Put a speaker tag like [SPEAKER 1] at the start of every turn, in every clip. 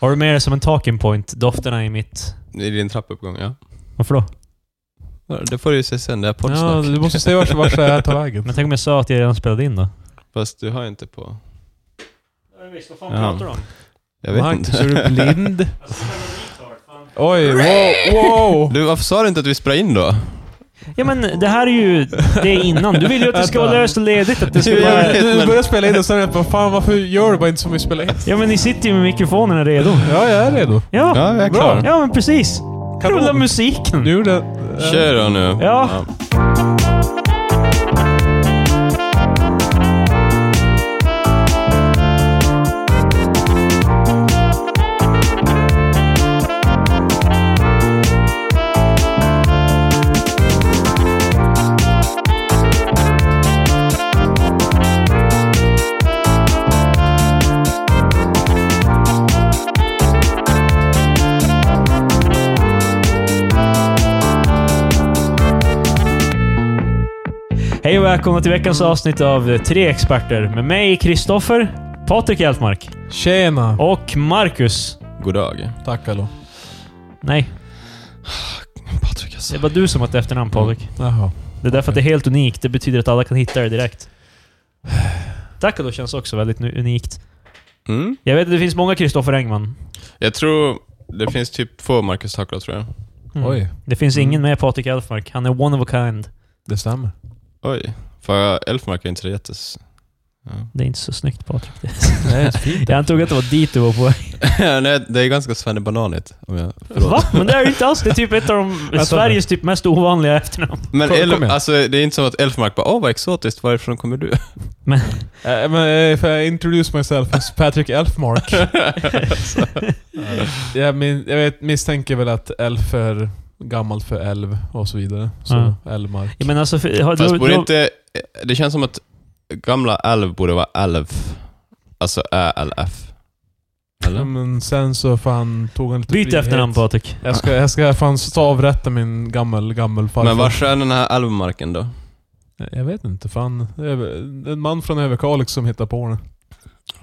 [SPEAKER 1] Har du med det som en talking point? Dofterna i mitt...
[SPEAKER 2] I din trappuppgång, ja.
[SPEAKER 1] Varför då?
[SPEAKER 2] Ja, Det får du ju se sen, det är
[SPEAKER 3] Ja,
[SPEAKER 2] poddsnack.
[SPEAKER 3] du måste säga vart, vart ska det här tar vägen.
[SPEAKER 1] Men tänk om jag sa att jag redan spelade in då?
[SPEAKER 2] Fast du har ju inte på...
[SPEAKER 1] Visst, vad
[SPEAKER 2] fan Ja. pratar du
[SPEAKER 1] om?
[SPEAKER 2] Jag vet
[SPEAKER 3] Marcus,
[SPEAKER 2] inte.
[SPEAKER 3] är du blind? Oj, wow, wow!
[SPEAKER 2] Du, varför sa du inte att vi spelade in då?
[SPEAKER 1] Ja men det här är ju... Det är innan. Du vill ju att det ska vara löst och ledigt. Att det ska
[SPEAKER 2] Jo, jag
[SPEAKER 1] vara...
[SPEAKER 2] vet.
[SPEAKER 3] Du
[SPEAKER 2] men-
[SPEAKER 3] börjar spela in och sen är det bara fan varför gör du bara inte som vi spelar in?
[SPEAKER 1] Ja men ni sitter ju med mikrofonerna redo.
[SPEAKER 3] Ja, jag är redo.
[SPEAKER 1] Ja,
[SPEAKER 2] Ja, jag är
[SPEAKER 3] Bra.
[SPEAKER 2] klar.
[SPEAKER 1] ja men precis. Rulla musiken.
[SPEAKER 3] Du gjorde...
[SPEAKER 2] Kör då nu.
[SPEAKER 1] Ja. Hej och välkomna till veckans avsnitt av eh, Tre Experter med mig Kristoffer, Patrik Hjeltmark
[SPEAKER 3] Tjena!
[SPEAKER 1] och Marcus.
[SPEAKER 2] God dag.
[SPEAKER 3] Tack hallå.
[SPEAKER 1] Nej,
[SPEAKER 2] Patrik, alltså.
[SPEAKER 1] det var du som hade efternamn Patrik.
[SPEAKER 3] Jaha.
[SPEAKER 1] Det är därför att det är helt unikt. Det betyder att alla kan hitta det direkt. Takado känns också väldigt nu- unikt.
[SPEAKER 2] Mm.
[SPEAKER 1] Jag vet att det finns många Kristoffer Engman.
[SPEAKER 2] Jag tror... Det finns typ två Marcus Takula, tror jag.
[SPEAKER 1] Mm.
[SPEAKER 3] Oj,
[SPEAKER 1] Det finns ingen med Patrik Elfmark. Han är one of a kind.
[SPEAKER 3] det stämmer.
[SPEAKER 2] Oj. För Elfmark är inte så jättes...
[SPEAKER 1] Det är inte så snyggt Patrik. Det-
[SPEAKER 3] Det är fint.
[SPEAKER 1] Jag antog att det var dit du var på väg.
[SPEAKER 2] Ja. Nej, det är ganska svennebananigt. Om jag... Förlåt.
[SPEAKER 1] Va? Men det är ju inte alls. Det är typ ett av de,
[SPEAKER 3] Vänta.
[SPEAKER 1] Sveriges typ mest ovanliga efternamn.
[SPEAKER 2] Men
[SPEAKER 3] Kom-
[SPEAKER 2] El-
[SPEAKER 3] kom igen.
[SPEAKER 2] alltså, det är inte som att Elfmark bara åh vad exotiskt, varifrån kommer du?
[SPEAKER 3] Eh, men eh, får jag introduce myself as Patrick Elfmark? Eh, jag, min, jag vet, misstänker väl att elf är gammalt för älv och så vidare. Så
[SPEAKER 1] Ja.
[SPEAKER 3] Elmark.
[SPEAKER 1] Ja, men alltså, för, har,
[SPEAKER 2] Fast
[SPEAKER 1] då-
[SPEAKER 2] borde
[SPEAKER 1] då-
[SPEAKER 2] inte... eh, Det känns som att gamla älv borde vara älv. Alltså ä-l-f.
[SPEAKER 3] Ja,
[SPEAKER 2] Eller?
[SPEAKER 3] men sen så fan tog han lite
[SPEAKER 1] Byt
[SPEAKER 3] frihet.
[SPEAKER 1] efternamn Patrik.
[SPEAKER 3] Jag ska, jag ska fan stavrätta min gammel, gammel farfar.
[SPEAKER 2] Men var är den här älvmarken då?
[SPEAKER 3] Jag vet inte, fan. Det är En man från Överkalix som hittar på det.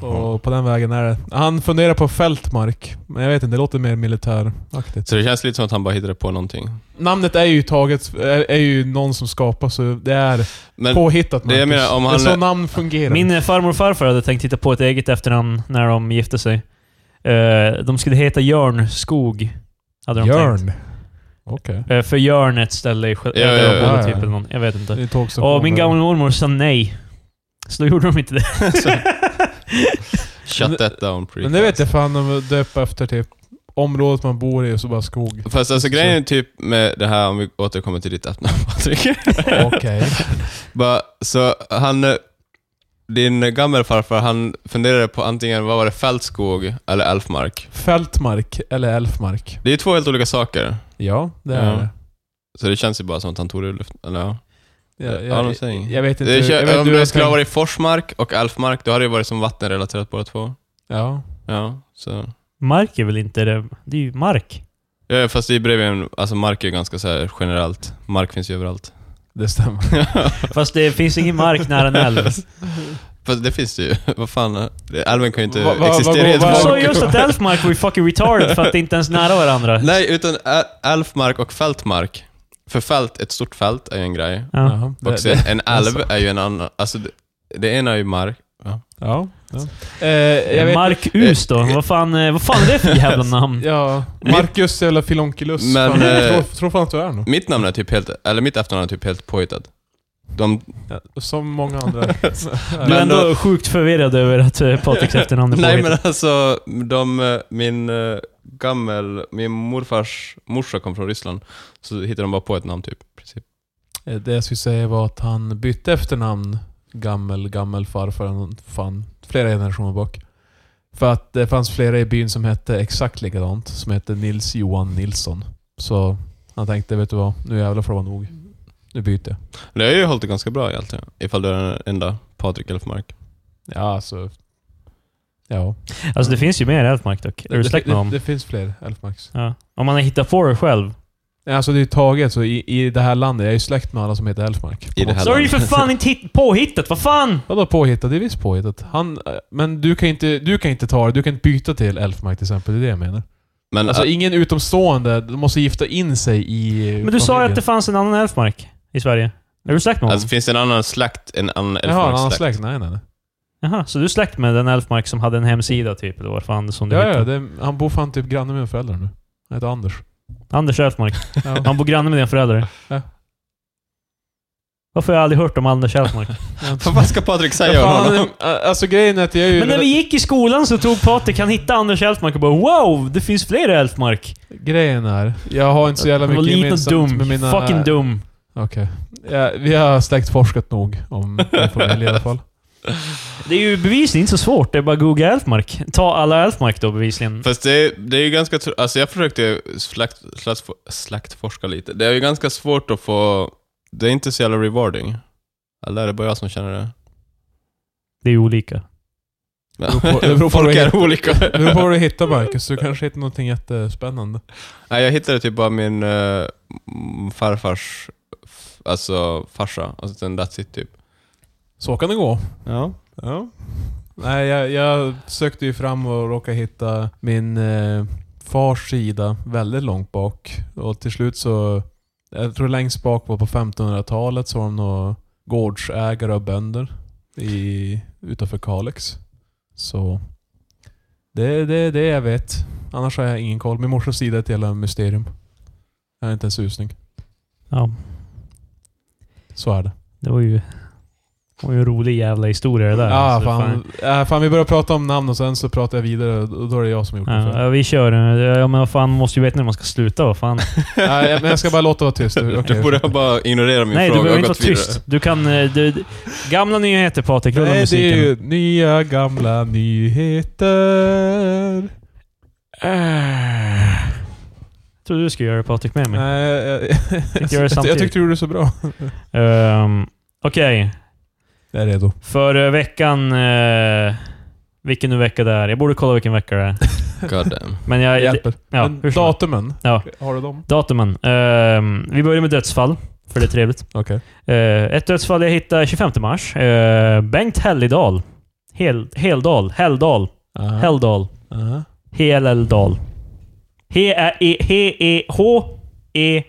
[SPEAKER 3] Och på den vägen är det. Han funderar på fältmark. Men jag vet inte, det låter mer militäraktigt.
[SPEAKER 2] Så det känns lite som att han bara hittade på någonting.
[SPEAKER 3] Namnet är ju taget, är, är ju någon som skapar så det är
[SPEAKER 2] Men
[SPEAKER 3] påhittat
[SPEAKER 2] det jag menar, om
[SPEAKER 3] det är
[SPEAKER 2] han-
[SPEAKER 3] så namn fungerar.
[SPEAKER 1] Min eh, farmor och farfar hade tänkt hitta på ett eget efternamn när de gifte sig. Eh, de skulle heta Jörn Skog. Hade de tänkt.
[SPEAKER 3] Jörn. Okej.
[SPEAKER 1] Eh, för Jörn är ett ställe i Skö-
[SPEAKER 2] Ja,
[SPEAKER 1] där de
[SPEAKER 2] ja,
[SPEAKER 1] bodde
[SPEAKER 3] ja,
[SPEAKER 1] typ
[SPEAKER 3] ja.
[SPEAKER 1] eller någon. Jag vet
[SPEAKER 3] Det
[SPEAKER 1] inte.
[SPEAKER 3] är tåg som
[SPEAKER 1] Och
[SPEAKER 3] kommer.
[SPEAKER 1] min gamla mormor sa nej. Så då gjorde de inte det.
[SPEAKER 2] shut that down pretty
[SPEAKER 3] Men det vet jag fan om att döpa efter typ området man bor i och så bara skog.
[SPEAKER 2] Fast alltså grejen är typ med det här, om vi återkommer till ditt efternamn Patrik.
[SPEAKER 3] Okej.
[SPEAKER 2] Bara, så han, eh, din gammelfarfar, han funderade på antingen, vad var det, fältskog eller älvmark?
[SPEAKER 3] Fältmark eller älfmark.
[SPEAKER 2] Det är ju två helt olika saker.
[SPEAKER 3] Ja, det är
[SPEAKER 2] Ja.
[SPEAKER 3] det.
[SPEAKER 2] Så det känns ju bara som att han tog det ur luften. Eller, ja. Eh,
[SPEAKER 3] Jag,
[SPEAKER 2] Ja, de
[SPEAKER 3] jag,
[SPEAKER 2] säger
[SPEAKER 3] jag,
[SPEAKER 2] inget.
[SPEAKER 3] vet inte.
[SPEAKER 2] det
[SPEAKER 3] hur- jag
[SPEAKER 2] kän-
[SPEAKER 3] vet
[SPEAKER 2] om
[SPEAKER 3] hur
[SPEAKER 2] det
[SPEAKER 3] jag
[SPEAKER 2] skulle ha
[SPEAKER 3] tänker.
[SPEAKER 2] varit Forsmark och älvmark, då hade det varit som vattenrelaterat båda två.
[SPEAKER 3] Ja.
[SPEAKER 2] Ja, så.
[SPEAKER 1] Mark är väl inte det? Det är ju mark.
[SPEAKER 2] Ja, fast det är bredvid en, alltså mark är ju ganska så här generellt. Mark finns ju överallt.
[SPEAKER 3] Det stämmer.
[SPEAKER 1] Fast det finns ingen mark nära en älv.
[SPEAKER 2] Fast det finns det ju. vad fan, eh, älven kan ju inte
[SPEAKER 3] Va- va-
[SPEAKER 2] existera
[SPEAKER 3] va-
[SPEAKER 2] i ett
[SPEAKER 3] va-
[SPEAKER 1] Du sa
[SPEAKER 2] vakuum.
[SPEAKER 1] just att älvmark var ju fucking retarded för att det inte ens är nära varandra.
[SPEAKER 2] Nej, utan ä- älvmark och fältmark. För fält, ett stort fält är ju en grej.
[SPEAKER 1] Ja.
[SPEAKER 3] Jaha.
[SPEAKER 2] Och
[SPEAKER 3] Det-
[SPEAKER 2] sen en älv
[SPEAKER 3] alltså.
[SPEAKER 2] är ju en annan. Alltså, det, det ena är ju mark.
[SPEAKER 3] Ja. ja. Eh, jag vet,
[SPEAKER 1] Markus då? Vad fan, eh, vad fan är det för jävla namn?
[SPEAKER 3] ja. Marcus jävla filonkulus.
[SPEAKER 2] Men,
[SPEAKER 3] Fan, jag
[SPEAKER 2] eh,
[SPEAKER 3] tror, tror fan att du är nog.
[SPEAKER 2] Mitt namn är typ helt, eller mitt efternamn är typ helt påhittat. De,
[SPEAKER 3] Ja, Som många andra.
[SPEAKER 1] Du är
[SPEAKER 2] Men
[SPEAKER 1] ändå
[SPEAKER 2] då-
[SPEAKER 1] sjukt förvirrad över att eh, Patriks efternamn är
[SPEAKER 2] nej
[SPEAKER 1] påhittat.
[SPEAKER 2] men alltså, de, eh, min eh, gammel, min morfars morsa kom från Ryssland. Så hittade de bara på ett namn typ. i princip.
[SPEAKER 3] Eh, Det jag skulle säga var att han bytte efternamn gammel, gammel farfar eller något fan, flera generationer bak. För att det fanns flera i byn som hette exakt likadant, som hette Nils Johan Nilsson. Så han tänkte, vet du vad, nu jävlar får det vara nog. Nu byter jag.
[SPEAKER 2] Det har ju hållit det ganska bra i allt det. Ifall du är den enda Patrik Elfmark.
[SPEAKER 3] Ja, alltså... Ja.
[SPEAKER 1] Alltså det finns ju mer Elfmark dock. Är du släkt med
[SPEAKER 3] det,
[SPEAKER 1] dem?
[SPEAKER 3] det finns fler Elfmarks.
[SPEAKER 1] Ja. Om man har hittat på det själv.
[SPEAKER 3] Alltså det är ju taget så i, i det här landet. Jag är ju släkt med alla som heter Elfmark.
[SPEAKER 2] I det här
[SPEAKER 1] Så är det ju för
[SPEAKER 2] landet.
[SPEAKER 1] fan inte hit- påhittat, vad fan!
[SPEAKER 3] Vadå påhittat? Det är visst påhittat. Han, eh, men du kan, inte, du kan inte ta det. Du kan inte byta till Elfmark till exempel. Det är det jag menar.
[SPEAKER 2] Men
[SPEAKER 3] Alltså
[SPEAKER 2] äh,
[SPEAKER 3] ingen utomstående. De måste gifta in sig i eh,
[SPEAKER 1] Men du sa ju att
[SPEAKER 3] familjen.
[SPEAKER 1] det fanns en annan Elfmark i Sverige. Är du släkt med honom?
[SPEAKER 2] alltså, finns det en annan släkt än en
[SPEAKER 3] Jaha, en annan
[SPEAKER 2] Elfmarks släkt?
[SPEAKER 3] släkt? Nej, nej, nej.
[SPEAKER 1] Jaha, så du är släkt med den Elfmark som hade en hemsida typ, eller vad fan som du
[SPEAKER 3] Ja,
[SPEAKER 1] heter?
[SPEAKER 3] ja, det, han bor fan typ granne med mina föräldrar nu. Han heter Anders.
[SPEAKER 1] Anders Elfmark.
[SPEAKER 3] Ja.
[SPEAKER 1] Han bor granne med dina föräldrar.
[SPEAKER 3] Ja.
[SPEAKER 1] Varför har jag aldrig hört om Anders Elfmark?
[SPEAKER 2] Vad ska Patrik
[SPEAKER 3] Ja,
[SPEAKER 2] säga om
[SPEAKER 3] fan,
[SPEAKER 2] honom?
[SPEAKER 3] eh, alltså grejen är att jag är ju...
[SPEAKER 1] Men när vi gick i skolan så tog Patrik, han hittade Anders Elfmark och bara Wow! Det finns fler Elfmark!
[SPEAKER 3] Grejen är, jag har inte så jävla
[SPEAKER 1] Han var
[SPEAKER 3] mycket
[SPEAKER 1] liten och
[SPEAKER 3] gemensamt
[SPEAKER 1] dum.
[SPEAKER 3] med mina...
[SPEAKER 1] Fucking dum.
[SPEAKER 3] Okej. Ja, vi har släktforskat nog om min familj i alla fall.
[SPEAKER 1] Det är ju bevisligen inte så svårt. Det är bara att googla Elfmark. Ta alla Elfmark då bevisligen.
[SPEAKER 2] Fast det är, det är ju ganska... tr- Alltså jag försökte slakt, slakt, slaktforska lite. Det är ju ganska svårt att få... Det är inte så jävla rewarding. Eller är det bara jag som känner det?
[SPEAKER 1] Det är ju olika.
[SPEAKER 3] beror på- det beror på
[SPEAKER 2] Folk
[SPEAKER 3] vad
[SPEAKER 2] är olika.
[SPEAKER 3] Det beror på vad du hittar Marcus, du kanske hittar någonting jättespännande.
[SPEAKER 2] Nej, jag hittade typ bara min eh, m- farfars f- alltså farsa, och sen that's it typ.
[SPEAKER 3] Så kan det gå.
[SPEAKER 2] Ja.
[SPEAKER 3] Ja. Nej, jag, jag sökte ju fram och råkade hitta min eh, fars sida väldigt långt bak. Och till slut så... Jag tror längst bak var på 1500-talet så var de nog gårdsägare och bönder i, utanför Kalix. Så... Det är det, är det jag vet. Annars har jag ingen koll. Min morsas sida är ett jävla mysterium. Jag har inte en susning.
[SPEAKER 1] Ja,
[SPEAKER 3] Så är det.
[SPEAKER 1] det var ju... Det var ju en rolig jävla historia det där.
[SPEAKER 3] Ja,
[SPEAKER 1] Alltså,
[SPEAKER 3] fan. Äh, fan, vi börjar prata om namn och sen så pratar jag vidare och då är det jag som har gjort det.
[SPEAKER 1] Ja,
[SPEAKER 3] fel.
[SPEAKER 1] ja, vi kör. Ja, men vad fan, man måste ju veta när man ska sluta. Vad fan.
[SPEAKER 3] Nej, jag- men jag ska bara låta vara tyst. nu. Okej.
[SPEAKER 2] Du borde ha bara ignorerat min
[SPEAKER 1] Nej, du
[SPEAKER 2] fråga
[SPEAKER 1] behöver
[SPEAKER 2] och
[SPEAKER 1] inte vara
[SPEAKER 2] gått vidare.
[SPEAKER 1] tyst. Du kan... eh, Du, du- gamla nyheter Patrik, rulla
[SPEAKER 3] Nej, det
[SPEAKER 1] musiken.
[SPEAKER 3] är ju nya gamla nyheter.
[SPEAKER 1] Jag trodde du skulle göra det Patrik med mig.
[SPEAKER 3] Ah. Nej, jag, jag,
[SPEAKER 1] göra det
[SPEAKER 3] jag,
[SPEAKER 1] samtidigt.
[SPEAKER 3] tyckte du gjorde det så bra.
[SPEAKER 1] Ehm, Okej,
[SPEAKER 3] Jag är redo.
[SPEAKER 1] för eh, veckan... eh, vilken nu vecka det är. Jag borde kolla vilken vecka det är.
[SPEAKER 2] God damn.
[SPEAKER 1] Men jag...
[SPEAKER 3] Hjälper.
[SPEAKER 1] ja,
[SPEAKER 3] Men
[SPEAKER 1] hur som helst.
[SPEAKER 3] datumen,
[SPEAKER 1] Ja.
[SPEAKER 3] har du dem?
[SPEAKER 1] Datumen. Ehm, vi börjar med dödsfall, för det är trevligt.
[SPEAKER 3] Okej.
[SPEAKER 1] Eh, ett dödsfall jag hittade 25 mars. Eh, Bengt Helldal. Hel, Heldal. Helldal.
[SPEAKER 3] Aha.
[SPEAKER 1] Helldal.
[SPEAKER 3] Aha.
[SPEAKER 1] Heleldal. E,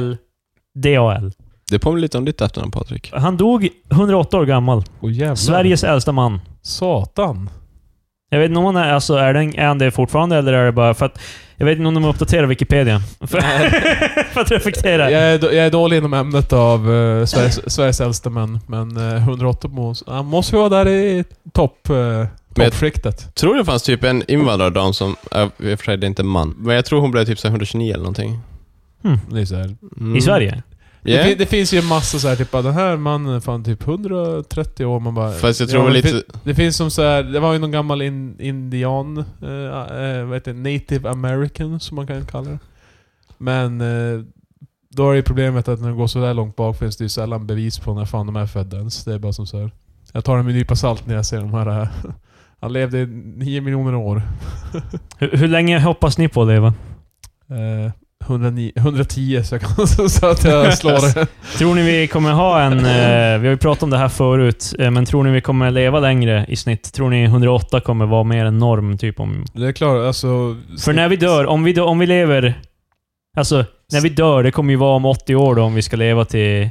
[SPEAKER 1] H-E-L-L-D-A-L.
[SPEAKER 2] Det påminner lite om ditt efternamn Patrik.
[SPEAKER 1] Han dog 108 år gammal.
[SPEAKER 3] Åh, jävlar.
[SPEAKER 1] Sveriges äldsta man.
[SPEAKER 3] Satan.
[SPEAKER 1] Jag vet inte om han är, alltså, är, den, är han det fortfarande eller är det bara för att... Jag vet inte om de uppdaterar Wikipedia. För, för att reflektera.
[SPEAKER 3] Jag är, då- jag är dålig inom ämnet av eh, Sveriges, Sveriges äldsta män, men eh, 108 mås, han måste ju vara där i topp, uh,
[SPEAKER 2] jag-
[SPEAKER 3] toppskiktet.
[SPEAKER 2] Tror det fanns typ en invandrardam som, äh, i och för sig det är inte en man, men jag tror hon blev typ så här 129 eller någonting.
[SPEAKER 3] Det är så här,
[SPEAKER 2] Mm.
[SPEAKER 1] I Sverige?
[SPEAKER 2] Yeah.
[SPEAKER 3] Det, fin- det finns ju en massa så här typ bara, den här mannen är fan typ 130 år, man bara...
[SPEAKER 2] Fast jag
[SPEAKER 3] Ja,
[SPEAKER 2] tror
[SPEAKER 3] men det
[SPEAKER 2] lite...
[SPEAKER 3] fin- Det finns som så här, det var ju någon gammal in, indian, eh, eh, vad heter det, native american som man kan kalla det. Men eh, då är det ju problemet att när de går så där långt bak finns det ju sällan bevis på när fan de är födda ens. Det är bara som så här. Jag tar det med en nypa salt när jag ser de här. eh, Han levde i 9 miljoner år.
[SPEAKER 1] Hur, hur länge hoppas ni på att leva?
[SPEAKER 3] Eh, 109, 110 så jag kan så att jag slår det.
[SPEAKER 1] Tror ni vi kommer ha en... Eh, vi har ju pratat om det här förut, eh, men tror ni vi kommer leva längre i snitt? Tror ni 108 kommer vara mer en norm? Typ om,
[SPEAKER 3] Det är klart, alltså...
[SPEAKER 1] för när vi dör, om vi, dö- om vi lever... Alltså, när vi dör, det kommer ju vara om 80 år då, om vi ska leva till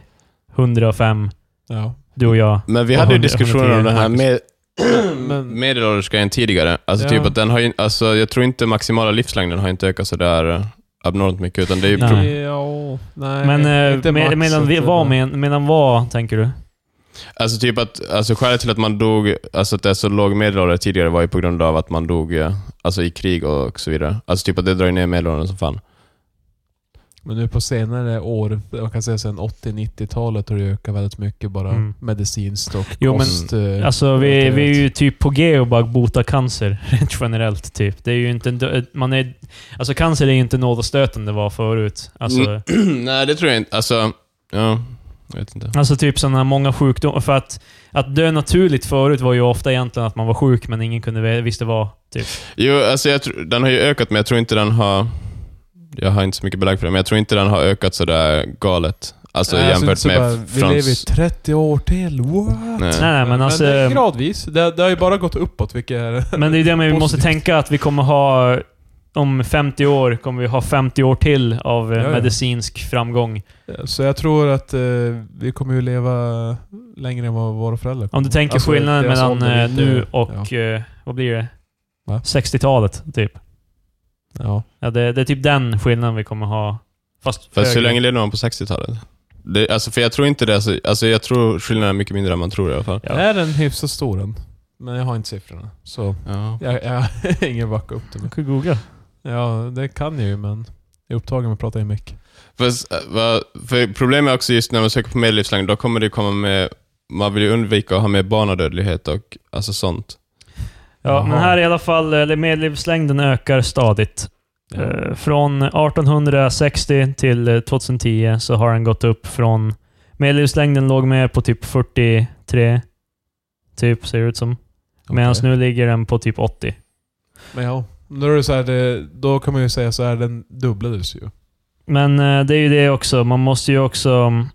[SPEAKER 1] 105,
[SPEAKER 3] Ja.
[SPEAKER 1] du och jag.
[SPEAKER 2] Men vi
[SPEAKER 1] Och
[SPEAKER 2] hade ju
[SPEAKER 1] 100,
[SPEAKER 2] diskussioner om den här
[SPEAKER 1] 110,
[SPEAKER 2] med,
[SPEAKER 3] Men-
[SPEAKER 2] medelålders grejen tidigare. Alltså
[SPEAKER 3] Ja.
[SPEAKER 2] typ att den har ju, alltså jag tror inte maximala livslängden har inte ökat sådär eh, abnormt mycket, utan det är ju
[SPEAKER 1] Nej.
[SPEAKER 2] pro-
[SPEAKER 3] Ja, nej.
[SPEAKER 1] Men eh,
[SPEAKER 3] inte
[SPEAKER 1] med,
[SPEAKER 3] max,
[SPEAKER 1] medan, vi,
[SPEAKER 3] inte-
[SPEAKER 1] vad, men, medan vad, tänker du?
[SPEAKER 2] Alltså typ att, alltså skälet till att man dog, alltså att det är så låg medelålder tidigare var ju på grund av att man dog eh, alltså i krig och, och så vidare. Alltså typ att det drar ju ner medelåldern som fan.
[SPEAKER 3] Men nu på senare år, man kan säga sen 80-90-talet har det ökat väldigt mycket bara
[SPEAKER 1] Mm.
[SPEAKER 3] medicinskt och
[SPEAKER 1] Jo, men-
[SPEAKER 3] kost. eh,
[SPEAKER 1] Alltså, vi,
[SPEAKER 3] relaterat.
[SPEAKER 1] vi är ju typ på G och bara bota cancer, rent generellt. Typ. Det är ju inte en dö- man är, alltså, cancer är ju inte nådastöten det var förut. Alltså,
[SPEAKER 2] Mm. Nej, det tror jag inte. Alltså, ja. Jag vet inte.
[SPEAKER 1] Alltså typ sådana många sjukdomar. För att, att dö naturligt förut var ju ofta egentligen att man var sjuk, men ingen kunde ve- visste vad. Typ.
[SPEAKER 2] Jo, alltså jag tror, den har ju ökat, men jag tror inte den har... Jag har inte så mycket belägg för det, men jag tror inte den har ökat sådär galet. Alltså
[SPEAKER 3] Nej,
[SPEAKER 2] jämfört
[SPEAKER 3] inte så
[SPEAKER 2] med
[SPEAKER 3] bara,
[SPEAKER 2] f-
[SPEAKER 3] Vi lever i
[SPEAKER 2] Frans...
[SPEAKER 3] 30 år till, what?
[SPEAKER 2] Nej.
[SPEAKER 1] Nej, nej, men alltså-
[SPEAKER 3] det är gradvis. Det, det har ju bara gått uppåt, vilket är...
[SPEAKER 1] Men det är det med, vi måste
[SPEAKER 3] Positivt.
[SPEAKER 1] tänka att vi kommer ha... Om 50 år kommer vi ha 50 år till av eh,
[SPEAKER 3] Ja, ja.
[SPEAKER 1] medicinsk framgång.
[SPEAKER 3] Så jag tror att eh, vi kommer ju leva längre än vad våra föräldrar kommer.
[SPEAKER 1] Om du tänker
[SPEAKER 3] Alltså,
[SPEAKER 1] skillnaden
[SPEAKER 3] deras
[SPEAKER 1] mellan
[SPEAKER 3] ålder är
[SPEAKER 1] eh,
[SPEAKER 3] inte-
[SPEAKER 1] nu och...
[SPEAKER 3] Ja.
[SPEAKER 1] eh, Vad blir det?
[SPEAKER 3] Va?
[SPEAKER 1] 60-talet, typ.
[SPEAKER 3] ja.
[SPEAKER 1] Ja, det, det är typ den skillnaden vi kommer ha. Fast
[SPEAKER 2] Fast hur
[SPEAKER 1] högre.
[SPEAKER 2] länge levde man på 60-talet? Det, alltså, för jag tror inte det. Alltså, alltså, jag tror skillnaden är mycket mindre än man tror i alla fall.
[SPEAKER 1] Ja.
[SPEAKER 3] Är den hyfsat stor än? Men jag har inte siffrorna. Så
[SPEAKER 2] Ja.
[SPEAKER 3] jag, jag har ingen backa upp det med.
[SPEAKER 1] Jag kan googla.
[SPEAKER 3] Ja, det kan jag ju men jag är upptagen med att prata i mick.
[SPEAKER 2] Fast, eh, vad- för problemet är också just när man söker på medellivslängd, då kommer det komma med... Man vill ju undvika att ha med barnadödlighet och alltså sånt.
[SPEAKER 1] Ja,
[SPEAKER 3] Jaha.
[SPEAKER 1] men här i alla fall, eh, medellivslängden ökar stadigt. Eh, Från 1860 till eh, 2010 så har den gått upp från... Medellivslängden låg mer på typ 43, typ, ser det ut som. Medan nu ligger den på typ 80.
[SPEAKER 3] Men ja, då, är det så här, det, då kan man ju säga så här, den dubblades ju.
[SPEAKER 1] Men eh, det är ju det också. Man måste ju också... mm,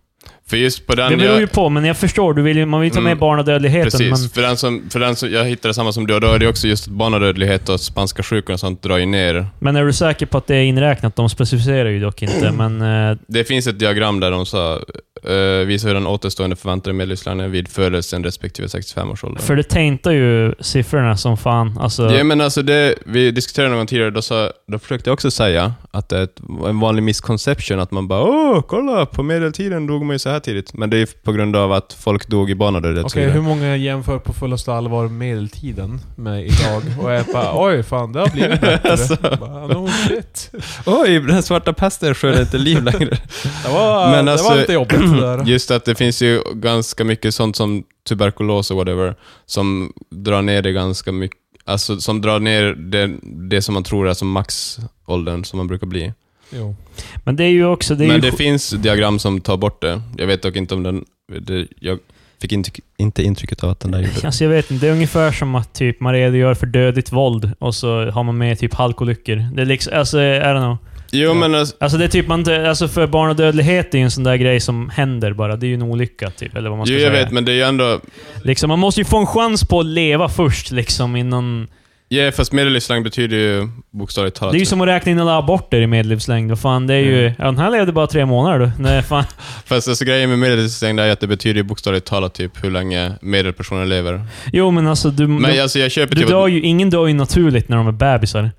[SPEAKER 2] För just på den...
[SPEAKER 1] Det beror
[SPEAKER 2] jag-
[SPEAKER 1] ju på, men jag förstår. Du vill ju, man vill ju ta med
[SPEAKER 2] Mm.
[SPEAKER 1] barnadödligheten,
[SPEAKER 2] Precis.
[SPEAKER 1] men...
[SPEAKER 2] För, den som, för den som... Jag hittade samma som du, och då är det också just att barnadödlighet och spanska sjukan och sånt drar ju ner.
[SPEAKER 1] Men är du säker på att det är inräknat? De specificerar ju dock inte, men... eh,
[SPEAKER 2] Det finns ett diagram där de sa, eh, visar hur den återstående förväntade medellivslängden är vid födelsen respektive 65 års ålder.
[SPEAKER 1] För det taintar ju siffrorna som fan. Alltså,
[SPEAKER 2] Ja, men alltså det, vi diskuterade någon gång tidigare, då, sa, då försökte jag också säga att det är ett, en vanlig misconception att man bara åh, kolla, på medeltiden dog man ju så här tidigt. Men det är ju på grund av att folk dog i barnadödlighet. och så
[SPEAKER 3] Okej, hur
[SPEAKER 2] vidare.
[SPEAKER 3] många jämför på fullaste allvar medeltiden med idag? Och jag bara oj fan, det har blivit bättre.
[SPEAKER 2] Alltså.
[SPEAKER 3] Bara, "Ah, no shit.
[SPEAKER 2] Oj, den svarta pesten skördar inte liv längre.
[SPEAKER 3] Det var,
[SPEAKER 2] Men
[SPEAKER 3] det
[SPEAKER 2] alltså-
[SPEAKER 3] var lite jobbigt det där.
[SPEAKER 2] Just att det finns ju ganska mycket sånt som tuberkulos och whatever, som drar ner det ganska mycket. Alltså som drar ner det, det som man tror är som maxåldern som man brukar bli.
[SPEAKER 3] Jo.
[SPEAKER 1] men det är ju också... Det är
[SPEAKER 2] Men
[SPEAKER 1] ju
[SPEAKER 2] det finns diagram som tar bort det. Jag vet dock inte om den... Det, jag fick intryck, inte intrycket av att den där gjorde det.
[SPEAKER 1] Alltså jag vet inte, det är ungefär som att typ man redogör för dödligt våld och så har man med typ halkolyckor. Det är liksom, alltså, I don't know.
[SPEAKER 2] Jo, men alltså,
[SPEAKER 1] Alltså det är typ man inte- alltså för barn och dödlighet är ju en sån där grej som händer bara. Det är ju en olycka typ, eller vad man ska
[SPEAKER 2] jo, jag
[SPEAKER 1] säga.
[SPEAKER 2] vet, men det är ju ändå...
[SPEAKER 1] Liksom, man måste ju få en chans på att leva först liksom innan...
[SPEAKER 2] Ja, fast medellivslängd betyder ju bokstavligt talat...
[SPEAKER 1] Det är ju som att räkna in alla aborter i medellivslängd. Vad fan, det är ju...
[SPEAKER 2] Mm.
[SPEAKER 1] Ja, den här levde bara tre månader du. Nej, fan.
[SPEAKER 2] Fast alltså, grejen med medellivslängd är ju att det betyder ju bokstavligt talat typ hur länge medelpersonen lever.
[SPEAKER 1] Jo men alltså du...
[SPEAKER 2] Men
[SPEAKER 1] du,
[SPEAKER 2] alltså, jag köper
[SPEAKER 1] du
[SPEAKER 2] typ...
[SPEAKER 1] dör ju, ingen dör ju naturligt när de är bebisar.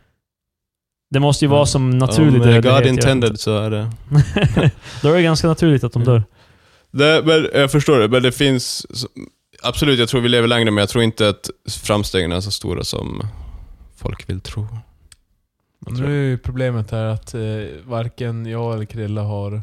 [SPEAKER 1] Det måste ju vara som naturlig
[SPEAKER 2] Om eh,
[SPEAKER 1] dödlighet. jag
[SPEAKER 2] God
[SPEAKER 1] vet inte.
[SPEAKER 2] intended så är det...
[SPEAKER 1] Då är det ganska naturligt att de dör.
[SPEAKER 2] Nej, men jag förstår det, men det finns... Absolut, jag tror vi lever längre, men jag tror inte att framstegen är så stora som folk vill tro.
[SPEAKER 3] Men nu är ju problemet här att eh, varken jag eller Krille har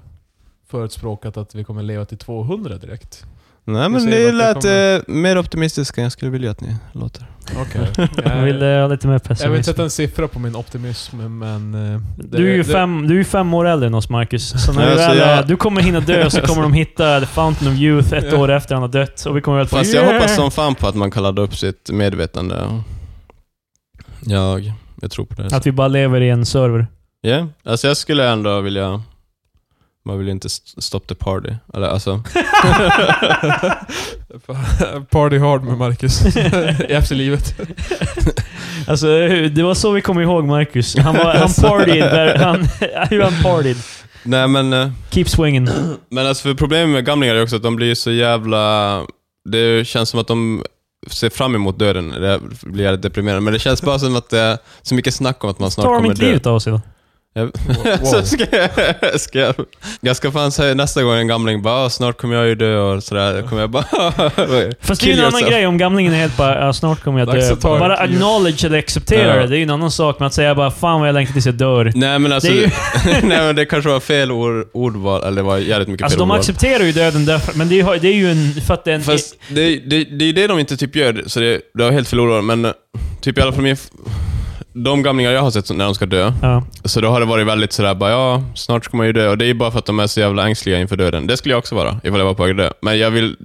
[SPEAKER 3] förespråkat att vi kommer leva till 200 direkt.
[SPEAKER 2] Nej, men
[SPEAKER 3] säger
[SPEAKER 2] ni
[SPEAKER 3] vart det
[SPEAKER 2] lät eh, mer optimistiska än jag skulle vilja att ni låter.
[SPEAKER 3] Okej.
[SPEAKER 1] Jag vill eh, ha lite mer
[SPEAKER 3] Mm. Jag vill inte
[SPEAKER 1] pessimism.
[SPEAKER 3] sätta en siffra på min optimism, men... eh, det-
[SPEAKER 1] Du är, ju
[SPEAKER 3] det-
[SPEAKER 1] fem, du är ju fem år äldre än oss, Marcus. Så när du,
[SPEAKER 2] Alltså,
[SPEAKER 1] väl,
[SPEAKER 2] jag-
[SPEAKER 1] är- du kommer hinna dö, så kommer de hitta The Fountain of Youth ett
[SPEAKER 3] Ja.
[SPEAKER 1] år efter han har dött. Och vi kommer väl få
[SPEAKER 2] Fast jag hoppas som fan på att man kan ladda upp sitt medvetande. Jag, jag tror på det. Ja,
[SPEAKER 1] Att vi bara lever i en server.
[SPEAKER 2] alltså jag skulle ändå vilja... Man vill ju inte st- stop the party. Eller alltså...
[SPEAKER 3] Party hard med Marcus i efterlivet.
[SPEAKER 1] Alltså, det var så vi kom ihåg Marcus. Han, var, han
[SPEAKER 2] Alltså.
[SPEAKER 1] partied där. Han, hur han partied.
[SPEAKER 2] Nej men... eh,
[SPEAKER 1] Keep swinging.
[SPEAKER 2] Men alltså för problemet med gamlingar är också att de blir så jävla... Det känns som att de ser fram emot döden. Det blir jävligt deprimerande. Men det känns bara som att det är så mycket snack om att man snart
[SPEAKER 1] Tar de
[SPEAKER 2] kommer
[SPEAKER 1] inte
[SPEAKER 2] dö.
[SPEAKER 1] livet av sig då?
[SPEAKER 2] Jag,
[SPEAKER 3] Wow.
[SPEAKER 2] så ska jag, ska jag, jag ska fan säga nästa gång en gamling bara "Ah, snart kommer jag ju dö och sådär. Då kommer jag bara...
[SPEAKER 1] Fast det är ju en
[SPEAKER 2] Kill
[SPEAKER 1] annan
[SPEAKER 2] yourself.
[SPEAKER 1] grej om gamlingen är helt bara ja, “snart kommer jag
[SPEAKER 3] Dags
[SPEAKER 1] dö”.
[SPEAKER 3] att ta
[SPEAKER 1] Bara
[SPEAKER 3] ett liv.
[SPEAKER 1] acknowledge eller acceptera
[SPEAKER 2] Ja.
[SPEAKER 1] det. Det är ju en annan sak med att säga bara “fan vad jag längtar tills jag dör”.
[SPEAKER 2] Nej men alltså,
[SPEAKER 1] Det är ju-
[SPEAKER 2] nej, men det kanske var fel ord, ordval, eller det var jävligt mycket
[SPEAKER 1] Alltså
[SPEAKER 2] fel
[SPEAKER 1] de
[SPEAKER 2] ordval.
[SPEAKER 1] accepterar ju döden därför, men det är, ju- det är ju en... För att det är en...
[SPEAKER 2] Fast det, det, det är det de inte typ gör, så det, det har helt förlorat. Men eh, typ i alla fall min, f- de gamlingar jag har sett som- när de ska dö,
[SPEAKER 1] ja.
[SPEAKER 2] så då har det varit väldigt sådär bara ja, snart ska man ju dö. Och det är ju bara för att de är så jävla ängsliga inför döden. Det skulle jag också vara, ifall jag var på väg att dö. Men jag vill,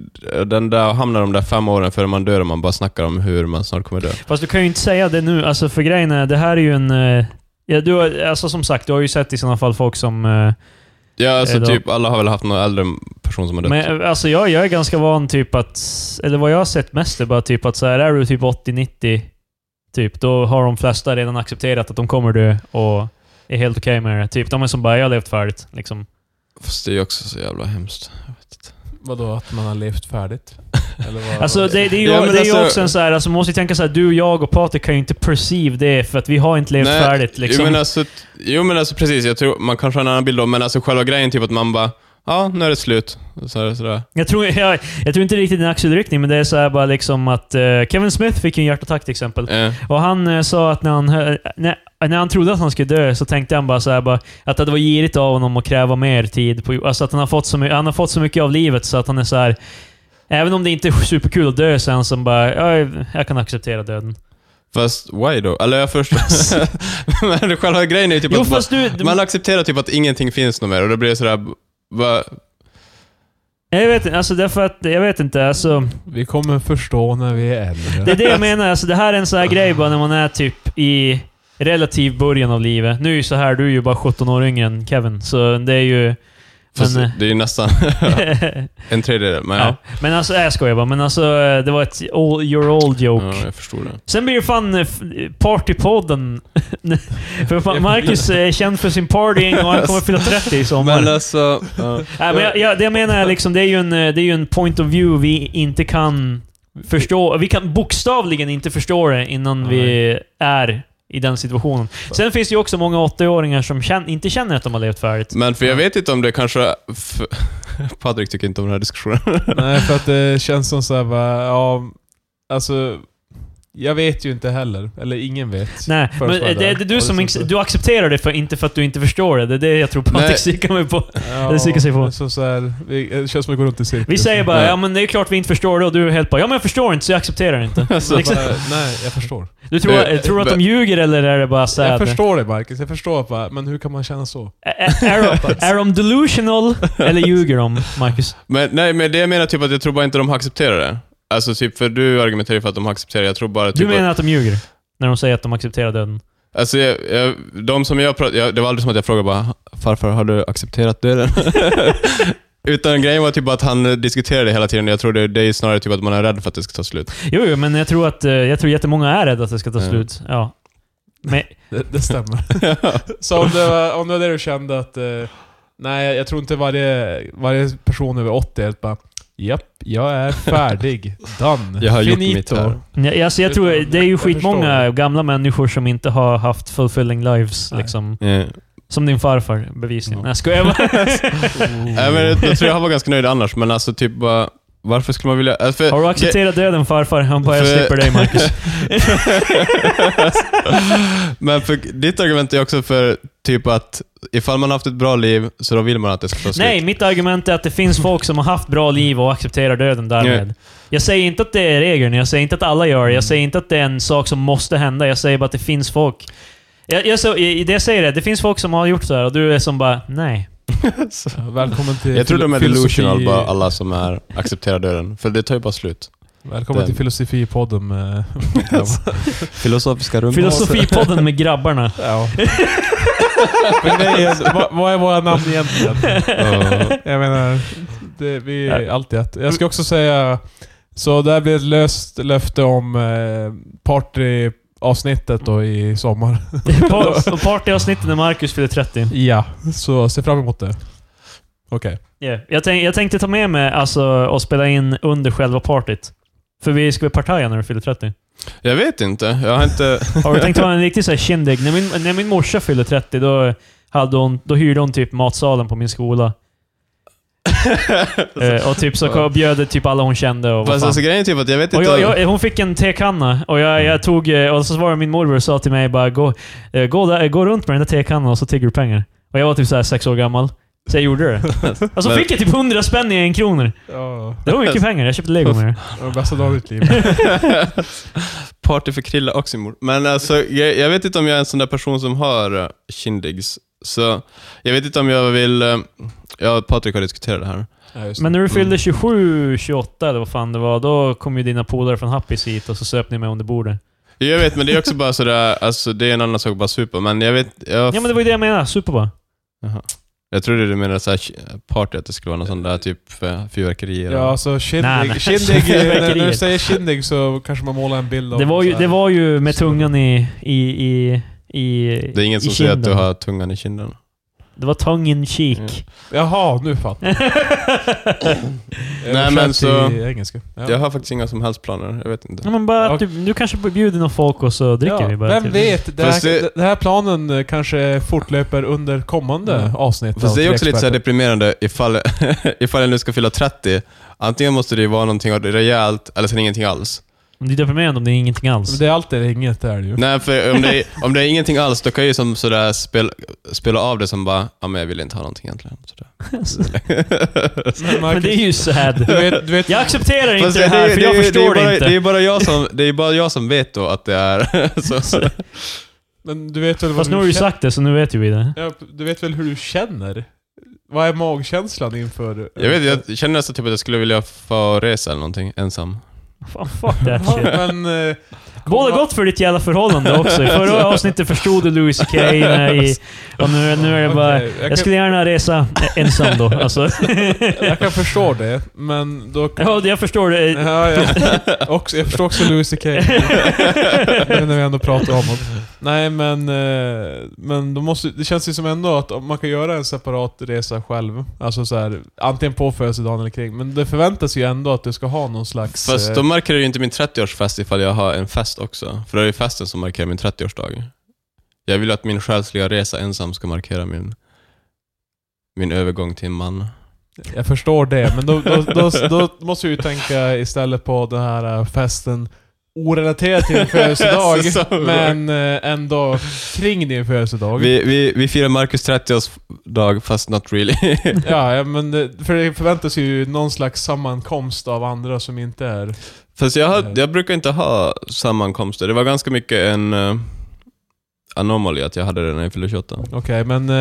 [SPEAKER 2] den där, hamnar de där fem åren före man dör och man bara snackar om hur man snart kommer dö.
[SPEAKER 1] Fast du kan ju inte säga det nu, alltså för grejen är, det här är ju en... eh, Ja, du har, alltså som sagt, du har ju sett i sådana fall folk som... eh,
[SPEAKER 2] Ja, alltså
[SPEAKER 1] Eller-
[SPEAKER 2] typ alla har väl haft någon äldre person som har dött.
[SPEAKER 1] Men eh, alltså jag, jag är ganska van typ att... Eller vad jag har sett mest är bara typ att så här, är du typ 80-90, typ, då har de flesta redan accepterat att de kommer dö och är helt okej med det. Typ, de är som bara, jag har levt färdigt. Liksom.
[SPEAKER 2] Fast det är ju också så jävla hemskt.
[SPEAKER 3] Vadå, att man har levt färdigt? Eller vad?
[SPEAKER 1] Alltså det, det är ju,
[SPEAKER 2] Ja, men
[SPEAKER 1] det är ju
[SPEAKER 2] alltså-
[SPEAKER 1] också en så här, alltså man måste ju tänka så här, du, jag och Patrik kan ju inte perceive det för att vi har inte levt
[SPEAKER 2] Nej,
[SPEAKER 1] färdigt. Liksom.
[SPEAKER 2] Jo men, alltså, t- jo men alltså precis, jag tror man kanske har en annan bild om, men alltså själva grejen typ att man bara, ja nu är det slut. Så här, så där.
[SPEAKER 1] Jag tror, jag, jag tror inte riktigt det är en axelryckning, men det är så här bara liksom att eh, Kevin Smith fick ju en hjärtattack till exempel.
[SPEAKER 2] Eh,
[SPEAKER 1] Och han eh, sa att när han, hö- när, när han trodde att han skulle dö så tänkte han bara så här bara att det var girigt av honom att kräva mer tid. På, alltså att han har, fått så, my- han har fått så mycket av livet så att han är så här Även om det inte är superkul att dö så är han som bara jag, jag kan acceptera döden.
[SPEAKER 2] fast why då? Eller jag förstår. men själva grejen är ju typ
[SPEAKER 1] Jo
[SPEAKER 2] att
[SPEAKER 1] fast du...
[SPEAKER 2] bara, man accepterar typ att ingenting finns något mer och då blir det sådär, bara,
[SPEAKER 1] Jag vet inte, alltså därför att, jag vet inte, alltså.
[SPEAKER 3] Vi kommer förstå när vi är äldre.
[SPEAKER 1] Det är det jag menar, alltså det här är en sån här grej bara när man är typ i relativ början av livet. Nu är ju så här, du är ju bara 17 år yngre än Kevin, så det är ju...
[SPEAKER 2] fast
[SPEAKER 1] Men, eh,
[SPEAKER 2] det är ju nästan en tredjedel. Men,
[SPEAKER 1] ja.
[SPEAKER 2] ja.
[SPEAKER 1] Men alltså, jag skojar bara, men alltså eh, det var ett all, your old joke.
[SPEAKER 2] ja, jag förstår det.
[SPEAKER 1] Sen blir ju fan eh, f- partypodden. för fan, Marcus är känd för sin partying och han kommer fylla 30 i sommar.
[SPEAKER 2] Men alltså, ja.
[SPEAKER 1] Nej, men jag, jag, det jag menar är liksom, det är ju en, eh, det är ju en point of view vi inte kan förstå. Vi kan bokstavligen inte förstå det innan vi är i den situationen. Sen finns det ju också många 80-åringar som kän, inte känner att de har levt färdigt.
[SPEAKER 2] men för jag vet inte om det kanske, f- Patrik tycker inte om den här diskussionen.
[SPEAKER 3] Nej, för att det känns som såhär bara, ja... Alltså... Jag vet ju inte heller. Eller ingen vet.
[SPEAKER 1] Nej, men eh,
[SPEAKER 3] Först
[SPEAKER 1] det,
[SPEAKER 3] var jag
[SPEAKER 1] det är
[SPEAKER 3] där.
[SPEAKER 1] du
[SPEAKER 3] Och
[SPEAKER 1] som
[SPEAKER 3] sen
[SPEAKER 1] ex-
[SPEAKER 3] så-
[SPEAKER 1] du accepterar det för, inte för att du inte förstår det. Det är det jag tror Patrik
[SPEAKER 2] Nej.
[SPEAKER 1] sikar mig på.
[SPEAKER 3] Ja,
[SPEAKER 1] det sticker sig på.
[SPEAKER 3] men Så så här, vi, eh, det känns som att vi går runt i cirkel.
[SPEAKER 1] Vi säger bara
[SPEAKER 2] Nej.
[SPEAKER 1] ja men det är klart vi inte förstår det och du är helt bara ja men jag förstår inte så jag accepterar det inte.
[SPEAKER 2] Alltså,
[SPEAKER 1] Liksom,
[SPEAKER 3] Bara, nej, jag förstår.
[SPEAKER 1] du tror,
[SPEAKER 2] Eh,
[SPEAKER 1] tror du att de
[SPEAKER 2] men-
[SPEAKER 1] ljuger eller är det bara såhär?
[SPEAKER 3] Jag förstår det Marcus, jag förstår bara, men hur kan man känna så?
[SPEAKER 1] Är, är, är de delusional eller ljuger de, Marcus?
[SPEAKER 2] Men nej, men det jag menar typ att jag tror bara inte de accepterar det. Alltså typ, för du argumenterar ju för att de accepterar jag tror bara typ
[SPEAKER 1] Du menar att de ljuger? När de säger att de accepterar döden?
[SPEAKER 2] att, Alltså jag, jag, de som jag pratade, jag, det var aldrig som att jag frågade bara “Farfar, har du accepterat döden?” Utan grejen var typ att han diskuterade det hela tiden jag tror det, det är snarare typ att man är rädd för att det ska ta slut.
[SPEAKER 1] Jo, jo men jag tror att eh, jag tror jättemånga är rädda att det ska ta
[SPEAKER 2] Ja.
[SPEAKER 1] slut. Ja. Men,
[SPEAKER 3] Det, det stämmer. så om det, var, om det var det du kände att... Eh, nej, jag tror inte varje, varje person över 80 är helt bara Japp, jag är färdig. Done.
[SPEAKER 2] Jag har gjort
[SPEAKER 3] Finito.
[SPEAKER 2] mitt här.
[SPEAKER 1] ja, alltså, jag tror det är ju
[SPEAKER 3] Jag förstår.
[SPEAKER 1] skitmånga gamla människor som inte har haft fulfilling lives.
[SPEAKER 3] Nej.
[SPEAKER 1] Liksom.
[SPEAKER 2] Yeah.
[SPEAKER 1] Som din farfar, bevisligen.
[SPEAKER 3] Ja.
[SPEAKER 1] Nej, jag skojar bara.
[SPEAKER 2] Nej, men jag, jag tror jag var ganska nöjd annars, men alltså typ bara varför skulle man vilja... äh, För,
[SPEAKER 1] Har du accepterat döden farfar? Han bara, jag
[SPEAKER 2] För-
[SPEAKER 1] slipper dig Marcus.
[SPEAKER 2] det, Men för, ditt argument är också för typ att ifall man haft ett bra liv så då vill man att det ska ta slut.
[SPEAKER 1] Nej, mitt argument är att det finns folk som har haft bra liv och accepterar döden därmed.
[SPEAKER 2] Nej.
[SPEAKER 1] Jag säger inte att det är regeln, jag säger inte att alla gör det, jag säger inte att det är en sak som måste hända, jag säger bara att det finns folk. Jag, jag, så, i- i det jag säger det, det finns folk som har gjort så här och du är som bara, nej.
[SPEAKER 3] Ja, Välkommen till
[SPEAKER 2] Jag tror de är
[SPEAKER 3] fil- filosofi-
[SPEAKER 2] delusional bara, alla som är accepterar döden. För det tar ju bara slut.
[SPEAKER 3] Välkommen
[SPEAKER 2] Den.
[SPEAKER 3] till filosofipodden med...
[SPEAKER 1] Alltså.
[SPEAKER 2] Filosofiska rummet.
[SPEAKER 1] Filosofipodden med grabbarna.
[SPEAKER 3] ja. Men det är, vad, vad är våra namn egentligen? Jag menar, det, vi är
[SPEAKER 1] Ja.
[SPEAKER 3] alltid ett. Jag ska också säga, så där blir ett löst löfte om eh, partyavsnittet då i sommar.
[SPEAKER 1] Pa- och Partyavsnittet när Marcus fyller 30.
[SPEAKER 3] Ja, så se fram emot det. Okej.
[SPEAKER 1] Yeah. Jag, tänk, jag tänkte ta med mig alltså, och spela in under själva partyt. För vi ska väl partaja när du fyller 30?
[SPEAKER 2] Jag vet inte. Jag har inte...
[SPEAKER 1] Har du tänkt ha en riktig så här kindig? När min, när min morsa fyllde 30, då, hade hon, då hyrde hon typ matsalen på min skola. Eh, och typ så kom- bjöd typ alla hon kände och vad
[SPEAKER 2] Fast
[SPEAKER 1] fan.
[SPEAKER 2] alltså grejen är typ att jag vet
[SPEAKER 1] Och
[SPEAKER 2] inte...
[SPEAKER 1] jag, jag, hon fick en tekanna och jag, jag tog... eh, Och så var det min morbror och sa till mig bara gå, eh, gå, där, gå runt med den där tekannan och så tigger du pengar. Och jag var typ så här sex år gammal. Så jag gjorde det. Och så
[SPEAKER 2] Men-
[SPEAKER 1] fick jag typ 100 spänn i en kronor.
[SPEAKER 3] Ja,
[SPEAKER 1] Det var
[SPEAKER 2] Alltså.
[SPEAKER 1] mycket pengar. Jag köpte lego med det.
[SPEAKER 3] det var bästa dagen i ditt liv.
[SPEAKER 2] Party för Krilla och sin mor. Men alltså, jag, jag vet inte om jag är en sån där person som har eh, kindigs. Så jag vet inte om jag vill... eh, Jag och Patrik har diskuterat det här.
[SPEAKER 3] Ja, just det.
[SPEAKER 1] Men när du fyllde
[SPEAKER 2] Mm.
[SPEAKER 1] 27, 28 eller vad fan det var, då kom ju dina polare från Happys hit och så söp ni mig under bordet.
[SPEAKER 2] Jag vet, men det är också bara sådär, alltså det är en annan sak att bara supa, men jag vet... Jag,
[SPEAKER 1] Ja, men det var ju det jag menade. Super bara.
[SPEAKER 2] Jaha. Jag trodde du menade såhär party, att det skulle vara någon sån där typ eh, fyrverkerier.
[SPEAKER 3] Ja, alltså
[SPEAKER 1] Nej, nej.
[SPEAKER 3] Kindig, kindig när när du
[SPEAKER 1] Fyrverkeriet.
[SPEAKER 3] säger Kindig så kanske man målar en bild av
[SPEAKER 1] Det var ju,
[SPEAKER 3] så här.
[SPEAKER 1] det var ju med tungan i... i, i i,
[SPEAKER 2] Det är ingen
[SPEAKER 1] i
[SPEAKER 2] som säger att du
[SPEAKER 1] kinden.
[SPEAKER 2] har tungan i kinden.
[SPEAKER 1] Det var tongue in cheek.
[SPEAKER 3] Jaha, nu fattar
[SPEAKER 2] Mm.
[SPEAKER 3] jag.
[SPEAKER 2] Nej, men så-
[SPEAKER 3] Översatt till engelska. Ja.
[SPEAKER 2] Jag har faktiskt inga som helst planer, jag vet
[SPEAKER 1] Ja,
[SPEAKER 2] inte.
[SPEAKER 1] men bara att du, du kanske bjuder någon folk och så dricker vi bara. typ.
[SPEAKER 3] Vem
[SPEAKER 1] till.
[SPEAKER 3] vet? Den
[SPEAKER 2] Fast
[SPEAKER 3] här,
[SPEAKER 2] det-
[SPEAKER 3] den här planen eh, kanske fortlöper under kommande
[SPEAKER 2] Mm.
[SPEAKER 3] avsnitt.
[SPEAKER 2] Fast
[SPEAKER 3] av
[SPEAKER 2] det är också lite
[SPEAKER 3] Trexperten.
[SPEAKER 2] såhär deprimerande ifall, ifall jag nu ska fylla 30. Antingen måste det ju vara någonting rejält, eller sen ingenting alls.
[SPEAKER 1] Men Det är deprimerande om det är ingenting alls.
[SPEAKER 3] Men det är allt eller inget är det ju.
[SPEAKER 2] Nej, för om det, är, om det är ingenting alls, då kan jag ju som sådär spela, spela av det som bara, ja men jag vill inte ha någonting egentligen. Sådär.
[SPEAKER 3] Men Marcus,
[SPEAKER 1] Men det är ju sad.
[SPEAKER 3] Du vet, du vet,
[SPEAKER 1] Jag accepterar
[SPEAKER 2] Fast
[SPEAKER 1] inte det här,
[SPEAKER 2] är-
[SPEAKER 1] för jag
[SPEAKER 2] är-
[SPEAKER 1] förstår
[SPEAKER 2] det är bara,
[SPEAKER 1] det inte.
[SPEAKER 2] Det är, bara jag som, det är bara jag som vet då att det är så.
[SPEAKER 3] men du vet väl vad
[SPEAKER 1] Fast nu har
[SPEAKER 3] du
[SPEAKER 1] du ju
[SPEAKER 3] känner?
[SPEAKER 1] sagt det, så nu vet ju vi det.
[SPEAKER 3] Ja, du vet väl hur du känner? Vad är magkänslan inför...
[SPEAKER 2] Jag vet, jag känner nästan typ att jag skulle vilja få resa eller någonting ensam.
[SPEAKER 1] Fan, fuck that shit.
[SPEAKER 3] Ja, men... eh,
[SPEAKER 1] Båda gott för ditt jävla förhållande också. I förra avsnittet förstod du Louis CK i, och nu, nu är det bara...
[SPEAKER 3] okej, jag,
[SPEAKER 1] Jag skulle gärna resa ensam då. Alltså.
[SPEAKER 3] kan, jag kan förstå det, men då...
[SPEAKER 1] Ja, jag förstår det.
[SPEAKER 3] Ja, jag, också, jag förstår också Louis CK. nu när vi ändå pratar om honom. Nej, men, eh, men då måste, det känns ju som ändå att om man kan göra en separat resa själv. Alltså så här, antingen på födelsedagen eller kring. Men det förväntas ju ändå att du ska ha någon slags...
[SPEAKER 2] Fast
[SPEAKER 3] eh,
[SPEAKER 2] då markerar ju inte min 30-årsfest ifall jag har en fest också. För då är det festen som markerar min 30-årsdag. Jag vill att min själsliga resa ensam ska markera min, min övergång till en man.
[SPEAKER 3] Jag förstår det, men då, då, då, då måste vi ju tänka istället på den här eh, festen orelaterat till din födelsedag,
[SPEAKER 2] Så- så-
[SPEAKER 3] men eh, ändå kring din födelsedag.
[SPEAKER 2] Vi, vi, vi firar Marcus 30-årsdag, fast not really.
[SPEAKER 3] Ja, ja, men det- för det förväntas ju någon slags sammankomst av andra som inte är...
[SPEAKER 2] Fast jag, har, jag brukar inte ha sammankomster. Det var ganska mycket en uh, anomaly att jag hade det när jag fyllde 28.
[SPEAKER 3] Okej, men eh,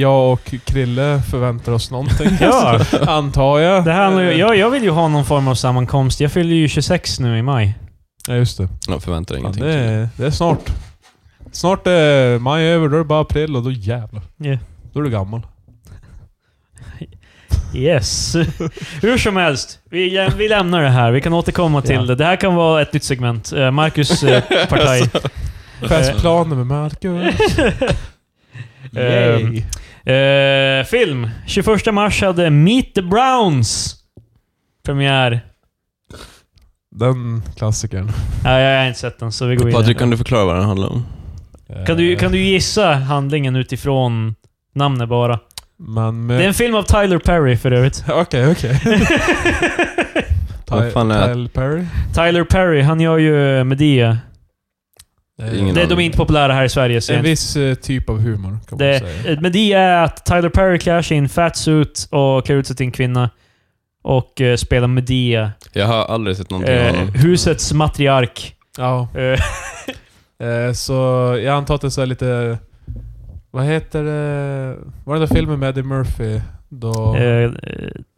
[SPEAKER 3] jag och Krille förväntar oss någonting.
[SPEAKER 1] Ja,
[SPEAKER 3] Antar jag.
[SPEAKER 1] det här handlar ju,
[SPEAKER 3] Eh,
[SPEAKER 1] jag, jag vill ju ha någon form av sammankomst. Jag fyller ju 26 nu i maj.
[SPEAKER 3] Ja, just det.
[SPEAKER 2] Jag förväntar
[SPEAKER 3] Fan,
[SPEAKER 2] ingenting.
[SPEAKER 3] det, är, det är snart. Snart är maj över, då är det bara april och då jävlar.
[SPEAKER 1] Ja.
[SPEAKER 3] Då är du gammal.
[SPEAKER 1] Yes. Hur som helst, vi, lä- vi lämnar det här. Vi kan återkomma till
[SPEAKER 3] Ja.
[SPEAKER 1] det. Det här kan vara ett nytt segment. Eh, Marcus eh, partaj.
[SPEAKER 3] Alltså.
[SPEAKER 2] Alltså,
[SPEAKER 1] Eh.
[SPEAKER 3] Festplaner med Marcus.
[SPEAKER 1] Yay.
[SPEAKER 3] Yay.
[SPEAKER 1] Eh, film. 21 mars hade Meet the Browns premiär.
[SPEAKER 3] Den klassikern.
[SPEAKER 1] Nej, jag har inte sett den, så vi går vidare.
[SPEAKER 2] Patrik, kan du förklara vad den handlar om?
[SPEAKER 1] Kan du,
[SPEAKER 3] Eh,
[SPEAKER 1] kan du gissa handlingen utifrån namnet bara?
[SPEAKER 2] Eh.
[SPEAKER 3] Man
[SPEAKER 1] Det är
[SPEAKER 3] med...
[SPEAKER 1] en film av Tyler Perry för övrigt.
[SPEAKER 3] Okej, okej.
[SPEAKER 2] Vad fan är-
[SPEAKER 3] Tyler Perry?
[SPEAKER 1] Tyler Perry, han gör ju Medea.
[SPEAKER 2] Ingen
[SPEAKER 1] Det,
[SPEAKER 2] aning.
[SPEAKER 1] de är inte populära här i Sverige. Så
[SPEAKER 3] En
[SPEAKER 1] det,
[SPEAKER 3] viss eh, typ av humor kan man säga.
[SPEAKER 1] eh, Medea är att Tyler Perry klär sig i en fat suit och klär ut sig till en kvinna. Och eh, spelar Medea.
[SPEAKER 2] Jag har aldrig sett någonting av
[SPEAKER 1] Eh,
[SPEAKER 2] honom.
[SPEAKER 1] husets matriark.
[SPEAKER 3] Ja,
[SPEAKER 1] Eh,
[SPEAKER 3] eh, så jag antar att det är så här lite... Vad heter det? Var det den där filmen med Eddie Murphy? Då...
[SPEAKER 1] eh,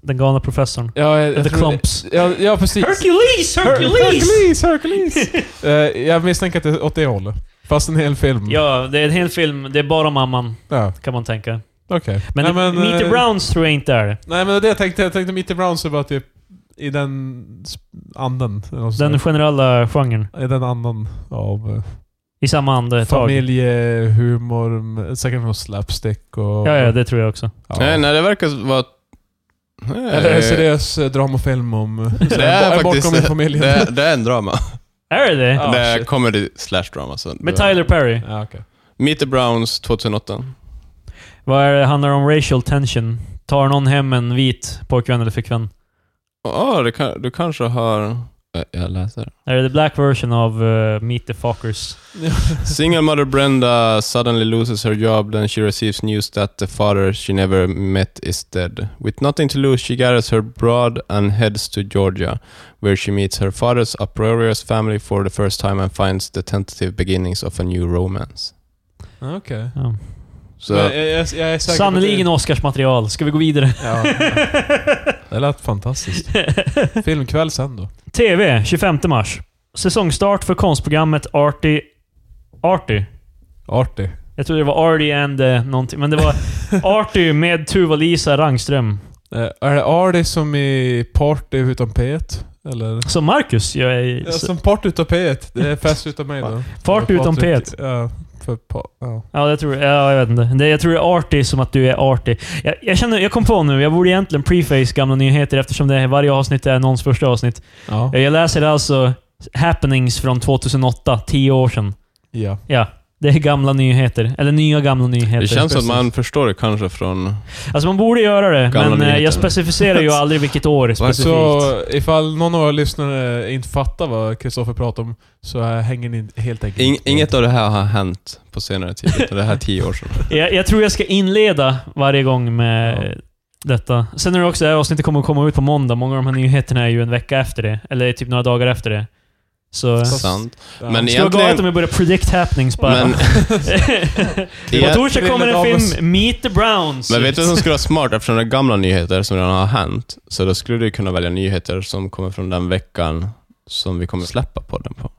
[SPEAKER 1] den galna professorn.
[SPEAKER 3] ja, jag, jag
[SPEAKER 1] The
[SPEAKER 3] tror-
[SPEAKER 1] Clumps.
[SPEAKER 3] Ja, ja, precis.
[SPEAKER 1] Hercules! Hercules!
[SPEAKER 3] Hercules! Hercules! Eh, jag misstänker att det är åt det hållet. Fast en hel film.
[SPEAKER 1] Ja, det är en hel film. Det är bara mamman,
[SPEAKER 3] Ja,
[SPEAKER 1] kan man tänka.
[SPEAKER 3] Okej.
[SPEAKER 1] Men,
[SPEAKER 3] Nej,
[SPEAKER 1] Meet the
[SPEAKER 3] eh,
[SPEAKER 1] Browns tror jag inte är det.
[SPEAKER 3] Nej men det jag tänkte, jag tänkte Mitty Browns var typ i den sp- anden. eller något
[SPEAKER 1] Den
[SPEAKER 3] sånt
[SPEAKER 1] generella genren.
[SPEAKER 3] där. I den andan av
[SPEAKER 1] I samma
[SPEAKER 3] eh,
[SPEAKER 1] andetag.
[SPEAKER 3] familjehumor, m- säkert någon slapstick och...
[SPEAKER 1] Ja, ja, det tror jag också.
[SPEAKER 3] Ja.
[SPEAKER 2] Nej, nej, det verkar vara... Nej,
[SPEAKER 3] Eller en seriös eh, dramafilm om... så
[SPEAKER 2] det
[SPEAKER 3] här,
[SPEAKER 2] är
[SPEAKER 3] en
[SPEAKER 2] faktiskt... eh,
[SPEAKER 3] bortkommen familj.
[SPEAKER 2] Det är, det är en drama.
[SPEAKER 1] Är det det?
[SPEAKER 3] Ja.
[SPEAKER 2] det är
[SPEAKER 3] shit.
[SPEAKER 2] comedy slash drama. Så
[SPEAKER 1] Med Tyler Perry.
[SPEAKER 3] Ja, okej.
[SPEAKER 2] Meet the Browns 2008.
[SPEAKER 1] Vad är det? handlar om racial tension. Tar någon hem en vit pojkvän eller flickvän?
[SPEAKER 2] Åh, det kan, du kanske har... Eh, Jag läser.
[SPEAKER 1] Är det the black version av eh, Meet the Fuckers?
[SPEAKER 2] Single mother Brenda suddenly loses her job then she receives news that the father she never met is dead. With nothing to lose, she gathers her broad and heads to Georgia, where she meets her father's uproarious family for the first time and finds the tentative beginnings of a new romance.
[SPEAKER 3] Ja, Okej.
[SPEAKER 1] Ja.
[SPEAKER 2] Så,
[SPEAKER 3] Men Jag, jag, jag är säker på att
[SPEAKER 1] Sannerligen Oscarsmaterial. Ska vi gå vidare?
[SPEAKER 3] det- Ja. Det lät fantastiskt. Filmkväll sen då.
[SPEAKER 1] TV, 25 mars. Säsongstart för konstprogrammet Arty... Arty?
[SPEAKER 3] Arty.
[SPEAKER 1] Jag trodde det var Arty and eh, någonting, men det var Arty med Tuva-Lisa Rangström.
[SPEAKER 3] Eh, är det Arty som i Party utan P1? Eller?
[SPEAKER 1] Som Marcus gör i...
[SPEAKER 3] Ja, som Party utan P1. Det är fest utan mig då.
[SPEAKER 1] Party
[SPEAKER 3] Eller
[SPEAKER 1] utan E
[SPEAKER 3] Patrik.
[SPEAKER 1] P1.
[SPEAKER 3] Ja, för pa ja.
[SPEAKER 1] Ja, det tror jag. Ja, jag vet inte. Det, jag tror det är arty som att du är arty. Jag, jag, känner, jag kom på nu, jag borde egentligen preface gamla nyheter eftersom det är varje avsnitt är någons första avsnitt.
[SPEAKER 3] Ja.
[SPEAKER 1] Jag läser alltså happenings från 2008, 10 år sedan.
[SPEAKER 3] ja.
[SPEAKER 1] Ja. Det är gamla nyheter. Eller nya gamla nyheter.
[SPEAKER 2] Det känns som att
[SPEAKER 3] precis.
[SPEAKER 2] man förstår det kanske från...
[SPEAKER 1] Alltså man borde göra det,
[SPEAKER 2] Gamla
[SPEAKER 1] men eh,
[SPEAKER 2] nyheter.
[SPEAKER 1] jag specificerar ju aldrig vilket år specifikt.
[SPEAKER 3] Så ifall någon av er lyssnare inte fattar vad Kristoffer pratar om så eh, hänger ni helt enkelt
[SPEAKER 2] In,
[SPEAKER 3] inte med.
[SPEAKER 2] inget av det här har hänt på senare tid, utan det här är tio år sedan.
[SPEAKER 1] Jag, jag tror jag ska inleda varje gång med
[SPEAKER 3] Ja.
[SPEAKER 1] detta. Sen är det också, det här avsnittet kommer att komma ut på måndag. Många av de här nyheterna är ju en vecka efter det. Eller typ några dagar efter det. Så...
[SPEAKER 3] Fast-
[SPEAKER 2] Sant.
[SPEAKER 3] Ja.
[SPEAKER 2] Men
[SPEAKER 1] Skulle vara galet om
[SPEAKER 2] egentligen...
[SPEAKER 1] jag börjar predict happenings bara.
[SPEAKER 2] Men,
[SPEAKER 1] på
[SPEAKER 2] e-
[SPEAKER 1] torsdag kommer en film, Meet the Browns.
[SPEAKER 2] men vet
[SPEAKER 1] ut.
[SPEAKER 2] du vad som skulle vara smart? Eftersom det är gamla nyheter som redan har hänt, så då skulle du kunna välja nyheter som kommer från den veckan som vi kommer släppa podden på.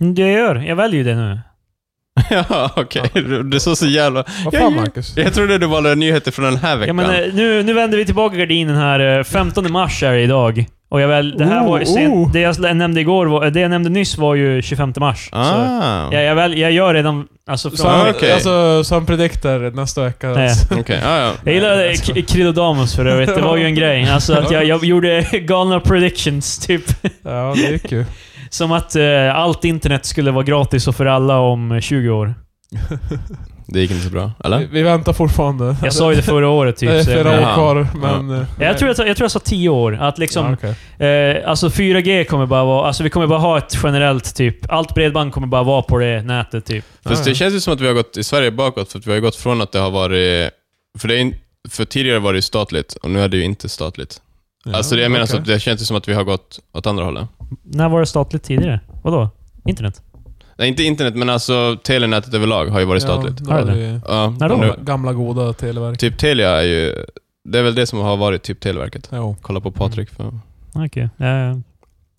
[SPEAKER 1] Mm, Det gör. Jag väljer ju det nu.
[SPEAKER 2] ja, okej. Det såg så jävla...
[SPEAKER 3] Vad
[SPEAKER 2] Ja,
[SPEAKER 3] fan
[SPEAKER 2] ja.
[SPEAKER 3] Marcus?
[SPEAKER 2] Jag trodde du valde nyheter från den här
[SPEAKER 1] Ja,
[SPEAKER 2] veckan.
[SPEAKER 1] men, eh, nu, nu vänder vi tillbaka gardinen här. eh, 15 mars är det idag. Och jag väl, det här var ju
[SPEAKER 3] Oh,
[SPEAKER 1] sent.
[SPEAKER 3] oh.
[SPEAKER 1] Det jag sl- nämnde igår, var, eh, det jag nämnde nyss var ju 25 mars. Så,
[SPEAKER 2] ah.
[SPEAKER 1] ja, jag, väl, jag gör redan... Alltså,
[SPEAKER 3] Så
[SPEAKER 1] från,
[SPEAKER 3] han,
[SPEAKER 2] okej.
[SPEAKER 3] alltså, så han prediktar nästa vecka. Alltså,
[SPEAKER 1] Nej.
[SPEAKER 2] Okej, ja, ja.
[SPEAKER 1] jag gillade K- Kridodamus för övrigt. Det var ju en grej. Alltså att jag, jag gjorde galna predictions, typ.
[SPEAKER 3] Ja, det gick ju.
[SPEAKER 1] Som att eh, allt internet skulle vara gratis och för alla om eh, 20 år.
[SPEAKER 2] Det gick inte så bra,
[SPEAKER 3] Vi,
[SPEAKER 2] eller?
[SPEAKER 3] vi väntar fortfarande.
[SPEAKER 1] Jag sa ju det förra året
[SPEAKER 3] det är
[SPEAKER 1] typ. Så
[SPEAKER 3] flera
[SPEAKER 1] jag,
[SPEAKER 2] Jaha.
[SPEAKER 3] år kvar, men... eh,
[SPEAKER 1] jag, tror jag, sa- jag tror jag sa 10 år. Att liksom,
[SPEAKER 3] Ja, okej.
[SPEAKER 1] eh, alltså 4G kommer bara vara... Alltså vi kommer bara ha ett generellt typ... Allt bredband kommer bara vara på det nätet typ.
[SPEAKER 2] Fast
[SPEAKER 3] Ja,
[SPEAKER 2] det
[SPEAKER 3] ja.
[SPEAKER 2] känns ju som att vi har gått i Sverige bakåt, för att vi har ju gått från att det har varit... För, det är in, för tidigare var det ju statligt, och nu är det ju inte statligt.
[SPEAKER 3] Ja,
[SPEAKER 2] alltså det, jag menar så
[SPEAKER 3] okej.
[SPEAKER 2] att det känns ju som att vi har gått åt andra hållet.
[SPEAKER 1] När var det statligt tidigare? Vadå? Internet?
[SPEAKER 2] Nej, inte internet, men alltså telenätet överlag har ju varit statligt.
[SPEAKER 3] Ja,
[SPEAKER 1] Har
[SPEAKER 3] det
[SPEAKER 1] det?
[SPEAKER 3] var ju
[SPEAKER 2] Ja,
[SPEAKER 1] När då?
[SPEAKER 2] och
[SPEAKER 3] gamla,
[SPEAKER 2] nu,
[SPEAKER 3] gamla goda Televerket.
[SPEAKER 2] typ Telia är ju... Det är väl det som har varit typ Televerket.
[SPEAKER 3] Jo.
[SPEAKER 2] Kolla på Patrik.
[SPEAKER 3] Mm.
[SPEAKER 2] För,
[SPEAKER 1] Okej. Eh, nej,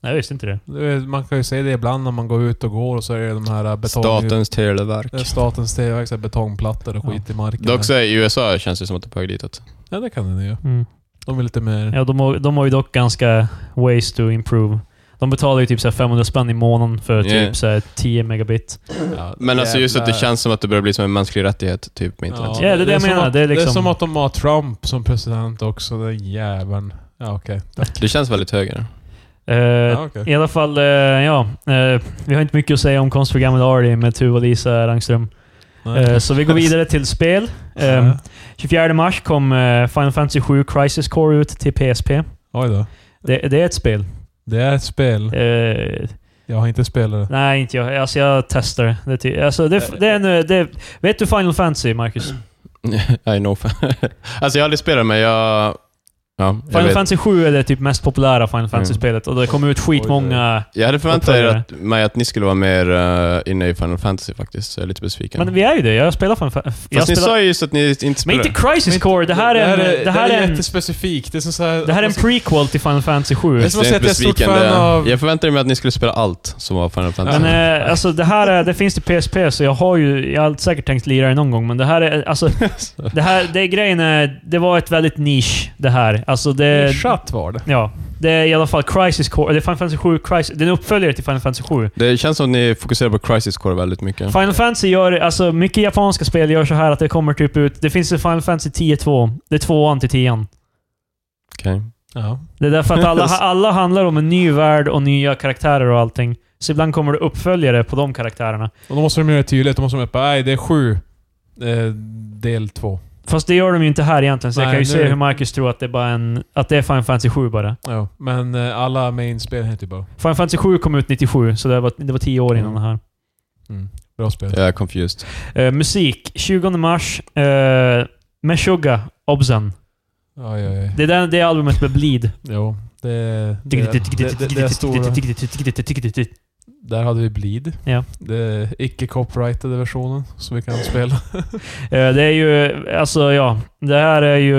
[SPEAKER 1] jag visste inte det.
[SPEAKER 3] Det är- Man kan ju se det ibland när man går ut och går och så är det de här eh, betong...
[SPEAKER 2] statens Televerk.
[SPEAKER 3] eh, Statens Televerk, så här betongplattor och
[SPEAKER 1] Ja.
[SPEAKER 3] skit i marken.
[SPEAKER 2] Dock så är, i USA känns det som att det är på väg ditåt.
[SPEAKER 3] Ja, det kan den ju.
[SPEAKER 1] Mm.
[SPEAKER 3] De är lite mer...
[SPEAKER 1] Ja, de, har- de har ju dock ganska ways to improve. De betalar ju typ så här 500 spänn i månaden för typ
[SPEAKER 2] Yeah.
[SPEAKER 1] så här 10 megabit.
[SPEAKER 3] Ja,
[SPEAKER 2] Men alltså just att det
[SPEAKER 3] jävla-
[SPEAKER 2] känns som att det börjar bli som en mänsklig rättighet, typ med internet.
[SPEAKER 1] Ja, det är det jag
[SPEAKER 3] som
[SPEAKER 1] menar.
[SPEAKER 3] Att,
[SPEAKER 1] Det är liksom-
[SPEAKER 3] som att de har Trump som president också, den jäveln. Ja, okej.
[SPEAKER 2] Det känns väldigt högre.
[SPEAKER 1] Eh,
[SPEAKER 3] Ja, okej.
[SPEAKER 1] I alla fall, eh, ja. eh, vi har inte mycket att säga om konstprogrammet Arty med Tuva och Lisa Rangström.
[SPEAKER 3] Nej.
[SPEAKER 1] Eh, så vi går vidare till spel. Eh, 24 mars kom eh, Final Fantasy 7 Crisis Core ut till PSP.
[SPEAKER 3] Oj då.
[SPEAKER 1] Det, det är ett spel.
[SPEAKER 3] Det är ett spel.
[SPEAKER 1] Eh,
[SPEAKER 3] Jag har inte spelat det.
[SPEAKER 1] nej, inte jag. Alltså, jag testar det. det. ty- Alltså, det, det är en, eh, det, vet du Final Fantasy, Marcus?
[SPEAKER 2] I know. alltså jag har aldrig spelat men jag... Ja, jag,
[SPEAKER 1] Final
[SPEAKER 2] vet.
[SPEAKER 1] Fantasy 7 är det typ mest populära Final Fantasy-spelet och det kom ut skitmånga...
[SPEAKER 2] jag hade förväntat
[SPEAKER 1] Vad
[SPEAKER 2] er
[SPEAKER 1] tror du?
[SPEAKER 2] att, mig att ni skulle vara mer eh, inne i Final Fantasy faktiskt, så jag är lite besviken.
[SPEAKER 1] Men vi är ju det. Jag spelar Final Fantasy. Jag
[SPEAKER 2] Fast ni
[SPEAKER 1] spelar,
[SPEAKER 2] sa ju just att ni inte
[SPEAKER 1] men
[SPEAKER 2] spelar.
[SPEAKER 1] inte Crisis Core. Det här är en... Det här är en
[SPEAKER 3] jättespecifikt. Det är, som så här,
[SPEAKER 1] Det här är en prequel till Final Fantasy 7.
[SPEAKER 3] Det är som att säga att jag är stort
[SPEAKER 2] besviken,
[SPEAKER 3] fan
[SPEAKER 2] det-
[SPEAKER 3] av-
[SPEAKER 2] Jag förväntade mig att ni skulle spela allt som var Final Fantasy.
[SPEAKER 1] Men eh, alltså det här är, det finns till PSP, så jag har ju... Jag har säkert tänkt lira det någon gång, men det här är... Alltså, det här... Det är grejen är... Det var ett väldigt nisch, det här. Alltså det...
[SPEAKER 3] Chatt var det.
[SPEAKER 1] Ja. Det är i alla fall Crisis Core. Det är Final Fantasy 7 Crisis... Det är en uppföljare till Final Fantasy 7.
[SPEAKER 2] Det känns som att ni fokuserar på Crisis Core väldigt mycket.
[SPEAKER 1] Final Fantasy gör... Alltså mycket japanska spel gör så här att det kommer typ ut... Det finns ett Final Fantasy 10-2. Det är tvåan till tian.
[SPEAKER 2] Okej.
[SPEAKER 3] Ja.
[SPEAKER 1] Det är därför att alla, alla handlar om en ny värld och nya karaktärer och allting. Så ibland kommer det uppföljare på de karaktärerna.
[SPEAKER 3] Och då måste de göra det tydligt. Då måste de bara, nej det är sju. Eh, del två.
[SPEAKER 1] Fast det gör de ju inte här egentligen, så jag
[SPEAKER 3] Nej,
[SPEAKER 1] kan ju
[SPEAKER 3] nu-
[SPEAKER 1] se hur Marcus tror att det är bara en... Att det är Final Fantasy 7 bara.
[SPEAKER 3] Ja. Men eh, alla main-spel heter ju bara...
[SPEAKER 1] Final Fantasy 7 kom ut 97, så det var, det var tio år innan
[SPEAKER 2] Mm.
[SPEAKER 1] det här.
[SPEAKER 3] Mm, bra spel.
[SPEAKER 2] Jag är confused.
[SPEAKER 1] Eh, musik. 20 mars. Uh, Meshuggah, Obsen.
[SPEAKER 3] Oj, oj, oj.
[SPEAKER 1] Det är den, det albumet med Bleed.
[SPEAKER 3] Jo. Det, det, det, det, det är stora... Där hade vi Bleed.
[SPEAKER 1] Ja.
[SPEAKER 3] Det icke-copyrightade versionen som vi kan spela.
[SPEAKER 1] Eh, Det är ju, alltså ja, det här är ju...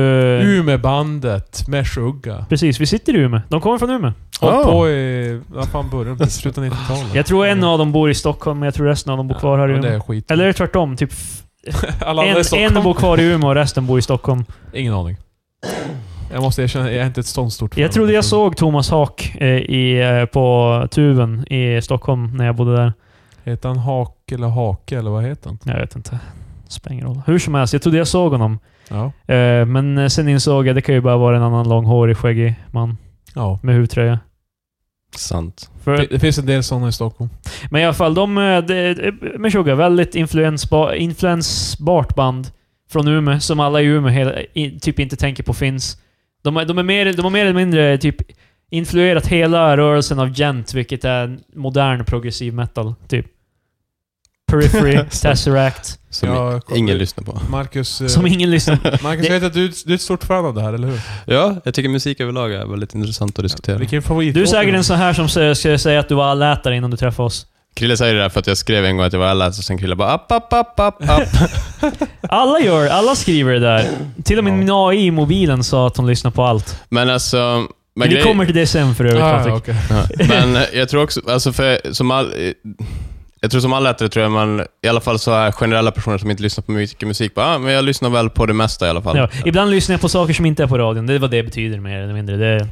[SPEAKER 3] Umebandet med Shugga.
[SPEAKER 1] Precis, vi sitter i Umeå. De kommer från Umeå.
[SPEAKER 3] Håll
[SPEAKER 2] Oh.
[SPEAKER 3] på i... Vad fan började de? Slutet av 90-talet?
[SPEAKER 1] Jag tror en av dem bor i Stockholm, men jag tror resten av dem bor kvar här i
[SPEAKER 3] Ja, det
[SPEAKER 1] Umeå.
[SPEAKER 3] är skit.
[SPEAKER 1] Eller är det tvärtom? Typ f-
[SPEAKER 3] Alla andra i
[SPEAKER 1] en, en
[SPEAKER 3] Stockholm.
[SPEAKER 1] bor kvar i Umeå och resten bor i Stockholm.
[SPEAKER 3] Ingen aning. Jag måste erkänna, jag är inte ett sånt stort fan.
[SPEAKER 1] Jag trodde jag såg Thomas Haak eh, i, eh, på Tuben i Stockholm när jag bodde där.
[SPEAKER 3] Heter han Hake eller Hake eller vad heter han?
[SPEAKER 1] Jag vet inte. Spelar ingen roll. Hur som helst, jag trodde jag såg honom.
[SPEAKER 3] Ja.
[SPEAKER 1] Eh, Men eh, sen insåg jag det kan ju bara vara en annan långhårig, skäggig man
[SPEAKER 3] ja.
[SPEAKER 1] med huvtröja.
[SPEAKER 2] Sant.
[SPEAKER 1] För,
[SPEAKER 3] Det, det finns en del sådana i Stockholm.
[SPEAKER 1] men i alla fall, de... eh, de- eh, Meshuggah, väldigt influensba, influensbart band från Umeå, som alla i Umeå hela, i, typ inte tänker på finns. De, är- de, är mer, de har mer eller mindre typ influerat hela rörelsen av gent, vilket är en modern progressiv metal, typ. Periphery, Tesseract,
[SPEAKER 2] Som
[SPEAKER 3] Ja, jag kommer-
[SPEAKER 2] ingen lyssnar på.
[SPEAKER 3] Marcus, eh,
[SPEAKER 1] som ingen lyssnar på.
[SPEAKER 3] Marcus jag vet att du, du är ett stort fan av det här, eller hur?
[SPEAKER 2] Ja, jag tycker musik överlag är väldigt intressant att diskutera.
[SPEAKER 3] Vilken favorit?
[SPEAKER 1] Du är säkert en sån här som sä- ska säga att du var allätare innan du träffade oss.
[SPEAKER 2] Krille säger det där för att jag skrev en gång att jag var allas och sen Krille bara app, app, app, app, app.
[SPEAKER 1] Alla gör alla skriver det där. Till och med min AI i mobilen sa att hon lyssnar på allt.
[SPEAKER 2] Men alltså... Men
[SPEAKER 1] Men vi
[SPEAKER 2] grej-
[SPEAKER 1] kommer till det sen för övrigt,
[SPEAKER 3] Ah,
[SPEAKER 1] Patrik.
[SPEAKER 3] ja, okej.
[SPEAKER 2] Ja. Men eh, jag tror också, alltså för som all, eh, jag tror som alla ätare tror jag man, i alla fall så här generella personer som inte lyssnar på mycket musik, bara, ah, men jag lyssnar väl på det mesta i alla fall.
[SPEAKER 1] Ja, ibland lyssnar jag på saker som inte är på radion. Det är vad det betyder mer eller mindre. Det...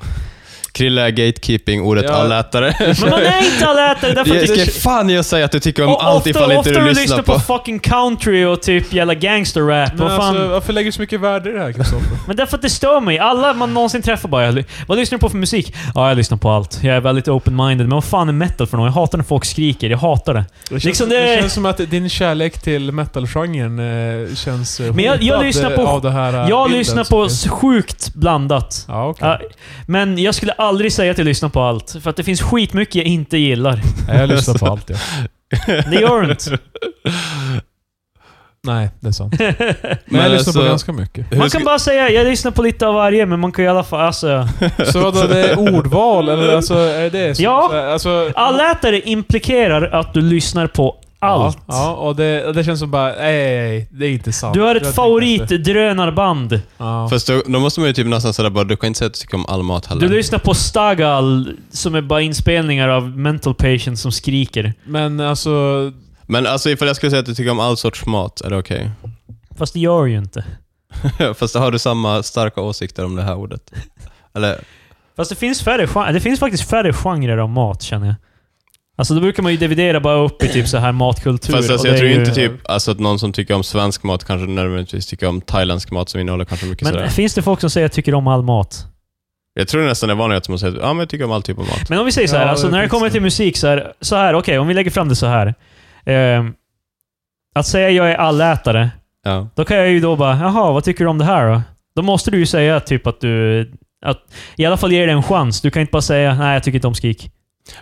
[SPEAKER 2] Krille är gatekeeping, ordet
[SPEAKER 3] Ja.
[SPEAKER 2] allätare.
[SPEAKER 1] Men man är inte allätare därför att...
[SPEAKER 2] Jag ska
[SPEAKER 1] det-
[SPEAKER 2] fan jag säga att du tycker om
[SPEAKER 1] Och
[SPEAKER 2] allt ifall inte
[SPEAKER 1] oftare
[SPEAKER 2] du lyssnar på.
[SPEAKER 1] fucking country och typ jävla gangsterrap.
[SPEAKER 3] Men
[SPEAKER 1] Vad fan?
[SPEAKER 3] alltså, varför lägger du så mycket värde i det här, Kristoffer?
[SPEAKER 1] Men därför att det stör mig. Alla man någonsin träffar bara "Jag ly- Vad lyssnar du på för musik? Ja, jag lyssnar på allt. Jag är väldigt open-minded. Men vad fan är metal för något? Jag hatar när folk skriker. Jag hatar det.
[SPEAKER 3] Det känns,
[SPEAKER 1] Liksom
[SPEAKER 3] det...
[SPEAKER 1] det-
[SPEAKER 3] känns som att din kärlek till metal-genren eh, känns eh,
[SPEAKER 1] Men jag- jag
[SPEAKER 3] hotad,
[SPEAKER 1] lyssnar
[SPEAKER 3] eh,
[SPEAKER 1] på-
[SPEAKER 3] av det här eh,
[SPEAKER 1] Jag
[SPEAKER 3] bilden
[SPEAKER 1] lyssnar
[SPEAKER 3] som
[SPEAKER 1] på
[SPEAKER 3] finns.
[SPEAKER 1] s- sjukt blandat.
[SPEAKER 3] Ja, okej.
[SPEAKER 1] Ja, men jag skulle aldrig säga att jag lyssnar på allt, för att det finns skitmycket jag inte gillar.
[SPEAKER 3] Nej, jag lyssnar på allt, ja.
[SPEAKER 1] Det gör du inte.
[SPEAKER 3] Nej, det är sant. Men
[SPEAKER 2] Men
[SPEAKER 3] jag lyssnar på
[SPEAKER 2] alltså-
[SPEAKER 3] ganska mycket.
[SPEAKER 2] Hur
[SPEAKER 1] Man
[SPEAKER 2] ska-
[SPEAKER 1] kan bara säga jag lyssnar på lite av varje, men man kan ju i alla fall... Alltså,
[SPEAKER 3] Så vadå, det är ordval eller alltså, är det så?
[SPEAKER 1] Ja.
[SPEAKER 3] så- Alltså,
[SPEAKER 1] allätare implikerar att du lyssnar på allt.
[SPEAKER 3] Ja, ja och det, och det känns som bara, nej, nej, det är inte sant.
[SPEAKER 1] Du har
[SPEAKER 3] Jag
[SPEAKER 1] ett
[SPEAKER 3] tänkte-
[SPEAKER 1] favoritdrönarband.
[SPEAKER 3] Ja.
[SPEAKER 2] Fast då, då måste man ju typ nästan säga bara, du kan inte säga att du tycker om all mat heller.
[SPEAKER 1] Du lyssnar på Stagal, som är bara inspelningar av mental patients som skriker.
[SPEAKER 3] Men alltså,
[SPEAKER 2] Men alltså ifall jag skulle säga att du tycker om all sorts mat, är det okej?
[SPEAKER 1] Fast det gör ju inte.
[SPEAKER 2] Fast då har du samma starka åsikter om det här ordet. Eller,
[SPEAKER 1] Fast det finns, färre, gen- det finns faktiskt färre genrer av mat, känner jag. Alltså då brukar man ju dividera bara upp i typ så här matkultur.
[SPEAKER 2] Fast
[SPEAKER 1] och
[SPEAKER 2] alltså, jag
[SPEAKER 1] det är
[SPEAKER 2] tror
[SPEAKER 1] ju-
[SPEAKER 2] inte typ, alltså, att någon som tycker om svensk mat kanske nödvändigtvis tycker om thailändsk mat som innehåller kanske mycket
[SPEAKER 1] Men
[SPEAKER 2] sådär.
[SPEAKER 1] finns det folk som säger att jag tycker om all mat?
[SPEAKER 2] Jag tror nästan det är vanligt att man säger att ah, men jag tycker om all typ av mat.
[SPEAKER 1] Men om vi säger så här,
[SPEAKER 3] Ja,
[SPEAKER 1] alltså,
[SPEAKER 3] det
[SPEAKER 1] när det
[SPEAKER 3] finns
[SPEAKER 1] kommer
[SPEAKER 3] det.
[SPEAKER 1] till musik så här, så här okej, om vi lägger fram det så här. Ehm, att säga jag är allätare,
[SPEAKER 2] Ja.
[SPEAKER 1] då kan jag ju då bara, jaha, vad tycker du om det här då? Då måste du ju säga typ att du... Att, I alla fall ge det en chans. Du kan inte bara säga, nej jag tycker inte om skrik.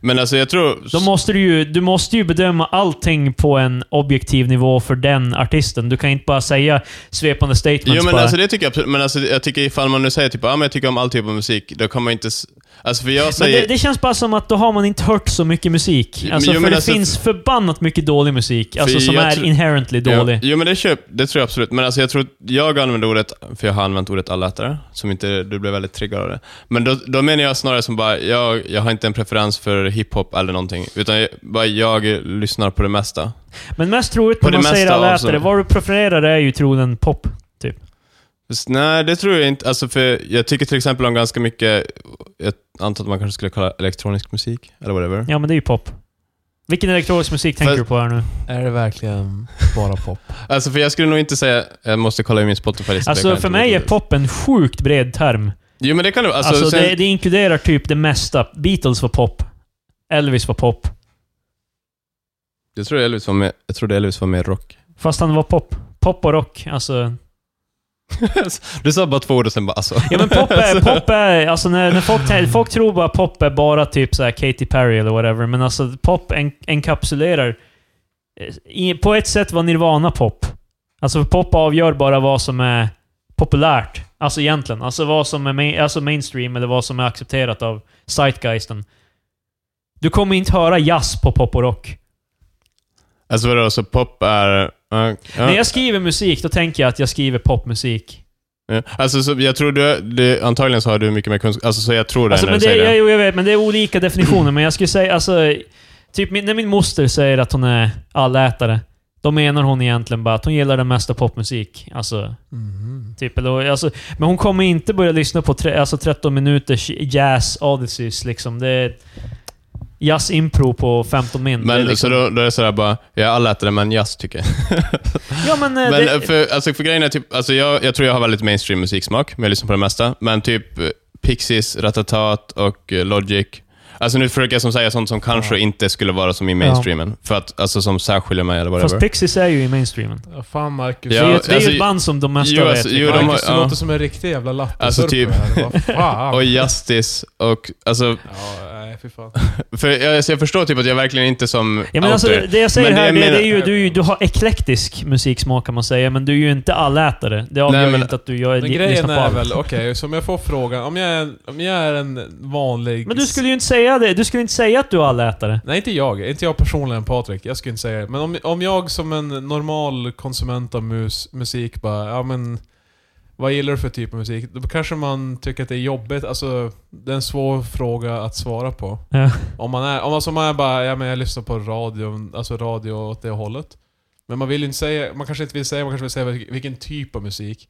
[SPEAKER 2] Men alltså jag tror...
[SPEAKER 1] Då måste du, ju, du måste ju bedöma allting på en objektiv nivå för den artisten. Du kan inte bara säga svepande statements.
[SPEAKER 2] Jo men
[SPEAKER 1] bara.
[SPEAKER 2] alltså det tycker jag absolut. Men alltså, jag tycker ifall man nu säger typ ah, men jag tycker om all typ av musik, då kan man inte... s- Alltså för jag
[SPEAKER 1] Men
[SPEAKER 2] säger...
[SPEAKER 1] det, det känns bara som att då har man inte hört så mycket musik.
[SPEAKER 2] Jo,
[SPEAKER 1] Alltså,
[SPEAKER 2] men
[SPEAKER 1] för det
[SPEAKER 2] alltså-
[SPEAKER 1] finns förbannat mycket dålig musik. Alltså
[SPEAKER 2] För
[SPEAKER 1] som
[SPEAKER 2] jag
[SPEAKER 1] är
[SPEAKER 2] tror-
[SPEAKER 1] inherently dålig.
[SPEAKER 2] Jo, jo men det, köp, det tror jag absolut. Men alltså jag tror jag använder ordet, för jag har använt ordet allätare, som inte du blev väldigt triggad av det. Men då, då menar jag snarare som bara, jag, jag har inte en preferens för hiphop eller någonting, utan jag, bara jag lyssnar på det mesta.
[SPEAKER 1] Men mest troligt
[SPEAKER 2] På
[SPEAKER 1] när
[SPEAKER 2] det
[SPEAKER 1] man säger
[SPEAKER 2] mesta alltså.
[SPEAKER 1] alla
[SPEAKER 2] av så-
[SPEAKER 1] ätare, vad du prefererar är ju troligen pop.
[SPEAKER 2] Fast Nej, det tror jag inte. Alltså för jag tycker till exempel om ganska mycket, jag antar att man kanske skulle kalla elektronisk musik, eller whatever.
[SPEAKER 1] Ja, men det är ju pop. Vilken elektronisk musik tänker
[SPEAKER 2] Fast-
[SPEAKER 1] du på här nu?
[SPEAKER 3] är det verkligen bara pop?
[SPEAKER 2] Alltså för jag skulle nog inte säga, jag måste kolla i min Spotify-lista. det kan
[SPEAKER 1] Alltså
[SPEAKER 2] jag
[SPEAKER 1] för
[SPEAKER 2] inte
[SPEAKER 1] mig är
[SPEAKER 2] veta.
[SPEAKER 1] pop en sjukt bred term.
[SPEAKER 2] Jo men det kan du, alltså,
[SPEAKER 1] Alltså,
[SPEAKER 2] sen,
[SPEAKER 1] det, det inkluderar typ det mesta. Beatles var pop. Elvis var pop.
[SPEAKER 2] Jag tror Elvis var med, jag trodde Elvis var med i rock.
[SPEAKER 1] Fast han var pop. Pop och rock. Alltså...
[SPEAKER 2] Du sa bara två ord och sen bara alltså.
[SPEAKER 1] Ja men pop är... pop är alltså när, när folk, tän- folk tror bara pop är bara typ så här Katy Perry eller whatever, men alltså pop en, enkapsulerar... eh, I, på ett sätt var Nirvana pop. Alltså för pop avgör bara vad som är populärt. Alltså egentligen. Alltså vad som är main, alltså mainstream eller vad som är accepterat av zeitgeisten. Du kommer inte höra jazz på pop och rock.
[SPEAKER 2] Alltså vadå, så pop är... ja, ja.
[SPEAKER 1] När jag skriver musik, då tänker jag att jag skriver popmusik.
[SPEAKER 2] Ja. Alltså, så jag tror du, du... Antagligen så har du mycket mer kunskap. Alltså, så jag tror det
[SPEAKER 1] Alltså,
[SPEAKER 2] när
[SPEAKER 1] men
[SPEAKER 2] du
[SPEAKER 1] det,
[SPEAKER 2] säger
[SPEAKER 1] jag,
[SPEAKER 2] det.
[SPEAKER 1] jo, jag vet, men det är olika definitioner. Men jag skulle säga, alltså... Typ min, när min moster säger att hon är allätare, då menar hon egentligen bara att hon gillar den mesta popmusik. Alltså,
[SPEAKER 3] Mhm.
[SPEAKER 1] typ, eller, alltså, men hon kommer inte börja lyssna på tre, alltså 13 minuters jazz odysseys liksom. Det är jazz-impro på 15 min. det är
[SPEAKER 2] Men
[SPEAKER 1] liksom,
[SPEAKER 2] så då, då är det sådär bara, jag har alla ätit det, men jazz tycker jag.
[SPEAKER 1] ja, men, eh,
[SPEAKER 2] Men
[SPEAKER 1] det,
[SPEAKER 2] för, alltså, för grejen är typ, alltså, jag, jag tror jag har väldigt mainstream musiksmak, men jag lyssnar på det mesta. Men typ eh, Pixies, Ratatat och eh, Logic. Alltså nu försöker jag som säga sånt som kanske inte skulle vara som i mainstreamen. För att, alltså som särskiljer mig eller
[SPEAKER 1] fast
[SPEAKER 2] whatever.
[SPEAKER 1] Pixies är ju i mainstreamen.
[SPEAKER 3] Ja, fan Marcus.
[SPEAKER 1] Det
[SPEAKER 2] Ja,
[SPEAKER 1] är ju
[SPEAKER 3] Marcus,
[SPEAKER 1] ett, det är ju
[SPEAKER 2] alltså,
[SPEAKER 1] ett band som de mesta
[SPEAKER 2] jo, alltså,
[SPEAKER 1] vet.
[SPEAKER 2] jo,
[SPEAKER 1] liksom.
[SPEAKER 2] de har-
[SPEAKER 3] du
[SPEAKER 2] ja.
[SPEAKER 3] låter som en riktig jävla latte
[SPEAKER 2] Alltså, typ-
[SPEAKER 3] Vad fan.
[SPEAKER 2] Och Justice och, alltså,
[SPEAKER 3] Ja, nej fy fan.
[SPEAKER 2] för jag, alltså, jag förstår typ att jag verkligen inte som
[SPEAKER 1] Ja, men alltså,
[SPEAKER 2] outer.
[SPEAKER 1] det jag säger
[SPEAKER 2] Men det
[SPEAKER 1] här,
[SPEAKER 2] jag
[SPEAKER 1] det,
[SPEAKER 2] menar-
[SPEAKER 1] det är ju, du, är ju- du har eklektisk musiksmak kan man säga, men du är ju inte allätare. Det avgör
[SPEAKER 2] Nej,
[SPEAKER 1] ju
[SPEAKER 2] men-
[SPEAKER 1] inte att du gör,
[SPEAKER 3] Men grejen
[SPEAKER 1] lyssnar på
[SPEAKER 3] är
[SPEAKER 1] allt.
[SPEAKER 3] väl, okej, som jag får frågan. Om jag, är, om jag är en vanlig...
[SPEAKER 1] Men du skulle ju inte säga det. Du skulle inte säga att du är allätare.
[SPEAKER 3] Nej, inte jag. Inte jag personligen Patrik. Jag skulle inte säga det. Men om, om jag som en normal konsument av mus, musik bara, ja men... Vad gillar du för typ av musik? Då kanske man tycker att det är jobbigt. Alltså, det är en svår fråga att svara på.
[SPEAKER 1] Ja.
[SPEAKER 3] Om man är, om alltså man är bara, ja men jag lyssnar på radio, alltså radio åt det hållet. Men man vill ju inte säga, man kanske inte vill säga, man kanske vill säga vilken, vilken typ av musik.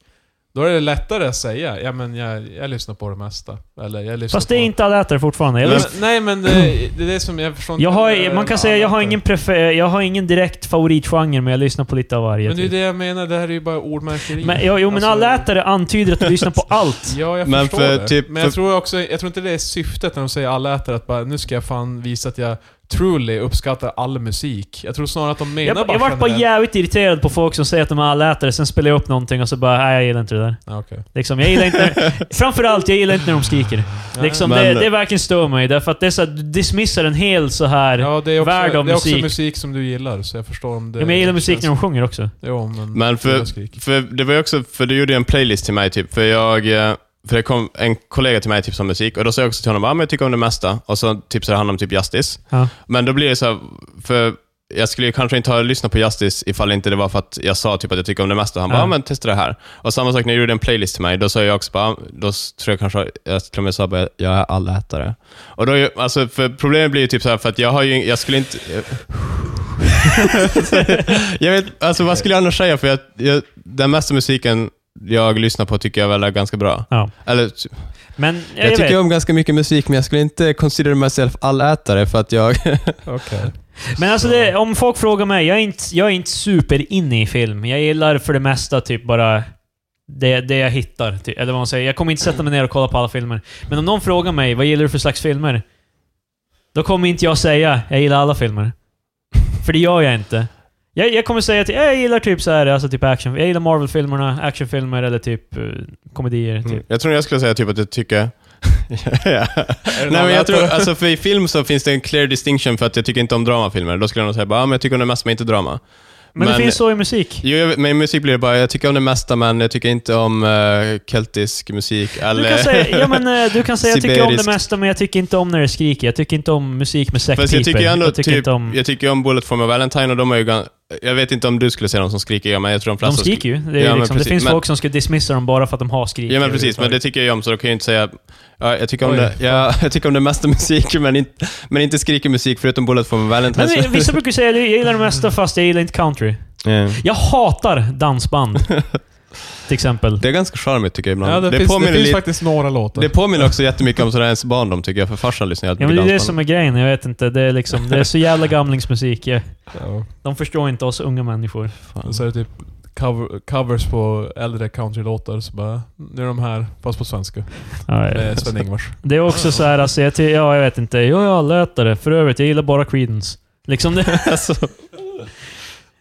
[SPEAKER 3] Då är det lättare att säga, ja men jag, jag lyssnar på det mesta. Eller jag lyssnar
[SPEAKER 1] Fast
[SPEAKER 3] på...
[SPEAKER 1] det är inte allätare fortfarande.
[SPEAKER 3] Nej,
[SPEAKER 1] Jag,
[SPEAKER 3] men,
[SPEAKER 1] lyssnar-
[SPEAKER 3] nej men eh, det, det är det som jag förstår inte-
[SPEAKER 1] jag
[SPEAKER 3] eh,
[SPEAKER 1] har, man
[SPEAKER 3] eller
[SPEAKER 1] kan säga jag har
[SPEAKER 3] annat.
[SPEAKER 1] ingen prefer, jag har ingen direkt favoritgenre, men jag lyssnar på lite av varje.
[SPEAKER 3] Men det är
[SPEAKER 1] typ.
[SPEAKER 3] det jag menar, det här är ju bara ordmärkeri. Alltså,
[SPEAKER 1] men, jo, jo, men allätare antyder att du lyssnar på allt.
[SPEAKER 3] Ja, jag
[SPEAKER 2] Men
[SPEAKER 3] förstår
[SPEAKER 2] för
[SPEAKER 3] det.
[SPEAKER 2] typ-
[SPEAKER 3] men jag
[SPEAKER 2] för-
[SPEAKER 3] tror också, jag tror inte det är syftet när de säger allätare att bara nu ska jag fan visa att jag truly uppskattar all musik. Jag tror snarare att de menar
[SPEAKER 1] Jag,
[SPEAKER 3] bara
[SPEAKER 1] jag vart bara
[SPEAKER 3] generellt-
[SPEAKER 1] jävligt irriterad på folk som säger att de är allätare, sen spelar jag upp någonting och så bara nej, jag gillar inte det där.
[SPEAKER 3] Ja, Ah, okej.
[SPEAKER 1] Liksom, jag gillar inte, framförallt, jag gillar inte när de skriker. Liksom,
[SPEAKER 2] Men-
[SPEAKER 1] det, det verkligen stör mig, därför att det är så att du dismissar en hel så här... Ja,
[SPEAKER 3] Ja, det är också,
[SPEAKER 1] värld av
[SPEAKER 3] det är också
[SPEAKER 1] musik.
[SPEAKER 3] musik som du gillar, så jag förstår om det...
[SPEAKER 1] men jag gillar musik när de sjunger också.
[SPEAKER 3] Jo, men...
[SPEAKER 2] Men för-
[SPEAKER 3] jag skriker.
[SPEAKER 2] För det var ju också, för du gjorde ju en playlist till mig typ, för jag, eh, för det kom en kollega till mig typ som musik, och då sa jag också till honom, ah, men jag tycker om det mesta, och så tipsade han om typ Justice.
[SPEAKER 1] Ja.
[SPEAKER 2] Men då blir det så här, för jag skulle ju kanske inte ha lyssnat på Justice ifall inte det var för att jag sa typ att jag tycker om det mesta. Han bara,
[SPEAKER 1] Ja.
[SPEAKER 2] ja. men testa det här. Och samma sak när jag gjorde en playlist till mig, då sa jag också bara, ah, då s- tror jag kanske, jag till och med sa bara, jag är allätare. Och då, är ju- alltså, för problemet blir ju typ så här, för att jag har ju, jag skulle inte... jag vet, alltså vad skulle jag annars säga? För jag, jag, den mesta musiken jag lyssnar på tycker jag väl är ganska bra.
[SPEAKER 1] Ja.
[SPEAKER 2] Eller,
[SPEAKER 1] Men jag,
[SPEAKER 2] jag, tycker
[SPEAKER 1] vet.
[SPEAKER 2] om ganska mycket musik, men jag skulle inte consider myself allätare för att jag...
[SPEAKER 3] Okej.
[SPEAKER 1] Men alltså det, om folk frågar mig, jag är inte, jag är inte superinne i film. Jag gillar för det mesta typ bara det, det jag hittar. Typ, eller vad man säger. Jag kommer inte sätta mig ner och kolla på alla filmer. Men om någon frågar mig, vad gillar du för slags filmer? Då kommer inte jag säga, jag gillar alla filmer. För det gör jag inte. Jag, jag kommer säga att jag gillar typ så här, alltså typ action. Jag gillar Marvel-filmerna, actionfilmer eller typ eh, komedier.
[SPEAKER 3] Mm.
[SPEAKER 1] Typ.
[SPEAKER 2] Jag tror jag skulle säga typ att jag tycker... ja.
[SPEAKER 3] Är det
[SPEAKER 2] Nej,
[SPEAKER 3] någon
[SPEAKER 2] men jag tror,
[SPEAKER 3] annan?
[SPEAKER 2] alltså för i film så finns det en clear distinction för att jag tycker inte om dramafilmer. Då skulle jag nog säga bara, ah, men jag tycker om det mesta men inte drama.
[SPEAKER 1] Men, det
[SPEAKER 2] Men-
[SPEAKER 1] finns så i musik.
[SPEAKER 2] Jo, jag, vet- men i musik blir det bara, jag tycker om det mesta men jag tycker inte om eh, keltisk musik eller...
[SPEAKER 1] Du kan säga, ja, men, eh, du kan säga jag tycker om det
[SPEAKER 2] Siberiskt.
[SPEAKER 1] mesta, men jag tycker inte om när det skriker. Jag tycker inte om musik med säckpipor.
[SPEAKER 2] Fast jag tycker ju ändå
[SPEAKER 1] jag tycker
[SPEAKER 2] typ,
[SPEAKER 1] inte om...
[SPEAKER 2] jag tycker om Bullet for my Valentine och de är ju gan- Jag vet inte om du skulle säga de som skriker, ja, men jag tror de
[SPEAKER 1] De
[SPEAKER 2] flesta...
[SPEAKER 1] skriker ju. Det, är
[SPEAKER 2] Ja,
[SPEAKER 1] ju
[SPEAKER 2] men
[SPEAKER 1] liksom, det
[SPEAKER 2] precis.
[SPEAKER 1] finns
[SPEAKER 2] Men-
[SPEAKER 1] folk som ska dismissa dem bara för att de har skrikit.
[SPEAKER 2] Ja men precis, men det tycker jag ju om, så då kan jag ju inte säga... Ja, jag, tycker om
[SPEAKER 3] Oj.
[SPEAKER 2] det, ja, jag tycker om det mesta musik, men inte, men inte skriker musik förutom Bullet for my Valentine.
[SPEAKER 1] men vi- vissa brukar säga att jag gillar det mesta fast jag gillar inte country.
[SPEAKER 2] Ja.
[SPEAKER 1] Jag hatar dansband. till exempel.
[SPEAKER 2] Det är ganska charmigt tycker jag ibland.
[SPEAKER 3] Ja, det,
[SPEAKER 2] det,
[SPEAKER 3] finns, det
[SPEAKER 2] påminner
[SPEAKER 3] finns
[SPEAKER 2] lite,
[SPEAKER 3] faktiskt några låtar.
[SPEAKER 2] det påminner också jättemycket om sådär ens barndom tycker jag, för farsan lyssnar ju
[SPEAKER 1] Ja,
[SPEAKER 2] alltid
[SPEAKER 1] men det
[SPEAKER 2] på
[SPEAKER 1] är det
[SPEAKER 2] dansband.
[SPEAKER 1] som är grejen. Jag vet inte. Det är, liksom, det är så jävla gamlingsmusik. Ja.
[SPEAKER 3] Ja.
[SPEAKER 1] De förstår inte oss unga människor.
[SPEAKER 3] Och Så är det typ cover, covers på äldre countrylåtar, så bara... Nu är de här, fast på svenska.
[SPEAKER 1] Ja, ja.
[SPEAKER 2] Eh,
[SPEAKER 3] Med Sven-Ingvars.
[SPEAKER 1] Det är också så här, alltså, jag, ty- ja, jag vet inte. Jag är allätare. För övrigt, jag gillar bara Creedence. Liksom det,
[SPEAKER 2] alltså,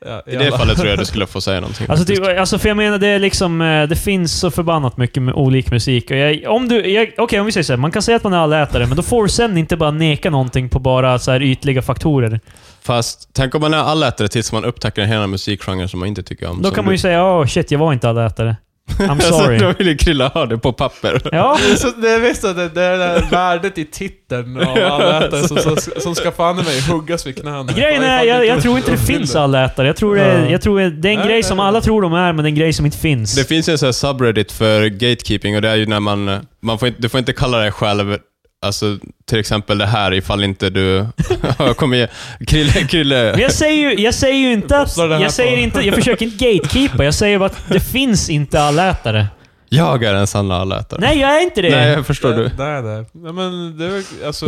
[SPEAKER 3] Ja,
[SPEAKER 2] I det fallet tror jag du skulle få säga någonting.
[SPEAKER 1] Alltså,
[SPEAKER 2] faktiskt.
[SPEAKER 1] typ, alltså för jag menar, det är liksom... eh, Det finns så förbannat mycket med olik musik. Och jag, om du... jag- Okej, om vi säger så här, Man kan säga att man är allätare, men då får du sen inte bara neka någonting på bara så här ytliga faktorer.
[SPEAKER 2] Fast tänk om man är allätare tills man upptäcker en hel annan musikgenre som man inte tycker om.
[SPEAKER 1] Då
[SPEAKER 2] som
[SPEAKER 1] kan man ju
[SPEAKER 2] du-
[SPEAKER 1] säga åh shit, jag var inte allätare. I'm
[SPEAKER 2] Alltså,
[SPEAKER 1] sorry.
[SPEAKER 2] de vill ju Krilla ha det på papper.
[SPEAKER 1] Ja,
[SPEAKER 3] Så det är visst att det, det är det där värdet i titeln av allätare som, som, som ska fan i mig huggas vid knäna.
[SPEAKER 1] grejen är, jag, jag tror inte det finns allätare. Jag tror det, är- jag tror det är en grej
[SPEAKER 3] Nej, nej,
[SPEAKER 1] som
[SPEAKER 3] nej.
[SPEAKER 1] alla tror de är, men det är en grej som inte finns.
[SPEAKER 2] Det finns ju en sån här subreddit för gatekeeping och det är ju när man... man får inte, du får inte kalla dig själv Alltså till exempel det här ifall inte du... Kom igen. Krille, Krille.
[SPEAKER 1] Men jag säger ju, jag säger ju inte att...
[SPEAKER 3] Postar det här
[SPEAKER 1] Jag, säger
[SPEAKER 3] på-
[SPEAKER 1] inte, jag försöker inte gatekeepa. Jag säger bara att det finns inte allätare.
[SPEAKER 2] Jag är en sann allätare.
[SPEAKER 1] Nej, jag är inte det.
[SPEAKER 2] Nej, jag förstår du.
[SPEAKER 3] Nej, nej. Nej, men det, är väl- alltså,